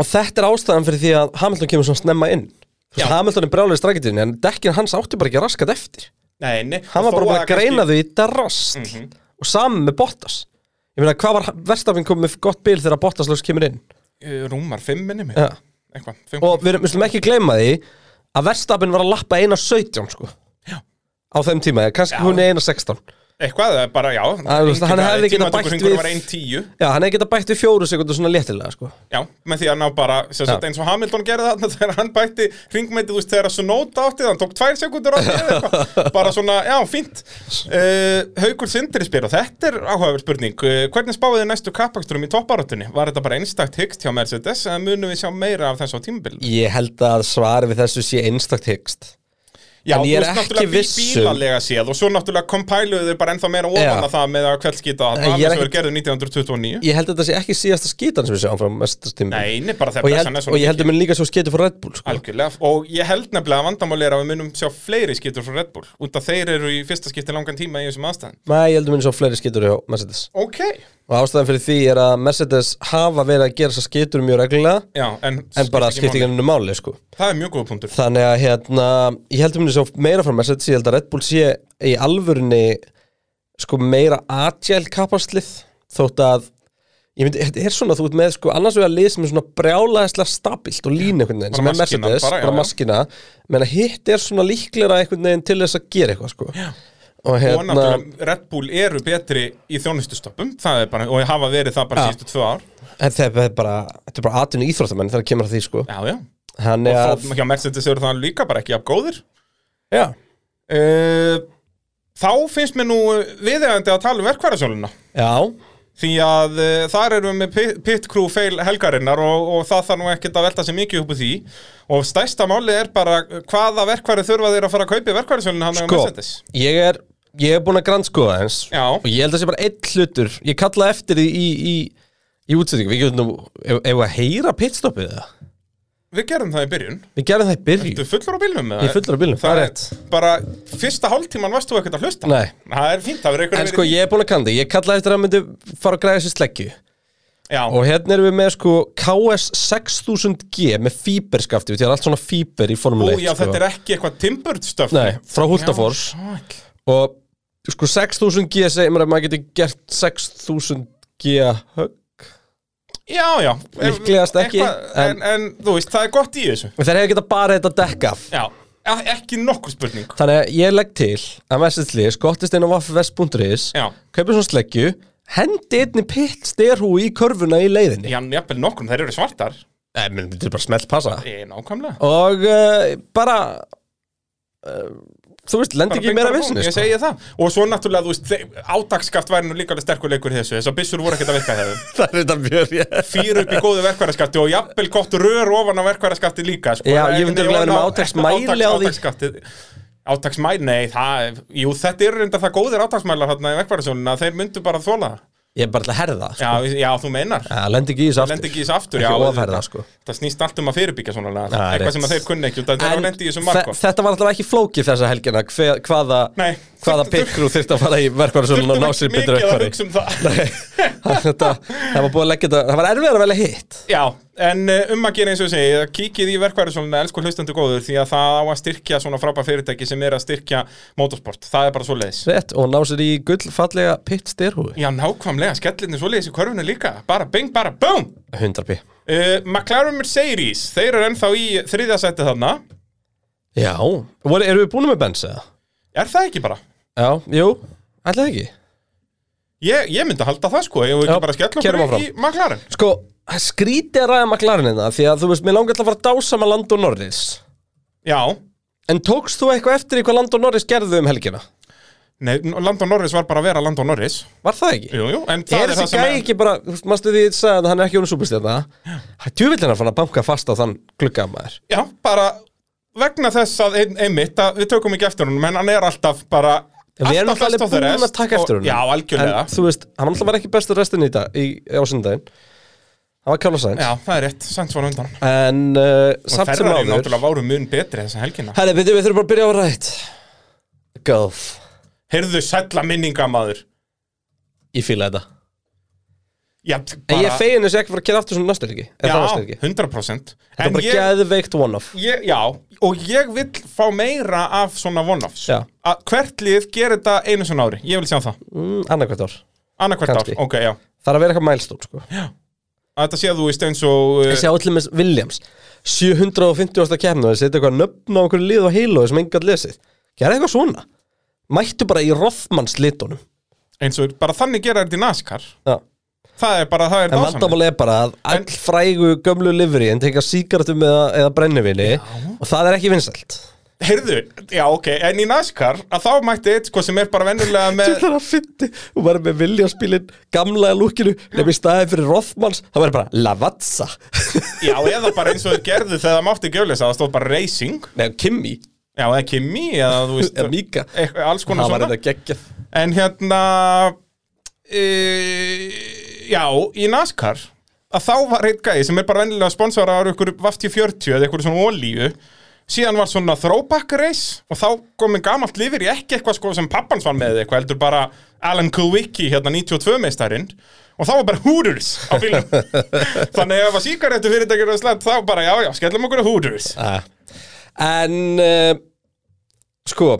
S3: og þetta er ástæðan fyrir því að Hamilton kemur svona snemma inn Þú veist,
S2: Já.
S3: Hamilton er brjálega strækitirinn En dekkin hans átti bara ekki raskat eftir
S2: þannig. Nei, nei,
S3: Hann var
S2: og þó
S3: bara búin að
S2: kannski- Mhm.
S3: greina þau í þetta rast og saman með Bottas ég meina hvað var verstafinn komið með gott bil þegar Bottas laus kemur inn
S2: Eh, Rúmar fimm minni mig
S3: Já.
S2: Eitthvað, fimm
S3: og við erum- við slum ekki gleyma því að verstafinn var að lappa 1.17 sko
S2: Já.
S3: á þeim tíma, kannski hún er 1.16
S2: Eitthvað, það er bara, já
S3: þú veist, hann hefði getað bætt við-
S2: Tímatökurringur var 1.10
S3: já, hann hefði geta bætt við fjóru sekundu svona léttilega sko
S2: Já, með því að ná bara, sem
S3: Já.
S2: sagt, eins og Hamilton gerði þarna þegar hann bætti ringmætið, þú veist, þegar að Sunoda átti það, hann tók tvær sekundur átti eða eitthvað, bara svona, já, fínt. Uh, Haukur Sindri spyr og þetta er áhugaverð spurning, uh, hvernig spáðu þið næstu kappaksturum í topparatunni? Var þetta bara einstakt hyggst hjá Mercedes eða munum við sjá meira af þessu á tímabilinu?
S3: ég held að svari við þessu sé einstakt hyggst
S2: Já,
S3: En
S2: þú
S3: ég er
S2: veist
S3: ekki
S2: náttúrulega
S3: viss um-
S2: bí- bílalega séð og svo náttúrulega kompæluðu þau bara ennþá meira
S3: Já.
S2: ofan að það með að kveldskýta
S3: En ég er
S2: að það
S3: ekki-
S2: sem við gerðum 1929.
S3: ég held að þetta sé ekki síðasta skítan sem við sjáum frá mestast tíma
S2: Nei, nei, bara
S3: og
S2: þegar
S3: ég
S2: pressan
S3: held,
S2: er svona
S3: og ég held að minn líka svo skeiti frá Red Bull sko.
S2: Algjörlega, og ég held nefnilega að vandamáli er að við munum sjá fleiri skiptur frá Red Bull út að þeir eru í fyrsta skipti langan tíma í þessum aðstæðan
S3: Nei, ég held að minn svo fleiri skeitur hjá Mercedes
S2: Ok
S3: og ástæðan fyrir því er að Mercedes hafa verið að gera þessar skeitur mjög reglulega
S2: Já, en,
S3: en bara skipti ekki
S2: máli.
S3: hennu máli sko.
S2: Það er mjög góða punktur
S3: þannig að hérna, ég held að minn svo meira frá Mercedes ég held að Red Bull sé í alvörunni sko meira agile kapaslið þótt að ég myndi, þetta er svona, þú ert með sko annars vegar lið sem er svona brjálaðislega stabilt og lín einhvern veginn,
S2: Bara
S3: sem er
S2: maskína,
S3: Mercedes,
S2: bara, já,
S3: bara
S2: já.
S3: maskina menn að hitt er svona líklegra einhvern veginn til þess að gera eitthvað sko já. og
S2: Og
S3: hérna,
S2: náttúrulega, Red Bull eru betri í þjónustustöppum Það er bara, og hafa verið það bara
S3: Já.
S2: síðustu tvö ár
S3: en það er bara þetta er bara atvinni íþróttamenn þegar kemur að því sko
S2: Já, já
S3: hann er
S2: Og
S3: að,
S2: þó, hjá Mercedes eru það líka bara ekki jafn góðir
S3: já,
S2: uh, Þá finnst mér nú viðegandi að tala um verkvarðasöluna
S3: já
S2: Því að uh, þar erum við með pit- pit crew fail helgarinnar og, og það þarf nú ekkert að velta sér mikið upp úr því og stærsta máli er bara hvaða verkværi þurfa þeir að fara að kaupa í verkværisölinu hann
S3: sko, ég er ég er búin að grandskoða eins
S2: Já.
S3: og ég held að sé bara einn hlutur ég kalla eftir því í, í, í útsettingu, við getum nú ef, ef að heyra pitstoppið það,
S2: Við gerðum það í byrjun
S3: við gerum það í byrju
S2: Þú fullur á bílnum með
S3: Ég er fullur á bílnum, það er rétt.
S2: Bara fyrsta hálftíman varst þú ekkert að hlusta
S3: Nei.
S2: Það er fínt, það verður
S3: En
S2: eitthvað
S3: sko ég er búin að kanda, ég kalla eftir að hann myndi fara að græða sér sleggju
S2: Já,
S3: Og hérna erum við með sko KS 6000G með fíberskafti Það er allt svona fíber í
S2: Ó,
S3: Formule 1
S2: já
S3: sko.
S2: þetta er ekki eitthvað timbered stuff
S3: Nei, frá Hultafors Og sko 6000G segir maður að maður getur gert 6000G högg
S2: Já, já
S3: Líklegast ekki,
S2: eitthvað, en, en þú veist, það er gott í þessu
S3: Og þeir hefur getað bara þetta dekk af
S2: Já, e- ekki nokkur spurning
S3: Þannig að ég legg til að message skottist inn á vaffvest.is
S2: Já.
S3: Kaupir svona sleggju Hendi einni pitt styrhú í körfuna í leiðinni
S2: Já, jafnvel nokkrum, þeir eru svartar
S3: Nei, menn, þetta er bara smelt passa
S2: Eh, Nákvæmlega
S3: og uh, bara uh, þú veist, lendi
S2: Bara
S3: ekki í
S2: bing,
S3: meira sko.
S2: bara búm,
S3: vissinni
S2: Ég segi það Og svo náttúrulega, þú veist, þeir- átakskaft væri nú líka alveg sterkur leikur í þessu Þessar byssur voru ekkert að virka þeim
S3: það er þetta mjög rétt
S2: Fýr upp í góðu verkværaskafti og jafnvel gott rör ofan á verkværaskafti líka sko.
S3: Já,
S2: Það er
S3: ég myndi
S2: einhvern
S3: örugglega
S2: veginn
S3: vera með átaksmæli
S2: átaks-
S3: á því.
S2: átaksskaftið. Átaksmæli, nei, það er- Jú, þetta eru reyndar það góðir átaksmælar hérna í verkværasjónuna Þeir myndu bara að þóla það
S3: ég er bara til að herða sko.
S2: já, já, þú meinar
S3: ja, lendi ekki í þessu aftur
S2: Lendi ekki í þessu aftur
S3: Ekki
S2: já,
S3: ofherða,
S2: auðvitað.
S3: sko.
S2: Það snýst allt um að fyrirbyggja svona lagað.
S3: Já, rétt.
S2: Eitthvað sem að þeir kunni ekki út af því Þeir
S3: En
S2: hafa lendi í þessu
S3: þe-
S2: margótt
S3: þetta var alltaf ekki flókið þessa helgina hve, hvaða,
S2: Nei.
S3: hvaða
S2: Þurftu-
S3: pikkrú þurft að fara í verkvarðarsölun og ná sér betur
S2: mikið að
S3: verkvarði
S2: hugsa um það
S3: þetta, það var búið að leggja þetta það var erfiðar að velja hitt
S2: Já, en eh, um að gera eins og ég segi, kíkið í verkværisóluna, elsku hlustandi góður, því að það á að styrkja svona frábæð fyrirtæki sem er að styrkja motorsport, það er bara svo leiðis.
S3: Rétt, og ná sér í gull fallega pitt styrhúi
S2: Já, nákvæmlega, skellinni svo leiðis í körfunni líka, bara bing, bara búm!
S3: 100 p
S2: Uh, McLaren Mercedes, þeir eru ennþá í þriðasætti þarna,
S3: já, Voru, eru við búin með bens eða?
S2: er það ekki bara?
S3: já, jú, ætlaði ekki
S2: Ég, ég myndi að halda það sko, ég vil
S3: Já,
S2: ekki bara skella
S3: keyrum
S2: okkur
S3: áfram.
S2: í McLaren.
S3: Sko, það er skrítið að ræða McLaren hérna Því að þú veist, mér langar til að fara að dásama Lando Norris
S2: Já,
S3: En tókst þú eitthvað eftir í hvað Lando Norris gerði um helgina?
S2: nei, Landon Norris var bara að vera Landon Norris,
S3: Var það ekki?
S2: jú, jú, en það
S3: er
S2: er það
S3: þessi
S2: sem
S3: gæi ekki bara, þú veist, mástu því að ég sagði að hann er ekki honum súpustjarna Tjúvillin að fara að banka fast á þann glugga maður
S2: Já, bara vegna þess að ein, einmitt að við tökum ekki eftir honum en hann er alltaf bara
S3: En Við erum
S2: alltaf
S3: alltaf alveg
S2: best á þeir
S3: búin að
S2: rest
S3: taka eftir
S2: og-
S3: honum
S2: Já, algjörlega
S3: En þú veist, hann alltaf var ekki bestur restin í dag í, á sundaginn Hann var kjála sæns
S2: Já, það er rétt, sæns var undan
S3: En uh,
S2: Og
S3: samt sem
S2: Ferrari
S3: áður
S2: náttúrulega voru mun betri þessa helgina
S3: Herri, byrju, við þurfum bara að byrja á rætt Golf
S2: Heyrðu sælla minningamaður
S3: Ég fíla þetta
S2: Já,
S3: En ég
S2: bara,
S3: er fegin þess að ég ekki fara að gera aftur svona næstu helgi En það næstu
S2: já
S3: helgi
S2: 100%
S3: Þetta er
S2: En
S3: bara
S2: ég,
S3: geðveikt one-off
S2: ég, já, og ég vil fá meira af svona one-offs
S3: Já.
S2: Að Hvert lið gerir þetta einu svona ári, ég vil sjá það
S3: mm, Annarkvæmt ár
S2: Annað hvert ár,
S3: Kannski.
S2: ok, já
S3: Það er að vera eitthvað milestone sko.
S2: Að Þetta séð þú í steins og eh,
S3: Ég sé allir með Williams 750. kemna og setja eitthvað nöfn á einhverju lið og heilo sem engan lesið Gerði eitthvað svona Mættu bara í Rothmans litunum
S2: eins og bara þannig gera þetta í NASCAR
S3: Já.
S2: Það er bara, það er
S3: En
S2: dásamlegt.
S3: vandamál er bara að all frægu gömlu livri en teka síkartum eða, eða brennivinni og það er ekki vinsælt
S2: Heyrðu, já ok, en í NASCAR að þá mætti eitt sko sem er bara venjulega
S3: Þú
S2: með
S3: þarf að fyndi, hún var með viljaspilin gamla í lúkinu, nefnir í staði fyrir Rothmans, það var bara Lavazza
S2: Já, eða bara eins og þeir gerðu þegar það mátti gjöflisa, það stóð bara racing
S3: Nei, Kimi,
S2: Já, eða Kimi, eða þú veist
S3: eða Mika
S2: eitthvað- Alls konar
S3: Það var
S2: svona
S3: þetta geggjað
S2: En hérna e, Já, í NASCAR að þá var eitt gæði sem er bara venjulega sponsora af ykkur Vafti 40 eða ykkur svona olíu síðan var svona throwback race og þá komið gamalt lifir í ekki eitthvað sko sem pappans var með eða eitthvað heldur bara Alan Kulwicki hérna 92 meistarinn og þá var bara Hooters á bílum þannig ef að síkaretu fyrirtækir og slett þá bara já já, skellum okkur að Hooters
S3: En uh, sko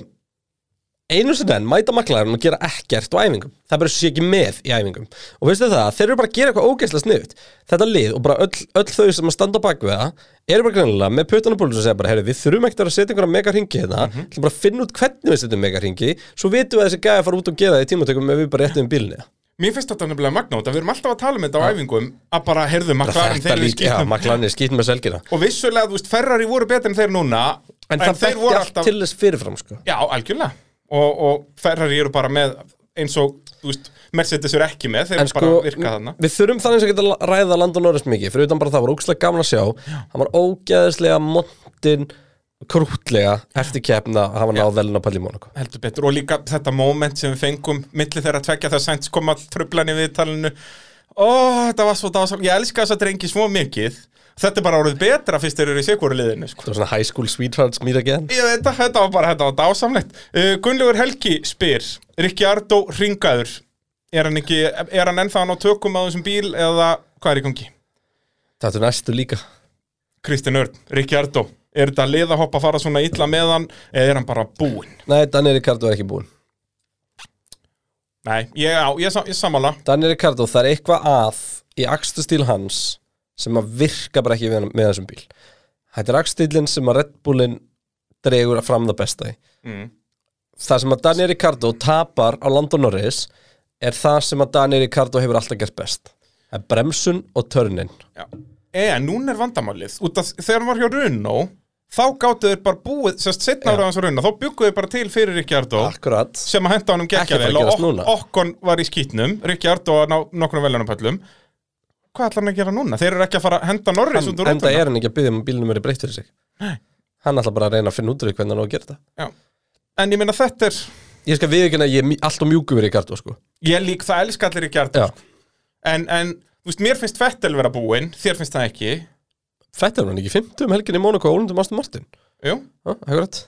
S3: einu sinni enn mæta maklarinn og gera ekkert á æfingum það bara sé ekki með í æfingum og veistu það, þeir eru bara að gera eitthvað ógeðslega sniðut þetta lið og bara öll, öll þau sem að standa á bak við það eru bara greinlega með putan og búlum sem segja bara, heyrðu, við þurfum ekkert að vera að setja einhverja mega ringi hérna,
S2: Mhm.
S3: mm bara að finna út hvernig við setjum mega ringi, svo vitum við að þessi gæði fara út og gera það í tímatökum ef við bara réttum um bílinni
S2: Mér finnst þetta nefnilega magnóta, við erum alltaf að tala með þetta á æfingum að bara, heyrðu, maklarinn þeir eru í
S3: já,
S2: skýtnum
S3: maklarinn er skýtn með selgina
S2: Og vissulega, þú veist, Ferrari voru betur en þeir núna
S3: en, það
S2: þeir
S3: bætti allt til þess fyrirfram sko.
S2: Já, algjörlega og, og Ferrari eru bara með eins og, þú veist, Mercedes eru ekki með Þeir
S3: en
S2: eru
S3: sko,
S2: bara að virka þarna
S3: við þurfum þannig að geta la- ræða Landon Norris mikið, fyrir utan bara það var ógæðslega gaman að sjá hann var ógæðslega montin krútlega eftir keppna að hafa náð velina pæli í Monaco
S2: Heldur betur, og líka þetta moment sem við fengum milli þeirra tvekja þegar Sainz kom all trublan í viðtalinu Ó, þetta var svo dásam, ég elska þess að drengi svo mikið Þetta er bara orðið betra fyrst þeir eru í sikvóru liðinu, sko
S3: það var svona high school sweethearts meet again
S2: Ég veit að þetta var bara, þetta var dásamlegt uh, Gunnlaugur Helgi spyr Ricciardo ringaður Er hann ekki, er hann ennþá hann á tökum á þessum bíl eða hvað er í gangi?
S3: þetta er næstu líka
S2: Kristinn Örn, Ricciardo Er þetta liðahopp að fara svona illa með hann eða er hann bara búinn?
S3: nei, Daniel Ricardo er ekki búinn
S2: Nei, ég, á, ég, sam- ég samála
S3: Daniel Ricardo, það er eitthvað að í akstustíl hans sem að virka bara ekki við, með þessum bíl þetta er akstílinn sem að Red Bullin dregur fram það besta í
S2: Mm.
S3: það sem að Daniel Ricardo tapar á Landon Norris er það sem að Daniel Ricardo hefur alltaf gert best það er bremsun og törnin
S2: Já. En núna er vandamálið út að þegar hann var hjá Runo þá gáttu þeir bara búið, sérst setna ára hans á Runo þá bygguðu þeir bara til fyrir Ricciardo
S3: akkurat
S2: sem að henda honum
S3: Ekki fara að
S2: geggjavel og
S3: gerast
S2: ok
S3: núna.
S2: okkon var í skýtnum Ricciardo að ná nokkrum veljónapöllum Hvað ætlar hann að gera núna? Þeir eru ekki að fara að henda Norris út úr
S3: en það
S2: rútuna.
S3: er hann ekki að byggja um að bílnum er breytt fyrir sig hann ætla bara að reyna að finna út úr því hvernig hann á að gera þetta
S2: Já. En ég meina þetta er
S3: ég skal viðurkenna að ég er mj- allt og mjúku við Ricardo sko.
S2: Ég lík það elska allir Ricciardo
S3: já,
S2: en, en þú veist, mér finnst Vettel vera búinn Þér finnst það ekki
S3: þetta er hann ekki 50 um helgin í Monaco og ólundum Aston Martin
S2: Jú
S3: Já, akkurat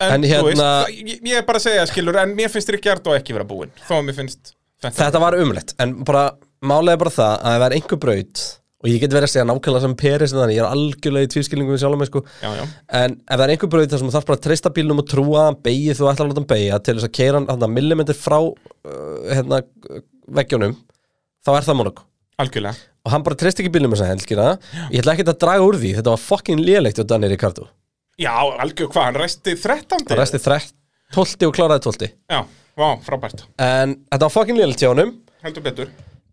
S2: En,
S3: En
S2: þú
S3: hérna-
S2: veist, það- ég, ég er bara að segja skilur En mér finnst Ricciardo ekki vera búinn Þó að mér finnst Vettel
S3: Þetta var umlegt, en bara málega bara það að það var einhver braut og ég get verið að segja nákvæmlega sem Peris en þannig, ég er algjörlega í tvískilningum við sjálf mig sko
S2: Já, já.
S3: en ef það er einhver braut þar sem þú þarf bara að treysta bílnum og trúa að hann beigja þú ætlar að láta hann beigja til þess að keira hann hann millimetri frá uh, hérna, uh, veggjónum þá er það Monaco
S2: Algjörlega
S3: og hann bara treyst ekki bílnum þess að helgina ég ætla ekki að draga úr því, þetta var fucking lélegt og Daniel Ricardo,
S2: Já, algjör hvað, hann resti 13.
S3: það resti 13 12 og kláraði 12
S2: Já, vá, frábært
S3: en þetta var fucking lélegt hjá honum
S2: Heldur betur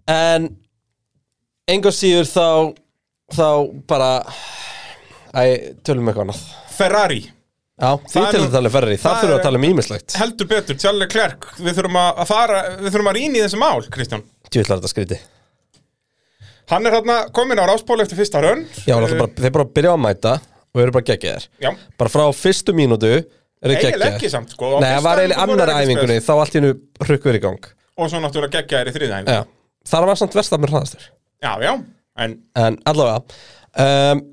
S3: En enga síður þá þá bara Æ, tölum eitthvað annað
S2: Ferrari
S3: Já, því
S2: er
S3: til
S2: nú-
S3: að tala um ferri,
S2: það
S3: það þurfum við
S2: er-
S3: að tala um ímislegt
S2: Heldur betur, Charlie Klerk Við þurfum að að fara, við þurfum að rýna í þessi mál, Kristján
S3: Tjóðlar þetta skríti Já,
S2: Hann er hérna komin á ráspól eftir fyrsta eh, raun
S3: hann alltaf bara, þeir bara byrja að mæta og eru bara geggjaðir
S2: Já.
S3: Bara frá fyrstu mínútu eru
S2: Eiginlega ekki
S3: geggjaðir
S2: samt, sko Á
S3: Nei,
S2: fyrsta
S3: það var eiginlega
S2: æfingu voru
S3: annar
S2: ekki
S3: æfingunni,
S2: spes.
S3: þá allt í hennu hrukkuður í gang
S2: Og svo náttúrulega geggja er í þriðja æfingu
S3: Já, þar var samt verstað með hraðastur
S2: já, já, en
S3: En allavega um,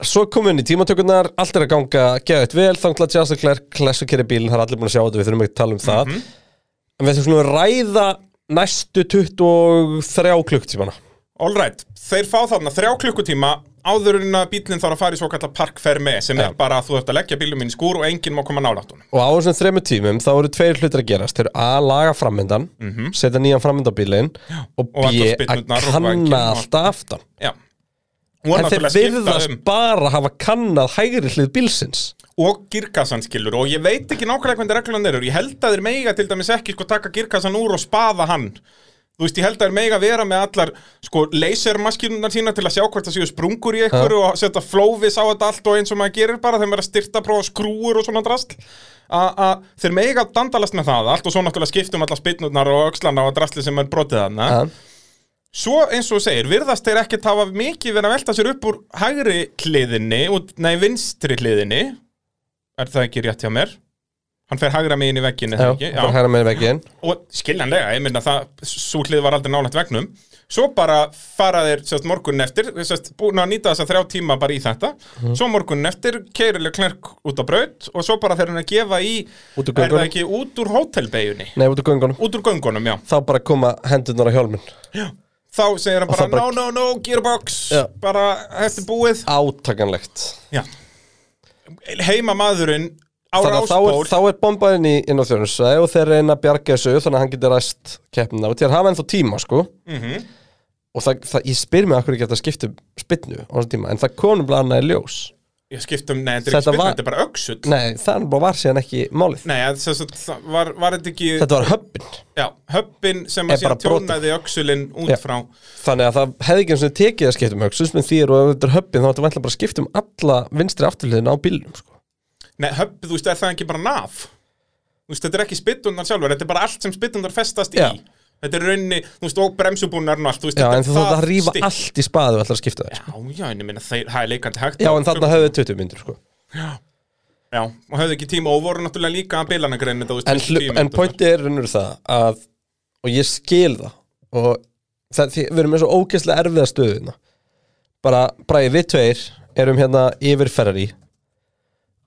S3: Svo komum við inn í tímatökurnar Allt er að ganga geðvægt vel Þannig að Jasson Clare klessu keri bílinn Það er allir búin að sjá þetta Við þurfum ekki að tala um það
S2: Mhm.
S3: En við þurfum svona að ræða Næstu 23 klukktímana
S2: Alright, þeir fá þarna þrjá klukkutíma áður en að bílinn þarf að fara í svo kallar park ferme sem
S3: Já.
S2: er bara að þú ert að leggja bílum minn í skúr og enginn má koma nálægt honum.
S3: Og á þessum þremur tímum þá eru tveir hlutir að gerast Þeir eru A. Laga framöndan Setja nýjan framöndabílinn Og
S2: Mhm. og
S3: B. Að
S2: allar spyrnurnar og
S3: kanna
S2: vænginn og-
S3: alltaf aftan
S2: Já. Og
S3: En þeir
S2: náttúrulega skipta um-
S3: virðast bara hafa kannað hægri hlið bílsins
S2: og girkassan skilur og ég veit ekki nákvæmlega hvernig reglan eru ég held að þeir meiga til dæmis ekki sko taka girkassan úr og spaða hann þú veist ég held að þeir meiga vera með allar sko lasermaskinunar sína til að sjá hvort það séu sprungur í einhverju og setja flóvis á þetta allt og eins og maður gerir bara þeim er að styrta prófa skrúur og svona drast að þeir meiga dandalast með það allt og svo náttúrulega skiptum allar spinnurnar og öxlana og drastli sem Ah, er brotið hann
S3: Ha?
S2: Svo eins og þú segir, virðast þeir ekkert hafa mikið verið að velta sér upp úr hægri hliðinni, út- nei vinstri hliðinni, er það ekki rétt hjá mér? Hann fer hægra megin í vegginu,
S3: Já,
S2: það ekki?
S3: bara hægra með vegginn
S2: Og skiljanlega, ég myndi að það, svo hlið var aldrei nálægt vegnum. Svo bara fara þeir sérst, morgunin eftir, sérst, búin að nýta þess að þrjá tíma bara í þetta.
S3: Mhm.
S2: Svo morgunin eftir, keirileg klærk út á braut og svo bara þeir hann að gefa í,
S3: Út úr
S2: er það
S3: göngunum.
S2: ekki út úr hótelbeginni?
S3: Nei, út á göngunum
S2: Út úr göngunum, já.
S3: Þá bara koma hendurnar á hjálminn
S2: þá segir hann
S3: Og það
S2: bara,
S3: bara-
S2: no, no, no, gearbox
S3: Já.
S2: bara, þetta er búið
S3: Átakanlegt
S2: já. heima maðurinn á
S3: Þannig að þá er,
S2: rásból
S3: þá er bombaðin í inn á þjónusæði og þeir reyna að bjarga þessu þannig að hann getur ræst keppnina og þeir hafa ennþá tíma sko og það, það, ég spyr mig akkur ekki að það skipti spytnu á þessum tíma en það konum blana í ljós
S2: ég skiptum, nei, þetta er
S3: Þetta
S2: ekki spilna,
S3: var-
S2: þetta er bara öxull
S3: Nei, það bara var síðan ekki málið
S2: nei, að sem sagt, það var, var þetta ekki
S3: Þetta var höppin
S2: já, höppin sem
S3: Er
S2: að sé
S3: bara brotin.
S2: tjónaði öxullin út
S3: Já.
S2: frá
S3: Þannig að það hefði ekki eins og tekið að skipta um högsus menn þýr og ef þetta er höppin þá ættu væntanlega bara að skipta um alla vinstri afturliðin á bílnum sko.
S2: nei, höpp, þú veist, er það ekki bara naf þú veist, þetta er ekki spytundar sjálfur þetta er bara allt sem spytundar festast
S3: Já.
S2: í þetta er rauninni, þú veist, og bremsubúnar og allt, þú veist,
S3: Já,
S2: þetta
S3: en þú þátt að rífa
S2: stykki.
S3: allt í spaðu ætlar að skipta þér sko.
S2: já, já, en ég minna, það er leikandi hægt
S3: Já, en þarna höfðu 20 myndir sko.
S2: Já, og höfðu ekki tíma og voru náttúrulega líka að bilana greinu þú veist,
S3: en,
S2: fyrstu
S3: hlu,
S2: tíu
S3: en
S2: mínúturnar.
S3: pointi er raunur það að, og ég skil það og það, því, við erum með svo ógeðslega erfiða stöðuna bara, bara við tveir erum hérna yfir Ferrari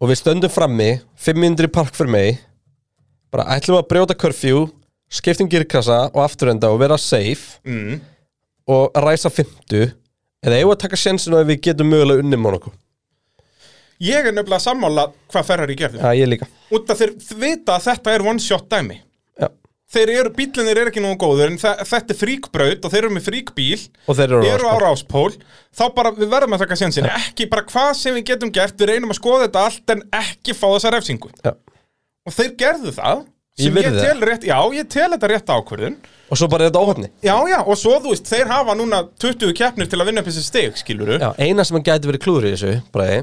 S3: og við stöndum frammi 500 park fyrir mig bara ætlum að brjóta curfew skiptum girkassa og afturenda og vera safe
S2: mm,
S3: og ræsa 50 eða eigum við að taka sjensin að við getum mögulega unni Monaco
S2: Ég er nefnilega að sammála hvað Ferrari gerði
S3: Já, ég líka
S2: Út að þeir vita að þetta er one shot dæmi
S3: Já.
S2: Þeir eru, bílinir eru ekki nógu góður en þa- þetta er fríkbraut og þeir eru með fríkbíl
S3: og þeir eru, á
S2: eru á
S3: ráspall.
S2: ráspól þá bara við verðum að taka sénsinn ekki bara hvað sem við getum gert við reynum að skoða þetta allt en ekki fá þessa refsingu
S3: Já.
S2: og þeir gerðu það
S3: Ég
S2: sem ég,
S3: virði
S2: tel rétt, já, ég tel þetta rétt ákvörðun
S3: og svo bara er þetta óhafni
S2: Já, já, og svo þú veist, þeir hafa núna 20 keppnir til að vinna upp þessi steg, skiluru
S3: Já, eina sem gæti verið klúður í þessu bræði,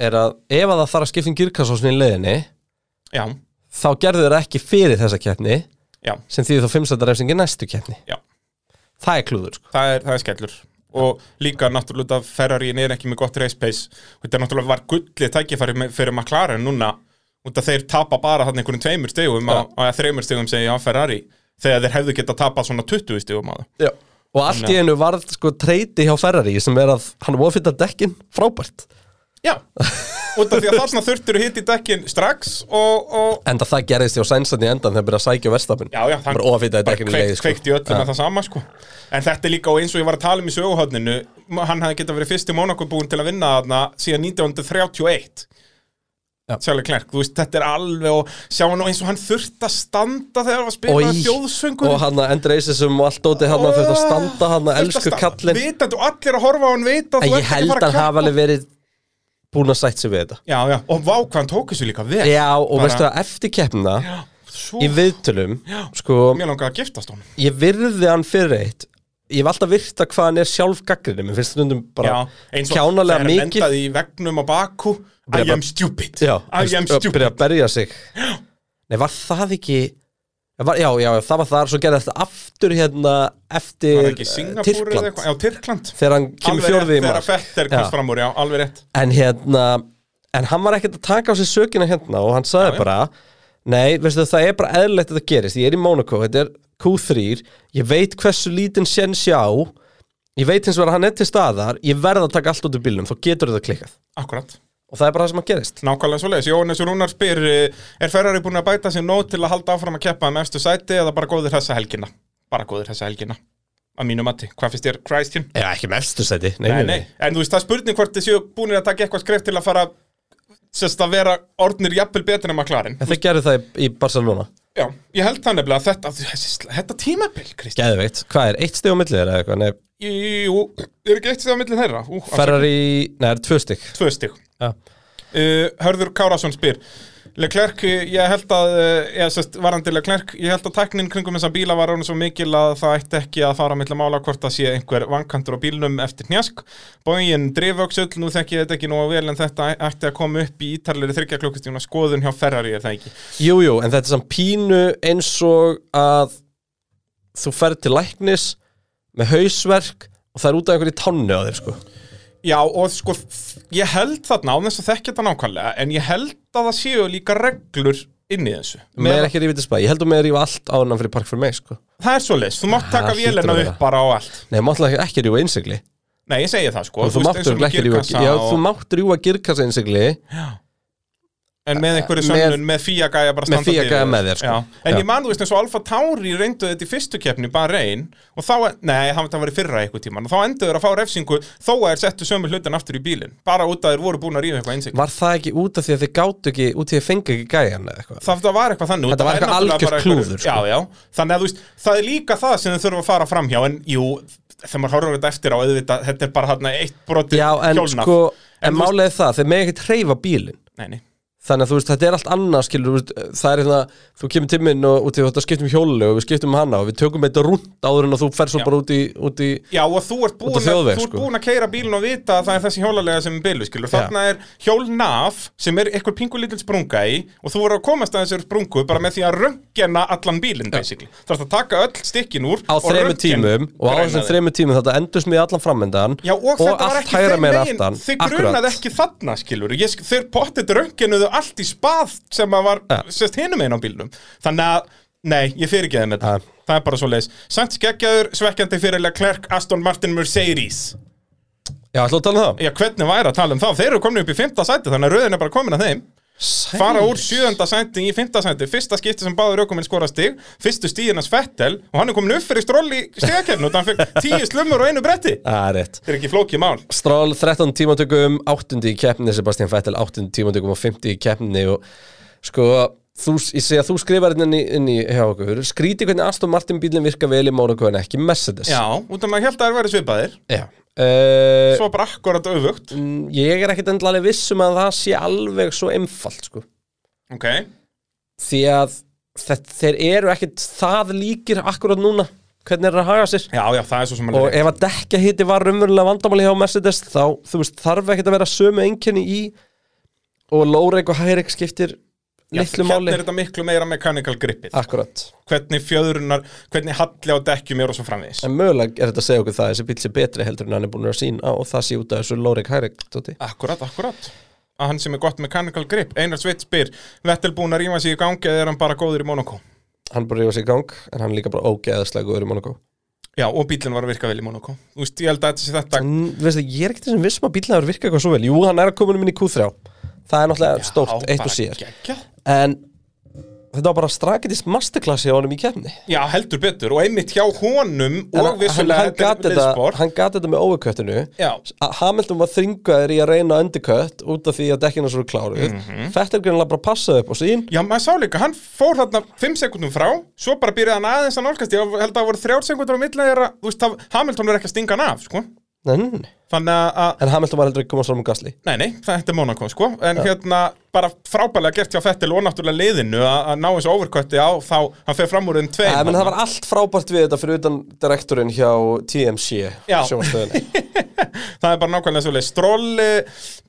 S3: er að ef að það þarf að skipta um girkassósni í leiðinni
S2: já,
S3: þá gerðu þeir ekki fyrir þessa keppni
S2: já.
S3: sem þýðir þá fimmstættarefsingi næstu keppni
S2: Já.
S3: Það er klúður sko.
S2: það er, það er skellur og líka náttúrulega að Ferrarín er ekki með gott race pace og þetta náttúrulega var gullið tækifæri með- fyrir McLaren núna út að þeir tapa bara þannig einhvern tveimur stegum á, á þreimur stegum segja á Ferrari þegar þeir hefðu getað tapað svona 20 stegum á það
S3: Og allt í einu varð sko treyti hjá Ferrari sem er að hann ofittar dekkin frábært
S2: Já, út af því að þar svona þurftur hitt í dekkin strax og, og
S3: Enda það gerðist hjá sænsan í endan þegar byrja að sækja verstafin
S2: Já, já,
S3: Bara ofitaði
S2: bara
S3: dekkin í leið
S2: kveikt,
S3: sko.
S2: kveikt í öllu með það sama sko. En þetta er líka og eins og ég var að tala um í söguhöfninu Hann hefði getað verið fyrsti mónakobúin til að vinna þarna síðan 1931
S3: Já.
S2: Sjálfur Klerk, þú veist, þetta er alveg og sjá hann og eins og hann þurft að standa þegar hann var að spila
S3: Oj,
S2: þjóðsöngur
S3: Og hann að endreisisum og allt dóti hann að þetta standa hann að elsku kallinn
S2: Vitandi og allir að horfa á hann vita að
S3: En
S2: þú
S3: ég
S2: ert ekki
S3: held
S2: bara
S3: að
S2: að
S3: hafa
S2: keppa
S3: alveg verið búin að sætt sig við þetta
S2: Já, já, og vá hvað hann tók þessu líka vel
S3: Já, og
S2: Bara-
S3: veistu að eftir keppna
S2: Svo,
S3: í viðtölum, sko,
S2: mér langaði að giftast honum
S3: ég virði hann fyrir eitt ég hef alltaf virta hvað hann er sjálf gaggrinni, mér finnst stundum bara kjánalega
S2: þegar hann
S3: mikið
S2: endaði í vegnum á Baku I
S3: Byrja bara-
S2: am stupid
S3: Já,
S2: I am
S3: og byrja
S2: stupid
S3: að berja sig Nei, var það ekki var, já, já, það var þar, svo gerði þetta aftur hérna
S2: Var
S3: eftir
S2: það ekki Singapúr eða
S3: eh, Tyrkland,
S2: eitthvað? Já, Tyrkland
S3: þegar hann kemur
S2: Alveg rétt,
S3: fjórði í
S2: Þegar
S3: mark
S2: Fetter
S3: Já.
S2: komst fram úr, já, alveg rétt
S3: en hérna en hann var ekkert að taka á sig sökina hérna og hann sagði bara nei, veistu það er bara eðlilegt að þetta gerist ég er í Monaco, þetta er Q3 ég veit hversu lítinn sjens ég á ég veit hins vegar að hann er til staðar ég verð að taka allt út úr bílnum, þá getur þetta klikkað
S2: Akkurat,
S3: og það er bara það sem að gerist
S2: nákvæmlega svo leiðis Jóhannes Rúnar spyr, eh, er Ferrari búin að bæta sér nót til að halda áfram að keppa um efstu sæti eða bara góðir þessa helgina? Bara góðir þessa helgina að mínu mati, hvað finnst þér Christian?
S3: Já, ekki með efstu sæti Nei,
S2: Nei, nei, en þú veist, það er spurning hvort þið séu búinir að taka eitthvað skref til að fara sérst að vera orðnir jafnvel betur en McLaren
S3: En þeir gerðu það í- í Barcelona
S2: Já, ég held það nefnilega að þetta, þessi- þetta tímabil, Kristján
S3: Geðveikt, hvað er, eitt stig á milli þeirra eða eitthvað? Nei,
S2: Jú, er ekki eitt stig á milli þeirra? Ú, afsakið,
S3: Ferrari, nei, það er tvö stig
S2: Tvö stig
S3: Já.
S2: uh, Hörður Kárásson spyr Leclerc, ég held að eh, ég, sest, varandi Leclerc, ég held að tæknin kringum þessa bíla var ráðin svo mikil að það ætti ekki að fara milli mála hvort það sé einhver vankantur á bílnum eftir hnjask Bógin drifvöksull, nú þekki ég þetta ekki nógu vel en þetta ætti að koma upp í ítarlegri þryggja klukkustíma skoðun hjá Ferrari er það ekki
S3: Jú, jú, en þetta er samt pínu eins og að þú ferð til læknis með hausverk og það er út af einhverju tánni á þér, sko
S2: Já, og sko, ég held þarna á þess að þekki þetta nákvæmlega en ég held að það séu líka reglur inn í þessu
S3: Mér er ekki að rífið til spæ, ég held að mér er rífa allt áðan fyrir park fyrir mig, sko
S2: Það er svo leys, þú mátt
S3: Það
S2: taka
S3: hlýtur
S2: vélina
S3: að vera.
S2: upp bara á allt
S3: Nei, máttu ekki, ekki rífa innsigli
S2: Nei, ég segi það sko
S3: og þú
S2: veist,
S3: máttur
S2: eins og með
S3: ekki rífa,
S2: girkassa
S3: já,
S2: og-
S3: þú máttur rífa girkassa innsigli
S2: En með einhverju
S3: Með-
S2: sönnun, með fía gæja
S3: Með
S2: bara standa
S3: Fía
S2: fyrir
S3: gæja
S2: þér.
S3: með þér, sko.
S2: Já. En
S3: Já.
S2: ég man þú veist eins og Alfa Tauri reyndu þetta í fyrstu keppni bara reyn og þá, nei, það var það var í fyrra eitthvað tíman og þá endur þeir að fá refsingu þó að þeir settu sömu hlutin aftur í bílinn bara út að þeir voru búin að ríða eitthvað einsig
S3: Var það ekki út af því að þið gátu ekki, út af því að þið fengu ekki gæjan eða eitthvað
S2: Það það var eitthvað þannig
S3: Þetta
S2: það
S3: var
S2: er
S3: eitthvað
S2: náttúrulega
S3: algjört
S2: bara einhverju-
S3: klúður, sko.
S2: Já, já, þannig að þú veist, það er líka það sem þau þurfa að fara fram hjá En jú, þegar maður horfður þetta eftir á auðvitað, þetta er bara þarna eitt brotið
S3: Já, en
S2: hjólnað.
S3: sko,
S2: En
S3: en
S2: þú veist-
S3: málið er það, þeir með ekki treyfa bílinn
S2: Nei, nei,
S3: þannig að þú veist, þetta er allt annað skilur, þú veist, það er hérna, þú kemur til minn og út í þetta skiptum hjóluleg og við skiptum um hana og við tökum þetta rúnt áður en að þú fer svo
S2: Já.
S3: bara út í, út í
S2: Já, og þú ert búin,
S3: Út á þjóðveg,
S2: að, þú ert
S3: sko.
S2: búin að keira bílinn og vita að það er þessi hjólalega sem er bilu, skilur.
S3: Já.
S2: Þarna er hjólnaf sem er eitthvað pingu lítil sprunga í og þú voru að komast að þessari sprungu bara með því að röngena allan bílinn, basically. Það er að taka öll stykkin úr
S3: á þremur
S2: röntgen-
S3: tímum og á
S2: greina
S3: þessum
S2: þig.
S3: þremur tímum þetta endurst mig allan framöndan
S2: Já, og, þetta var
S3: allt
S2: ekki
S3: hægra
S2: þeim
S3: meira
S2: megin,
S3: aftan
S2: þið grunaði ekki þarna, skilur. Ég, sk- þeir pottet röngenuðu allt í spað sem að var,
S3: Já.
S2: sérst, hinum einn á bílnum. Þannig að, nei, ég fyrir ekki þeim þetta.
S3: Já.
S2: Það er bara svo leis. Samt skeggjaður, svekkjandi fyrirlega Klerk, Aston Martin Mercedes.
S3: Já, ætlaðu að tala um það
S2: Já, hvernig væri að tala um það? Þeir eru komin upp í fymta sæti, þannig að rauðin er bara komin að þeim. Fara úr sjöunda sæti í fymta sæti, fyrsta skipti sem báður aukuminn skora stig, fyrstu stíðinans Fettel og hann er komin upp fyrir stról í stigakefn og hann fekk tíu slumur og einu bretti.
S3: Það er rétt
S2: Þetta er ekki flókið mál.
S3: Strál 13 tímatökum, 8. í keppni Sebastian Vettel 8. tímatökum og 50 í keppni og sko þú, ég segi að þú skrifar hérna inn í, inn í hjá okkur skríti hvernig Aston Martin bílinn virka vel í Mónaco en ekki Mercedes
S2: Já, út af maður held að það er verið svipaðir,
S3: Já. Eh,
S2: svo bara akkurat öfugt.
S3: mm, ég er ekkert endalega viss um að það sé alveg svo einfalt sko.
S2: Ok,
S3: því að þetta, þeir eru ekkert það líkir akkurat núna hvernig er að haga sér
S2: já, já, það er svo sem
S3: og
S2: alveg.
S3: ef að dekka hitti var raunverulega vandamáli hjá Mercedes þá þú veist, þarf ekkert að vera sömu einkenni í og Lóreik og Hærik skiptir
S2: Já,
S3: litlu
S2: Hérna
S3: máli
S2: er þetta miklu meira mechanical gripið.
S3: akkurat,
S2: Hvernig fjöðrunar, hvernig halli á dekkjum er og svo framvegis.
S3: en mögulega er þetta að segja okkur það að þessi bíl sé betri heldur en hann er búin að sína og það sé út af þessu Lóreik Hærik Dóti.
S2: Akkurat, akkurat að hann sem er gott mechanical grip Einar Sveit spyr, Vettel búin að ríma sig í gangi eða er hann bara góður í Monaco?
S3: hann er bara rífa sig í gang en hann er líka bara ógeðaslega góður í Monaco
S2: Já, og bílinn var að virka vel í Monaco Þú veist, ég held að þetta sé þetta
S3: en veist það, ég er ekkert þessum vissum að bílinn hefur virkað eitthvað svo vel jú, hann er að koma um inn í Q3 það er náttúrulega stórt, eitt og sér
S2: geggjað.
S3: en þetta var bara strakitist masterclassi á honum í kefni
S2: Já, heldur betur, og einmitt hjá honum
S3: En
S2: og
S3: hann,
S2: vissulega
S3: hann, gat
S2: er
S3: þetta,
S2: liðssport.
S3: hann gat þetta með overköttinu
S2: Já.
S3: Að Hamilton var þringaður í að reyna underkött út af því að dekkina svo kláru mm
S2: Mhm.
S3: -hmm. Fettel greinlega bara passaði upp á sín
S2: Já, maður sá líka, hann fór þarna 5 sekundum frá, svo bara byrjaði hann aðeins að nálgast, ég held að það voru 3 sekundur á milli þeirra, þú veist, það, Hamilton er ekki að stinga hann af, sko,
S3: en,
S2: þannig að- að
S3: en Hamilton var heldur ekki komast fram um gasli
S2: Nei, nei, þetta er Monaco sko En hérna, bara frábælega gert hjá Fettil og náttúrulega liðinu að að ná þessu overkötti á þá hann fer fram úr um tveim
S3: Æ, menn, Það
S2: þarna.
S3: var allt frábært við þetta fyrir utan direktorinn hjá TMC
S2: Já.
S3: sjónvarpsstöðinni.
S2: Það er bara nákvæmlega svolítið Stról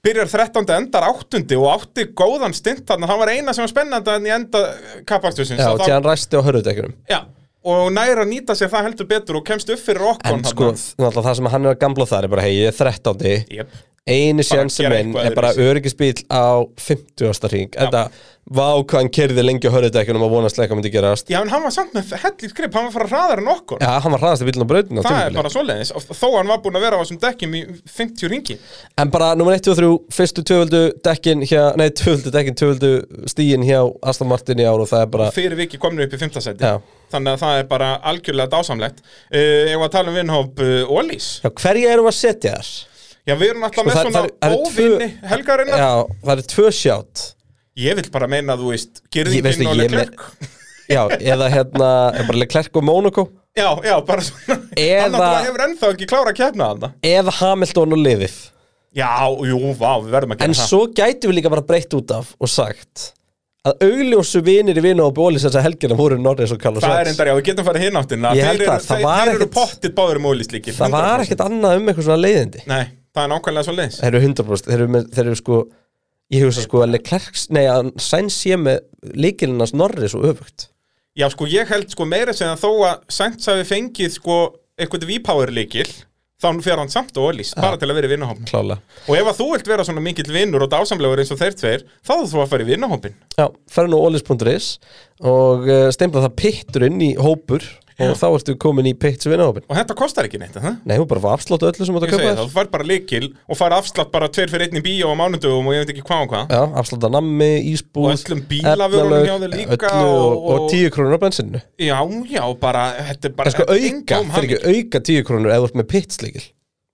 S2: byrjar 13. endar 8. og átti góðan stint þarna Það var eina sem var spennandi en í enda kappakstusins
S3: Já, því hann ræsti á hörðutekjunum
S2: já, og næra að nýta sér það heldur betur og kemst upp fyrir
S3: En
S2: okkon
S3: sko, náttúrulega það sem hann er að gamla þar er bara, hei, ég er 13
S2: Jep.
S3: eini sjansum
S2: gera
S3: minn
S2: eitthvað
S3: er bara
S2: öðruvísi.
S3: öryggisbíl á 50. ring þetta vá hvað hann kerði lengi á hörðudekjunum að vonast leika myndi gerast
S2: Já, en hann var samt með hellir grip, hann var að fara hraðar en okkur
S3: Já, hann var hraðast í bílun á brautinu á
S2: Það er
S3: tímabili.
S2: bara svoleiðis, og þó hann var búin að vera á þessum dekkjum í 50 ringi
S3: En bara nummer 1 og 3, fyrstu tvövöldu dekkin hjá, nei tvövöldu dekkin, tvövöldu stíin hjá Aston Martin í ár og það er bara
S2: Fyrir viki komnu upp í 5. seti
S3: Já.
S2: Þannig að það er bara algjörlega dásamlegt uh, Ég var að tala um vinhóp uh, Ólís
S3: Já, hverja erum við að setja þér?
S2: Já, við erum alltaf
S3: Sko,
S2: með
S3: það-
S2: svona
S3: það er- það eru tvö-
S2: óvinni helgarinnar
S3: Já, það eru tvö sjátt
S2: Ég vil bara meina, þú veist,
S3: Ég- veistu,
S2: gyrðingin og
S3: ég
S2: leklerk
S3: Já, eða hérna, er bara Leclerc og Monaco
S2: Já, já, bara svona
S3: Eða-
S2: Hann náttúrulega hefur ennþá ekki klára að kefna þarna
S3: Eða Hamilton og liðið
S2: Já, jú, vá, við verðum að
S3: En
S2: gera það
S3: svo gætum við líka bara breytt út af og sagt að augljósu vinir í vinu og bólis þess að helgina voru Norris og Carlos
S2: Það er
S3: Sainz
S2: endar, já, við getum farið hinn áttina
S3: Ég held
S2: Þeir eru-
S3: það, það
S2: þeir-
S3: var
S2: Þeir eru
S3: ekkert-
S2: pottið báður um Ólís líki
S3: Það var
S2: 100%.
S3: ekkert annað um eitthvað svona leiðindi
S2: Nei, það er nákvæmlega svo leins
S3: Þeir eru 100% Þeir eru, með, þeir eru sko Ég hugsa sko að Leclerc Nei, að Sainz sé með líkilinn hans Norris og öfugt
S2: Já, sko, ég held sko meira sem að þó að Sainz hafi fengið sko eitthvað V-Power líkil þá fer hann samt og Ólís, bara til að vera í vinnahópin
S3: Klála
S2: og ef að þú vilt vera svona mikill vinnur og dásamlegur eins og þeir tveir, þá þú þú að fara í vinnahópin
S3: Já, ferðu nú olis.is og uh, steimla það pitturinn í hópur og þá ertu komin í pitts vinahópin
S2: og þetta kostar ekki neitt, það?
S3: Nei, hún bara var afslátt á öllu sem áttu að
S2: Ég segi
S3: kaupa
S2: það,
S3: þér
S2: þú fær bara líkil og fær afslátt bara tveir fyrir einn í bíó á mánudögum og ég veit ekki hvað og hvað
S3: Já, afslátt að nammi, ísbúð
S2: Og öllum bílavörunum
S3: efnalög,
S2: hjá þér líka
S3: öllu og,
S2: og-
S3: og tíu krónur á bensinnu
S2: Já, já, bara, þetta er bara
S3: En sko auka,
S2: eintóm
S3: fyrir
S2: hamingja.
S3: ekki auka tíu krónur eða þú ert með pittsleikil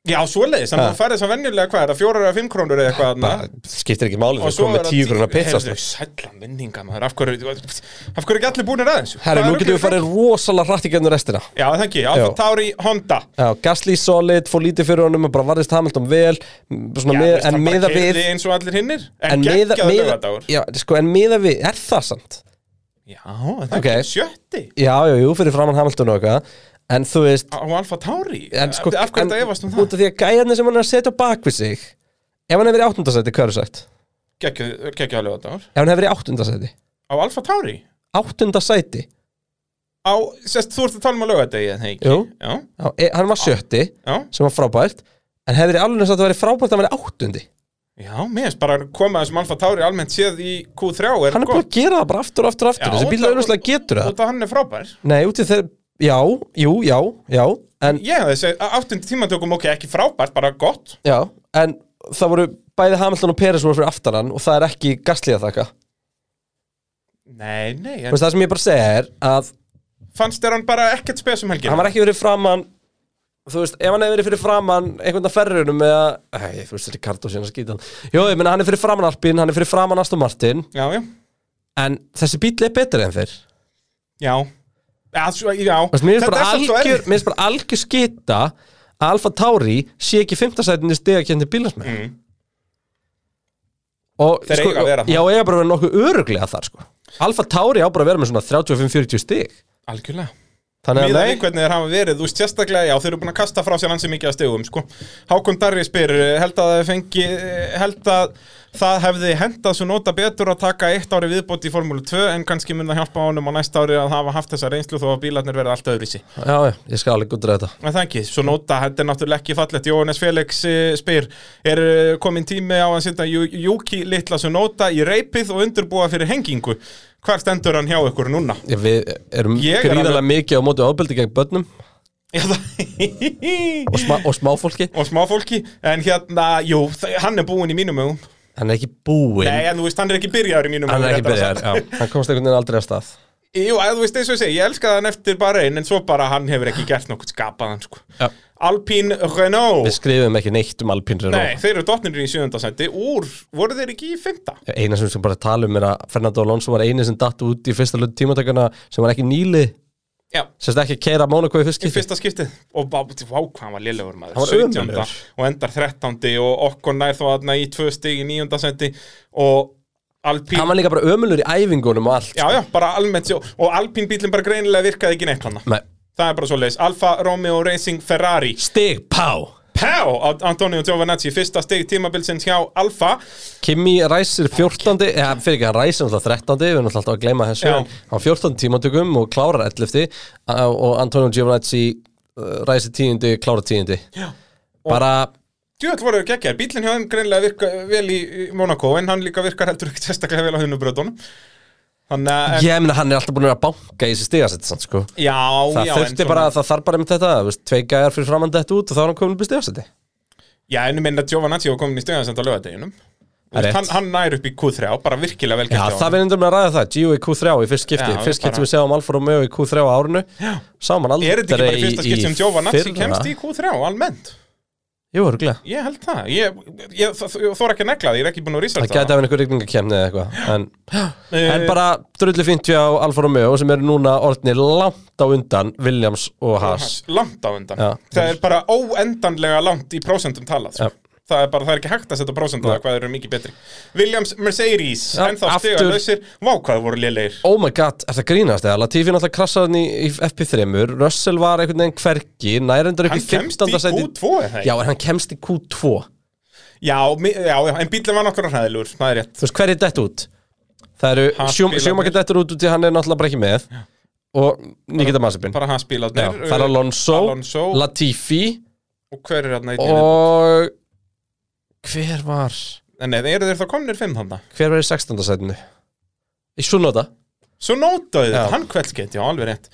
S2: Já, svoleiðis, þannig að þú færði þess að venjulega hvað er það, fjórar eða fimm krónur eða eitthvað þarna?
S3: Skiptir ekki máli
S2: Ah. og
S3: þegar
S2: svo
S3: komið með tíu krónur
S2: Herðu,
S3: pittsleikil
S2: sælla minninga maður, af hverju, af hverju ekki allir búinir aðeins
S3: Herru, nú getum við farið rosalega hrætt í gefnum restina
S2: Já, það ekki, Alfa
S3: Já.
S2: Tauri Honda
S3: Já, Gasly solid, fór lítið fyrir honum og bara varðist Hamilton vel m, svona,
S2: Já,
S3: með,
S2: veist,
S3: en
S2: hann bara
S3: miða
S2: keyrði
S3: við
S2: eins og allir hinnir
S3: en
S2: En
S3: miða,
S2: geggjaður
S3: miða,
S2: lögadagur Já,
S3: já, sko, en miða við, er það samt?
S2: en það
S3: Ok.
S2: okay. ekki sjötti
S3: Já, já, jú, fyrir framann Hamilton og eitthvað En þú veist,
S2: á Alfa Tauri
S3: en sko
S2: Af hverju
S3: en,
S2: þetta efast um
S3: Út
S2: það?
S3: af því að gæjarnir sem hann er að setja á bak við sig Ef hann hefur verið áttundasæti, hvað er sagt?
S2: Gekkjaður lögadagur
S3: Ef hann hefur verið áttundasæti
S2: Á Alfa Tauri?
S3: Áttundasæti,
S2: Á, sérst, þú ert að tala um að lögadegi, en það ekki?
S3: Jú.
S2: Já,
S3: já, e, hann var sjötti
S2: já,
S3: sem var frábært En hefur verið alveg að þetta verið frábært að hann verið áttundi
S2: já, mér finnst bara að koma þessum Alfa Tauri almennt séð í Q3 er
S3: Hann er búin
S2: gott
S3: að gera það bara aftur og aftur og aftur
S2: Já,
S3: Þessi bíl
S2: og það-
S3: auðvitað getur það
S2: Út af hann er frábær
S3: Nei, út í þeir, já, jú, já, já En,
S2: Ég hafði segið, áttundi tímantökum, ok, ekki frábært, bara gott
S3: já, en það voru bæði Hamilton og Peres voru fyrir aftan hann Og það er ekki gaslið að þakka Þú
S2: Nei, nei, en
S3: veist, Það sem ég bara segja er að
S2: fannst þér hann bara ekkert spes um helgina?
S3: hann var ekki verið framann þú veist, ef hann hefði verið fyrir framann einhvern að ferrunum eða, ei, þú veist, Ricardo síðan að skýta hann jú, ég meina, hann er fyrir framann Alpin, hann er fyrir framann Aston Martin,
S2: Já, já,
S3: en þessi bíl er betri en þeir, þú
S2: já Já, svo, já
S3: veist, mér finnst
S2: Þetta
S3: bara
S2: er samt svo
S3: algjör
S2: erfitt.
S3: mér finnst bara algjör skita að Alfa Tauri sé ekki fymtasætinni stegakjöndi bílans með
S2: Mm.
S3: og, sko,
S2: Þeir eiga að vera það.
S3: já, eiga bara að vera nokkuð öruglega þar, sko Alfa Tauri á bara að vera með svona 35-40 stig
S2: Algjörlega
S3: þannig
S2: Míðan
S3: að, nei,
S2: einhvern þeir hafa verið, þú veist sérstaklega, já, þeir eru búin að kasta frá sér hansi mikið að stegum, sko. Hákon Darri spyr, eh, held að það fengi, eh, held að það hefði hendað svo nota betur að taka eitt ári viðbót í Formúlu 2 en kannski mun það hjálpa honum á næsta ári að hafa haft þessa reynslu þó að bílarnir verða allt öðru í sig.
S3: já, já, ég skal alveg gundra þetta
S2: En það ekki, svo nota, þetta er náttúrulega ekki fallegt Jóhannes Felix eh, spyr Er eh, kominn tími á að setja Yu- Yuki litla svo nota í reypið og undurbúa fyrir hengingu Hvar stendur hann hjá ykkur núna?
S3: Já, Við erum
S2: Ég er
S3: gríðarlega
S2: alveg-
S3: mikið á móti ábeldi gegn börnum
S2: Já, það-
S3: og, sma, og smáfólki
S2: og smá fólki En hérna, jú, þa- hann er búinn í mínum augum
S3: hann er ekki búinn
S2: Nei, en þú veist, hann er ekki byrjaður í mínum
S3: hann er ekki
S2: réttara
S3: byrjar,
S2: sagt.
S3: já, hann komst einhvern veginn aldrei af stað
S2: Jú, að þú veist, eins og ég segi, ég elskaði hann eftir bara einn En svo bara hann hefur ekki gert nokkuð skapaðan, sko
S3: Já.
S2: Alpine
S3: við
S2: Renault
S3: skrifum ekki neitt um Alpín
S2: Nei,
S3: Renault
S2: þeir eru dottnir í sjöndasætti Úr, voru þeir ekki í fymta?
S3: eina sem við skulum bara tala um er að Fernando Alonso var eini sem datt út í fyrsta lötu tímatakana sem var ekki nýli
S2: Já
S3: sem sagt ekki að keira Mónaco í fyrst
S2: í
S3: skipti
S2: fyrsta skiptið og bá, vá hvað hann var lélegur maður
S3: Hann var
S2: 17.
S3: ömurlegur.
S2: og endar 13. og okkur nær þá aðna í tvö stig í níunda senti og Alpín
S3: hann var líka bara ömulur í æfingunum og allt
S2: já já, bara almennt sjó og Alpín bílinn bara greinilega virkaði ekki neitt hann
S3: Nei.
S2: það er bara svo leiðis, Alfa Romeo Racing Ferrari
S3: stig, pá
S2: Pá, Antonio Giovanazzi, fyrsta stig tímabilsins hjá Alfa
S3: Kimi ræsir 14. eða fyrir ekki, hann ræsir náttúrulega 13. við erum náttúrulega alltaf að gleyma þessu
S2: Já.
S3: en hann 14 tímatökum og klárar 11. a- og Antonio Giovinazzi uh, ræsir 10. klárar 10. Já. bara
S2: Djúvel voru ekki ekki, bílinn hjá þeim greinlega virka vel í í Monaco en hann líka virkar heldur ekkert sérstaklega vel á hunnubröðunum Þannig að, en,
S3: Ég meina hann er alltaf búin að vera að banka í þessi stigasett samt, sko.
S2: já,
S3: Það
S2: já en
S3: þurfti bara, það þarf bara með þetta, þú veist, tvei gæjar fyrir framann dætt út og þá er hann komin upp í stigasetti.
S2: Já, en ég meina að Giovanazzi var komin í stöðan sem þetta lögadeginum
S3: Það er rétt.
S2: hann, hann nær upp í Q3 og bara virkilega vel
S3: Já,
S2: gert hjá
S3: það
S2: honum.
S3: verður endur með að ræða það, Gio í Q3 í fyrst skipti,
S2: Já,
S3: fyrst
S2: bara-
S3: skipti sem við séum Alfa Romeo í Q3 á árinu, sá hann aldrei
S2: Er þetta ekki bara fyrsta skipt sem Giovanazzi
S3: fyrra.
S2: kemst í Q3 almennt?
S3: Jú, örgulega.
S2: Ég held það, ég, ég, þ- þ- ég þóra ekki að negla það, ég er ekki búin að researcha
S3: Það gæti að vera einhver rigningakemni eða eitthvað en,
S2: Eh,
S3: en bara drullu fint við á Alfa Romeo sem eru núna orðnir langt á undan Williams og Haas
S2: langt á undan
S3: Já.
S2: það er bara óendanlega langt í prósentum talað sko.
S3: Já.
S2: það er bara, það er ekki hægt að setja prósentum það hvað þeir eru mikið betri Williams Mercedes,
S3: Já,
S2: ennþá
S3: aftur.
S2: stiga lausir vá hvað þeir voru lélegir
S3: Oh my god, er það grínast eða? Latifi náttúrulega krassaði hann í, í FP3 Russell var einhvern veginn hvergi nærendar upp
S2: hann
S3: í
S2: kemst
S3: 15.
S2: í
S3: sæti
S2: Q2 er það
S3: Já,
S2: ekki?
S3: en hann kemst í Q2
S2: já, mi- já, já, en bílum var náttúrulega hræðilegur það er rétt
S3: Þú veist, hver er dett út? Það eru
S2: Haas bílarnir.
S3: sjómakir dettur út út í hann er náttúrulega bara ekki með og Nikita Masipin
S2: bara hans bílarnir
S3: Já, Það er Alonso,
S2: Alonso
S3: Latifi
S2: og hver er hann og...
S3: og hver var...
S2: en nei, eru þeir þá komnir fimm þannig
S3: Hver var í 16. sætinu? Í Sunnóta
S2: Svo nótaði þetta,
S3: Já.
S2: hann kveldskeitt, já, alveg rétt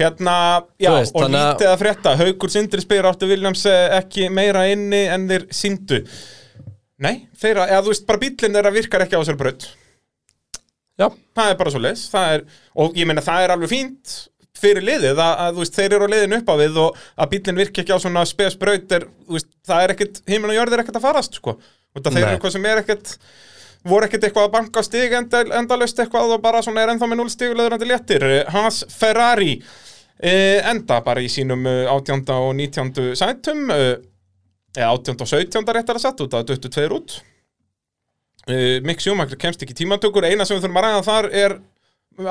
S2: Hérna, já,
S3: Þú veist,
S2: og
S3: þannig að-
S2: lítið að frétta Haukur Sindri spyr áttu Williams eh, ekki meira inni en þeir síndu Nei, þeirra, eða þú veist, bara bíllinn þeirra virkar ekki á þessari braut
S3: Já,
S2: Það er bara svo leis, það er, og ég meina það er alveg fínt fyrir liðið að, að þú veist, þeir eru á liðinu upp á við og að bíllinn virki ekki á svona spes braut er, þú veist, það er ekkit, himinn og jörð er ekkit að farast, sko og það þeir
S3: Nei.
S2: eru eitthvað sem er ekkit voru ekkit eitthvað að banka á stig enda, endalaust eitthvað og bara svona er ennþá með 0 stig leðurandi léttir, Hans Ferrari eh, enda bara í sínum eh, 18. og 19. sætum eh, eða 18. og 17. réttar að setja út, það er 22 út uh, Mick Schumacher kemst ekki í tímatökur eina sem við þurfum að ræða þar er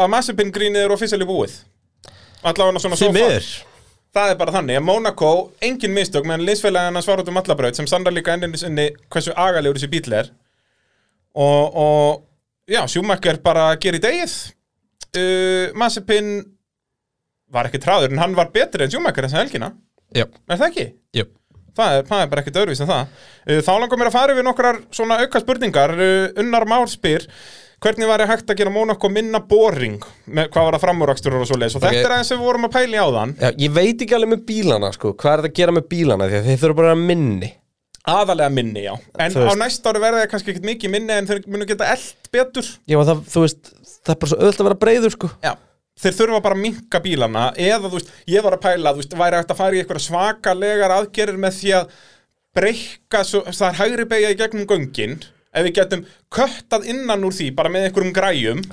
S2: að Massipin grínið er officially búið allavega svona
S3: því
S2: so far.
S3: miður
S2: það er bara þannig að Monaco, engin mistök meðan linsfélagin hans var út um allabraut sem sannar líka enninu sinni hversu agalegur þessi bíl er og, og já, Schumacher bara gerir degið uh, Massipin var ekki tráður en hann var betri en Schumacher þessa helgina
S3: Já,
S2: er það ekki?
S3: já
S2: Það er, það er bara ekkert öðruvís en það. Uh, Þá langar mér að fara yfir nokkrar svona auka spurningar. Uh, Unnar Már spyr, hvernig var ég hægt að gera Monaco minna boring? Með, hvað var það framúraksturur og svo leiðis?
S3: Ok.
S2: Og þetta er aðeins sem við vorum að pæli á þann.
S3: Já, ég veit ekki alveg með bílana, sko, hvað er það að gera með bílana því að þeir þurfa bara að vera minni
S2: Aðalega minni, já. En
S3: Þú
S2: á
S3: veist.
S2: næsta ári verða það kannski ekkert mikið minni en þeir munu geta eld betur.
S3: Já, og það, þú veist, það er bara svo öðvöld að vera breiður, sko
S2: Já. Þeir þurfa bara að minka bílana eða, þú veist, ég var að pæla, þú veist, væri hægt að fara í eitthvað svakalegar aðgerir með því að breykka, svo, það er hægri beigja í gegnum göngin ef við getum köttað innan úr því bara með einhverjum græjum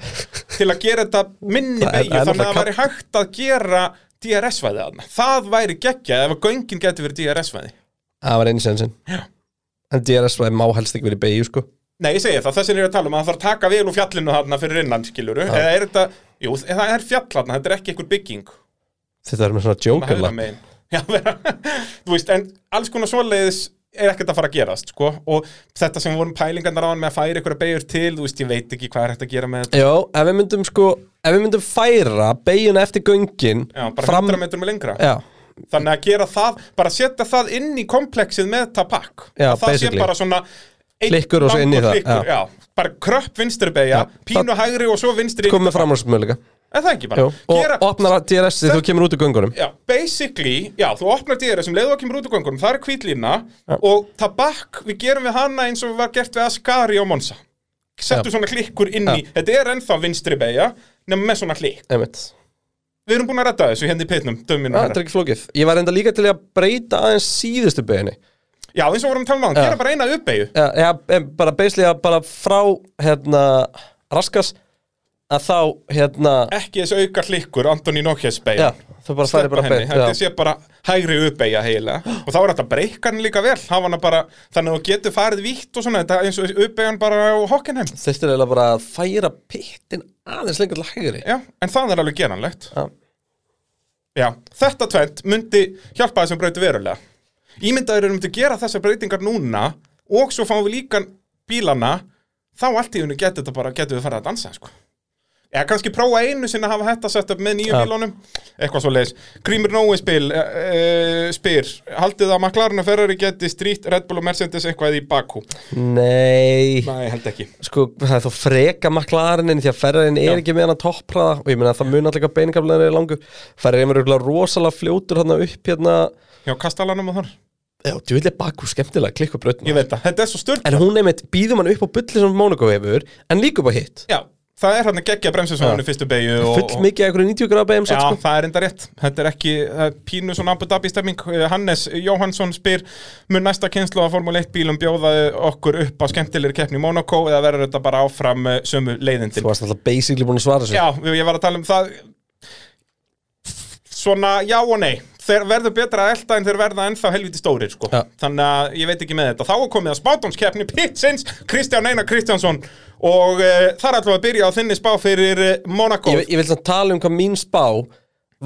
S2: til að gera þetta minni
S3: Það er-
S2: beigju
S3: það er
S2: þannig að það
S3: náttúrulega
S2: væri hægt að gera DRS-væði aðna. Það væri geggjað ef að göngin geti verið DRS-væði.
S3: Það var einu sensin
S2: Já.
S3: En DRS var má helst ekki verið í beigju, sko
S2: Nei, ég segi það, þess vegna er ég að tala um að það þarf að taka vel úr fjallinu þarna fyrir innan, skiluru. Eða er þetta, jú, það er fjall þarna, þetta er ekki einhver bygging.
S3: Þetta er með svona
S2: hægra
S3: jokerlapp
S2: megin Já, vera- þú veist, en alls konar svoleiðis er ekkert að fara að gerast, sko og þetta sem vorum pælingarnar á hann með að færa ykkur beigur til, þú veist, ég veit ekki hvað er hægt að gera með þetta
S3: Já, ef við myndum, sko, ef við myndum færa beigjuna eftir göngin
S2: Já, bara 100 metrum lengra
S3: Já,
S2: Þannig að gera það, bara setja það inn í komplexið með þetta pakk
S3: Já,
S2: Að það sé
S3: basically.
S2: bara svona einn
S3: Klikkur og svo inn í
S2: langur
S3: það,
S2: klikkur, já. bara kröpp vinstri beigja,
S3: Já,
S2: pínu
S3: það-
S2: hægri og svo vinstri
S3: komið framhansmöðleika
S2: En það ekki bara
S3: Og
S2: Gera-
S3: opnar DRS-ið þegar þú kemur út úr göngunum
S2: Já, basically, já, þú opnar dýra sem leiðu að kemur út úr göngunum, það er kvítlína og tabak, við gerum við hana eins og var gert við Ascari og Monza settu svona klikkur inn í, þetta er ennþá vinstri beigja, nema með svona klikk
S3: Einmitt
S2: Við erum búin að redda þessu hérna í pitnum, döminu
S3: Já, þetta er ekki flókið. Ég var enda líka til í að breyta aðeins síðustu beginni.
S2: Já, eins og vorum að tala um á, gera bara eina uppbeigju
S3: Já, já, em, bara basically að bara frá hérna raskas að þá hérna,
S2: ekki þessu auka klikkur, Antoni Nókjæs
S3: já,
S2: beigja
S3: þú bara færi bara beint.
S2: þetta
S3: Já,
S2: sé bara hægri uppeyja heilega og þá er þetta breykkan líka vel hafa hana bara, þannig að þú getur farið vítt og svona, þetta er eins og uppeyjan bara á Hockenheim
S3: þurftir eiginlega bara að færa pittin aðeins lengur til hægri.
S2: Já, en það er alveg geranlegt
S3: Já.
S2: Já, þetta tvent myndi hjálpa þessum brauti verulega Ímyndaður erum myndi gera þessar breytingar núna og svo fáum við líka bílana þá allt í hennu getur þetta bara getur við farið að dansa sko. eða kannski prófa einu sinni að hafa þetta sett upp með nýju
S3: Já.
S2: bílunum eitthvað svo leiðis, Grímur Nói spil, e, e, spyr haldið að McLaren og Ferrari geti strýtt Red Bull og Mercedes eitthvað í Bakú
S3: Nei,
S2: nei, held ekki
S3: sko, það er þó freka maklarinin því að ferðarinn er ekki með hann að toppraða og ég meina að það mun allega beiningaflegar er langur ferðarinn er örugglega rosalega fljótur hann upp hérna
S2: hjá Kastalanum og þar,
S3: Já, djúvillig bakku skemmtilega klikku brötna
S2: ég veit það, þetta er svo stört
S3: En hún einmitt býður mann upp á bulli sem Mónaco hefur en líka upp á hitt
S2: já, það er hann að gegja bremsu sem hann í fyrstu beigju og,
S3: Full mikið af einhverju 90 gráða beim
S2: Já,
S3: samt, sko.
S2: það er enda rétt. Þetta er ekki það er pínu svona Abu Dhabi stemming. Eh, Hannes Jóhansson spyr, mun næsta kynslu að Formule 1 bílum bjóða okkur upp á skemmtilegri keppni í Monaco eða verður þetta bara áfram eh, sömu leiðindin?
S3: Þú varst alltaf basically búin að svara þessu
S2: Já, ég var að tala um það svona já og nei þeir verður betra að elda en þeir verða ennþá helviti stórir sko.
S3: Já.
S2: þannig að ég veit ekki með þetta þá er komið að spátumskeppni Pitsins Kristján Einar Kristjánsson og uh, þar ætlum við að byrja á þinni spá fyrir eh, Monaco
S3: Ég, ég vil samt tala um hvað mín spá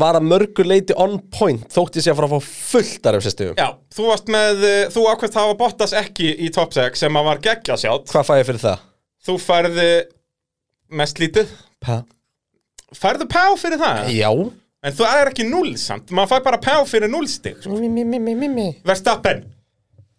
S3: var að mörgu leiti on point þótt ég sé að fara að fá fullt af refsistegum
S2: Já, þú varst með, eh, þú ákveðst að hafa Bottas ekki í top 6 sem að var geggja sjátt
S3: Hvað fæ ég fyrir það?
S2: Þú færði mest lítið
S3: Pa?
S2: Færðu pá fyrir það?
S3: Já
S2: En þú er ekki null samt, maður fær bara pá fyrir nullstig
S3: mi, mi, mi, mi, mi, mi.
S2: Verstappen,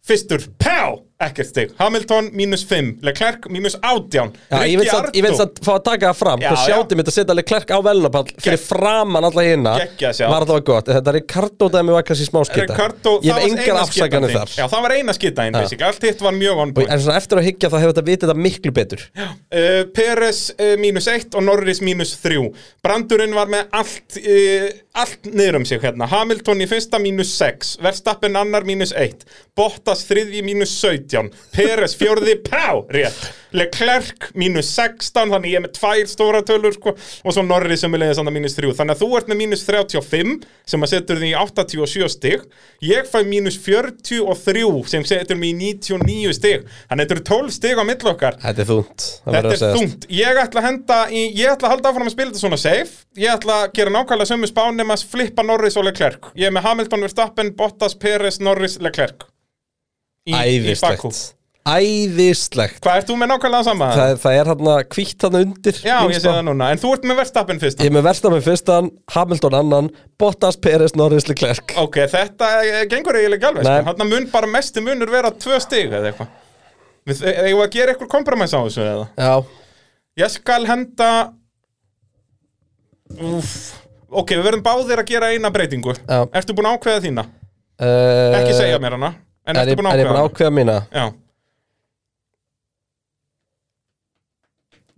S2: fyrstur, pá, ekkert stig Hamilton, mínus 5, Leclerc, mínus 18
S3: Já, ég vil samt- ég vil samt fá að taka það fram
S2: Já,
S3: hvað
S2: já.
S3: sjátti mitt að setja alveg klerk á velnapall fyrir
S2: Gegg-
S3: framan alla hérna
S2: Geggjað sjátt.
S3: var alltaf gott en þetta Ricardo dæmi var kannski smáskita
S2: Ricardo,
S3: Ég
S2: það
S3: hef
S2: var
S3: engar
S2: eina skitaðin.
S3: afsakanir þar
S2: Já, það var eina skitaðin, basic, allt hitt var mjög on
S3: Og-
S2: point
S3: En svona eftir að hyggja þá hefur þetta vitið þetta miklu betur
S2: uh, Peres uh, mínus 1 og Norris mínus 3 Brandurinn var með allt uh, allt niður um sig hérna Hamilton í fyrsta mínus 6 Verstappen annar mínus 1 Bottas þriðji mínus 17 Peres fjórði pá rétt Leclerc mínus 16 þannig ég er með tvær stóra tölur sko, og svo Norris sem er leiðis annar mínus 3 þannig að þú ert með mínus 35 sem að setur því í 87 stig ég fæ mínus 43 sem setur mig í 99 stig þannig að þetta eru 12 stig á milli okkar
S3: Þetta er þungt það verður að
S2: Þetta er
S3: segjast.
S2: þungt, ég ætla að henda í, ég ætla að halda áfram að spila þetta svona safe ég ætla að gera nákvæmlega sömu spán nema að flippa Norris og Leclerc ég er með Hamilton, Verstappen, Bottas, Peres, Norris, Leclerc í, í Bakú.
S3: Æðislegt Æðislegt
S2: Hvað ert þú með nákvæmlega sama?
S3: Það, það er hérna hvítt hérna undir
S2: Já,
S3: mín
S2: ég
S3: spá.
S2: sé það núna, en þú ert með Verstappen fyrst
S3: Ég er með Verstappen fyrstan, Hamilton annan Bottas, Peres, Norris, Leclerc
S2: Ok, þetta eh, gengur eiginlega ekki alveg
S3: Nei.
S2: sko. Þarna mun bara mestu munur vera tvö stig eða eitthvað Við- eh, Eigum við að gera eitthvað kompromæs á þessu eða?
S3: Já,
S2: Ég skal henda Úf. Ok, við verðum báðir að gera eina breytingu
S3: Já.
S2: Ertu búin að ákveða þína?
S3: uh,
S2: Ekki segja mér hana En
S3: Er
S2: ertu
S3: ég
S2: búin
S3: er
S2: að
S3: ég búin að
S2: ákveða hana?
S3: ákveða mína?
S2: Já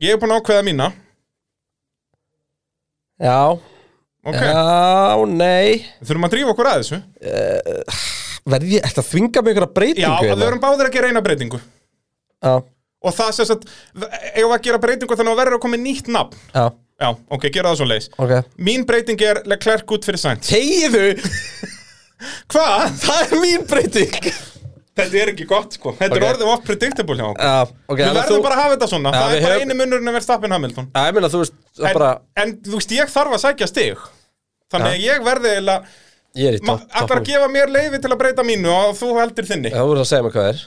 S2: Ég er búin að ákveða mína
S3: Já,
S2: Ok,
S3: já, nei
S2: við þurfum að drífa okkur að þessu
S3: Verði ég, ætla að þvinga mig ykkur að
S2: Já,
S3: breytingu
S2: við
S3: hérna?
S2: verðum báðir að gera eina breytingu
S3: Já,
S2: Og það sem sagt, eigum við að gera breytingu þannig að verður að koma með nýtt nafn
S3: já,
S2: Já, ok, gera það svo leis
S3: ok
S2: Mín breyting er Leclerc út fyrir sænt
S3: Tegiðu,
S2: Hvað?
S3: það er mín breyting
S2: Þetta er ekki gott sko Þetta er
S3: Ok.
S2: orðið of predictable hjá okkur
S3: Já, ok
S2: Við
S3: þannig að
S2: verðum
S3: þú-
S2: bara að hafa þetta svona
S3: Já,
S2: Það
S3: við
S2: er bara
S3: höfum-
S2: einu munurinn að vera stappin Hamilton
S3: Já, ég meina þú veist, það
S2: en,
S3: bara
S2: en þú veist, ég þarf að sækja stig Þannig að ég verði eiginlega
S3: Ég er í
S2: ma-
S3: topp
S2: Ætlar að gefa mér leiði til að breyta mínu og þú heldur þinni
S3: Já, þú verður að segja mig hvað er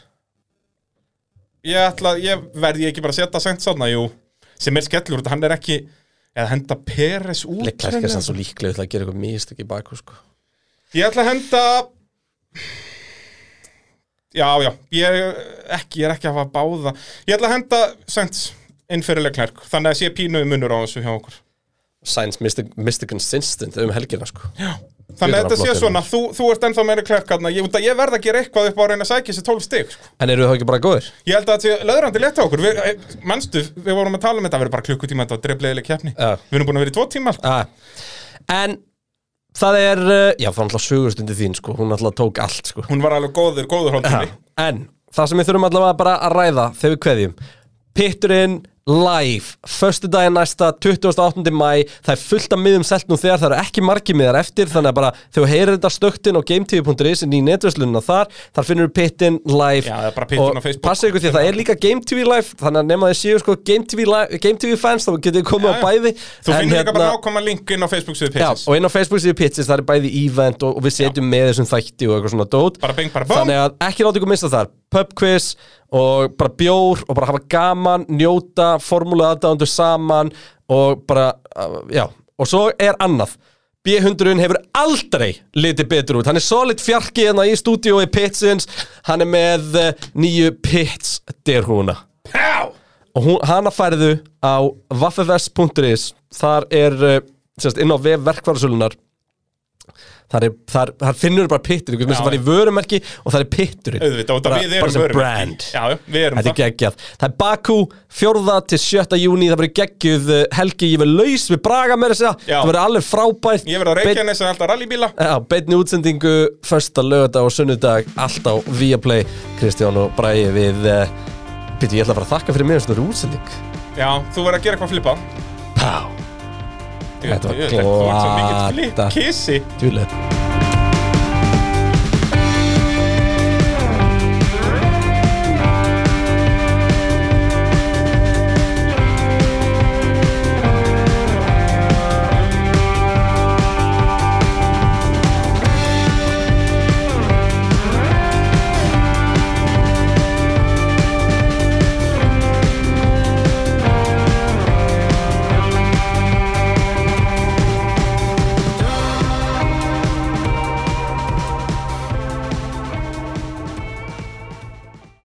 S2: Ég ætla, ég verði ég ekki bara að setja sænt svona, jú Sem er skellur, hann er ekki Eða henda Peres út
S3: Leclerc er sann svo líklega til að gera eitthvað mistök í baku sko.
S2: Ég ætla að henda Já, já, ég er ekki, ég er ekki að hafa báða Ég ætla að henda Sainz inn fyrir Leclerc Þannig að sé pínu munur á þessu hjá okkur
S3: Sainz misti, misti consistent um helgina sko.
S2: Þannig að
S3: Jöfnlega
S2: þetta sé
S3: flott,
S2: svona, þú, þú ert ennþá meira Leclerc hérna ég, út að ég verð að gera eitthvað upp á að reyna að sækja þessi 12 stig sko.
S3: En eru þau ekki bara góðir?
S2: Ég held að þetta sé löðrandi létt á okkur við, eh, Manstu, við vorum að tala um þetta, það verður bara klukkutíma Þetta var dreflegileg keppni
S3: Já.
S2: Við erum búin að vera í tvo tíma sko.
S3: Ah. En það er uh, Já, það var alltaf sögustundi þín sko. Hún alltaf tók allt sko.
S2: Hún var alveg góður, góður hálftími
S3: En það sem við þurfum allavega bara að ræða þegar við kveðjum Pitturinn live, förstu daginn næsta 28. mæ, það er fullt af miðum selt nú þegar, það eru ekki margi miðar eftir þannig að bara þegar þú heyrir þetta stöktin á GameTV.is inn í netverslununa þar þar finnur við pittinn live
S2: Já, það er bara pittinn
S3: Og
S2: á Facebook.
S3: passið ykkur því að það er líka GameTV live þannig að nema þið séu sko GameTV, live, GameTV fans þá getið þið komið
S2: Já,
S3: á
S2: já.
S3: bæði
S2: Þú
S3: En hérna-
S2: finnir líka bara nákvæma linkin á Facebook síðu
S3: Já,
S2: Pissins
S3: og inn á Facebook síðu Pitsis, það er bæði event og, og við setjum með þessum þætti og eitthvað svona dót
S2: Bara bing, bara bong.
S3: Þannig að ekki láta ykkur missa þar pub quiz og bara bjór og bara hafa gaman, njóta, formúlu aðdándu saman og bara, uh, já, og svo er annað. B100-un hefur aldrei litið betur út. Hann er solid fjarki hérna í stúdíói Pitsins. Hann er með eh, nýju Pits derhúna.
S2: Pow!
S3: og hún, hana færðu á vaffefest.is þar er eh, sérst, inn á vef verkvarasölunar þar, er, þar, þar finnur bara pittur ykkur sem
S2: Já,
S3: fara í vörumerki og þar er pitturinn
S2: Auðvitað, og þetta
S3: Bara-
S2: við erum
S3: bara sem
S2: vörumerki.
S3: brand
S2: Já, já, við erum
S3: Þetta er
S2: það.
S3: geggjað. Það er Bakú, fjórða til sjötta júni, það verður geggjuð eh, helgi, ég verður laus við Braga með þess að
S2: Já.
S3: segja. það verður alveg frábært.
S2: Ég verð að reykja hérna. henni sem alltaf rallybíla
S3: Já, beinni útsendingu, första lögadag og sunnudag, allt á Viaplay, Kristján og Bræði við, uh, býttu, ég ætla að fara að þakka fyrir mér þessum útsending.
S2: Já, þú verð að gera eitthvað flipað
S3: Pá, Þetta var
S2: Jú, jú, Þú ert svo mikill
S3: glata.
S2: flip, kissi
S3: djúlega.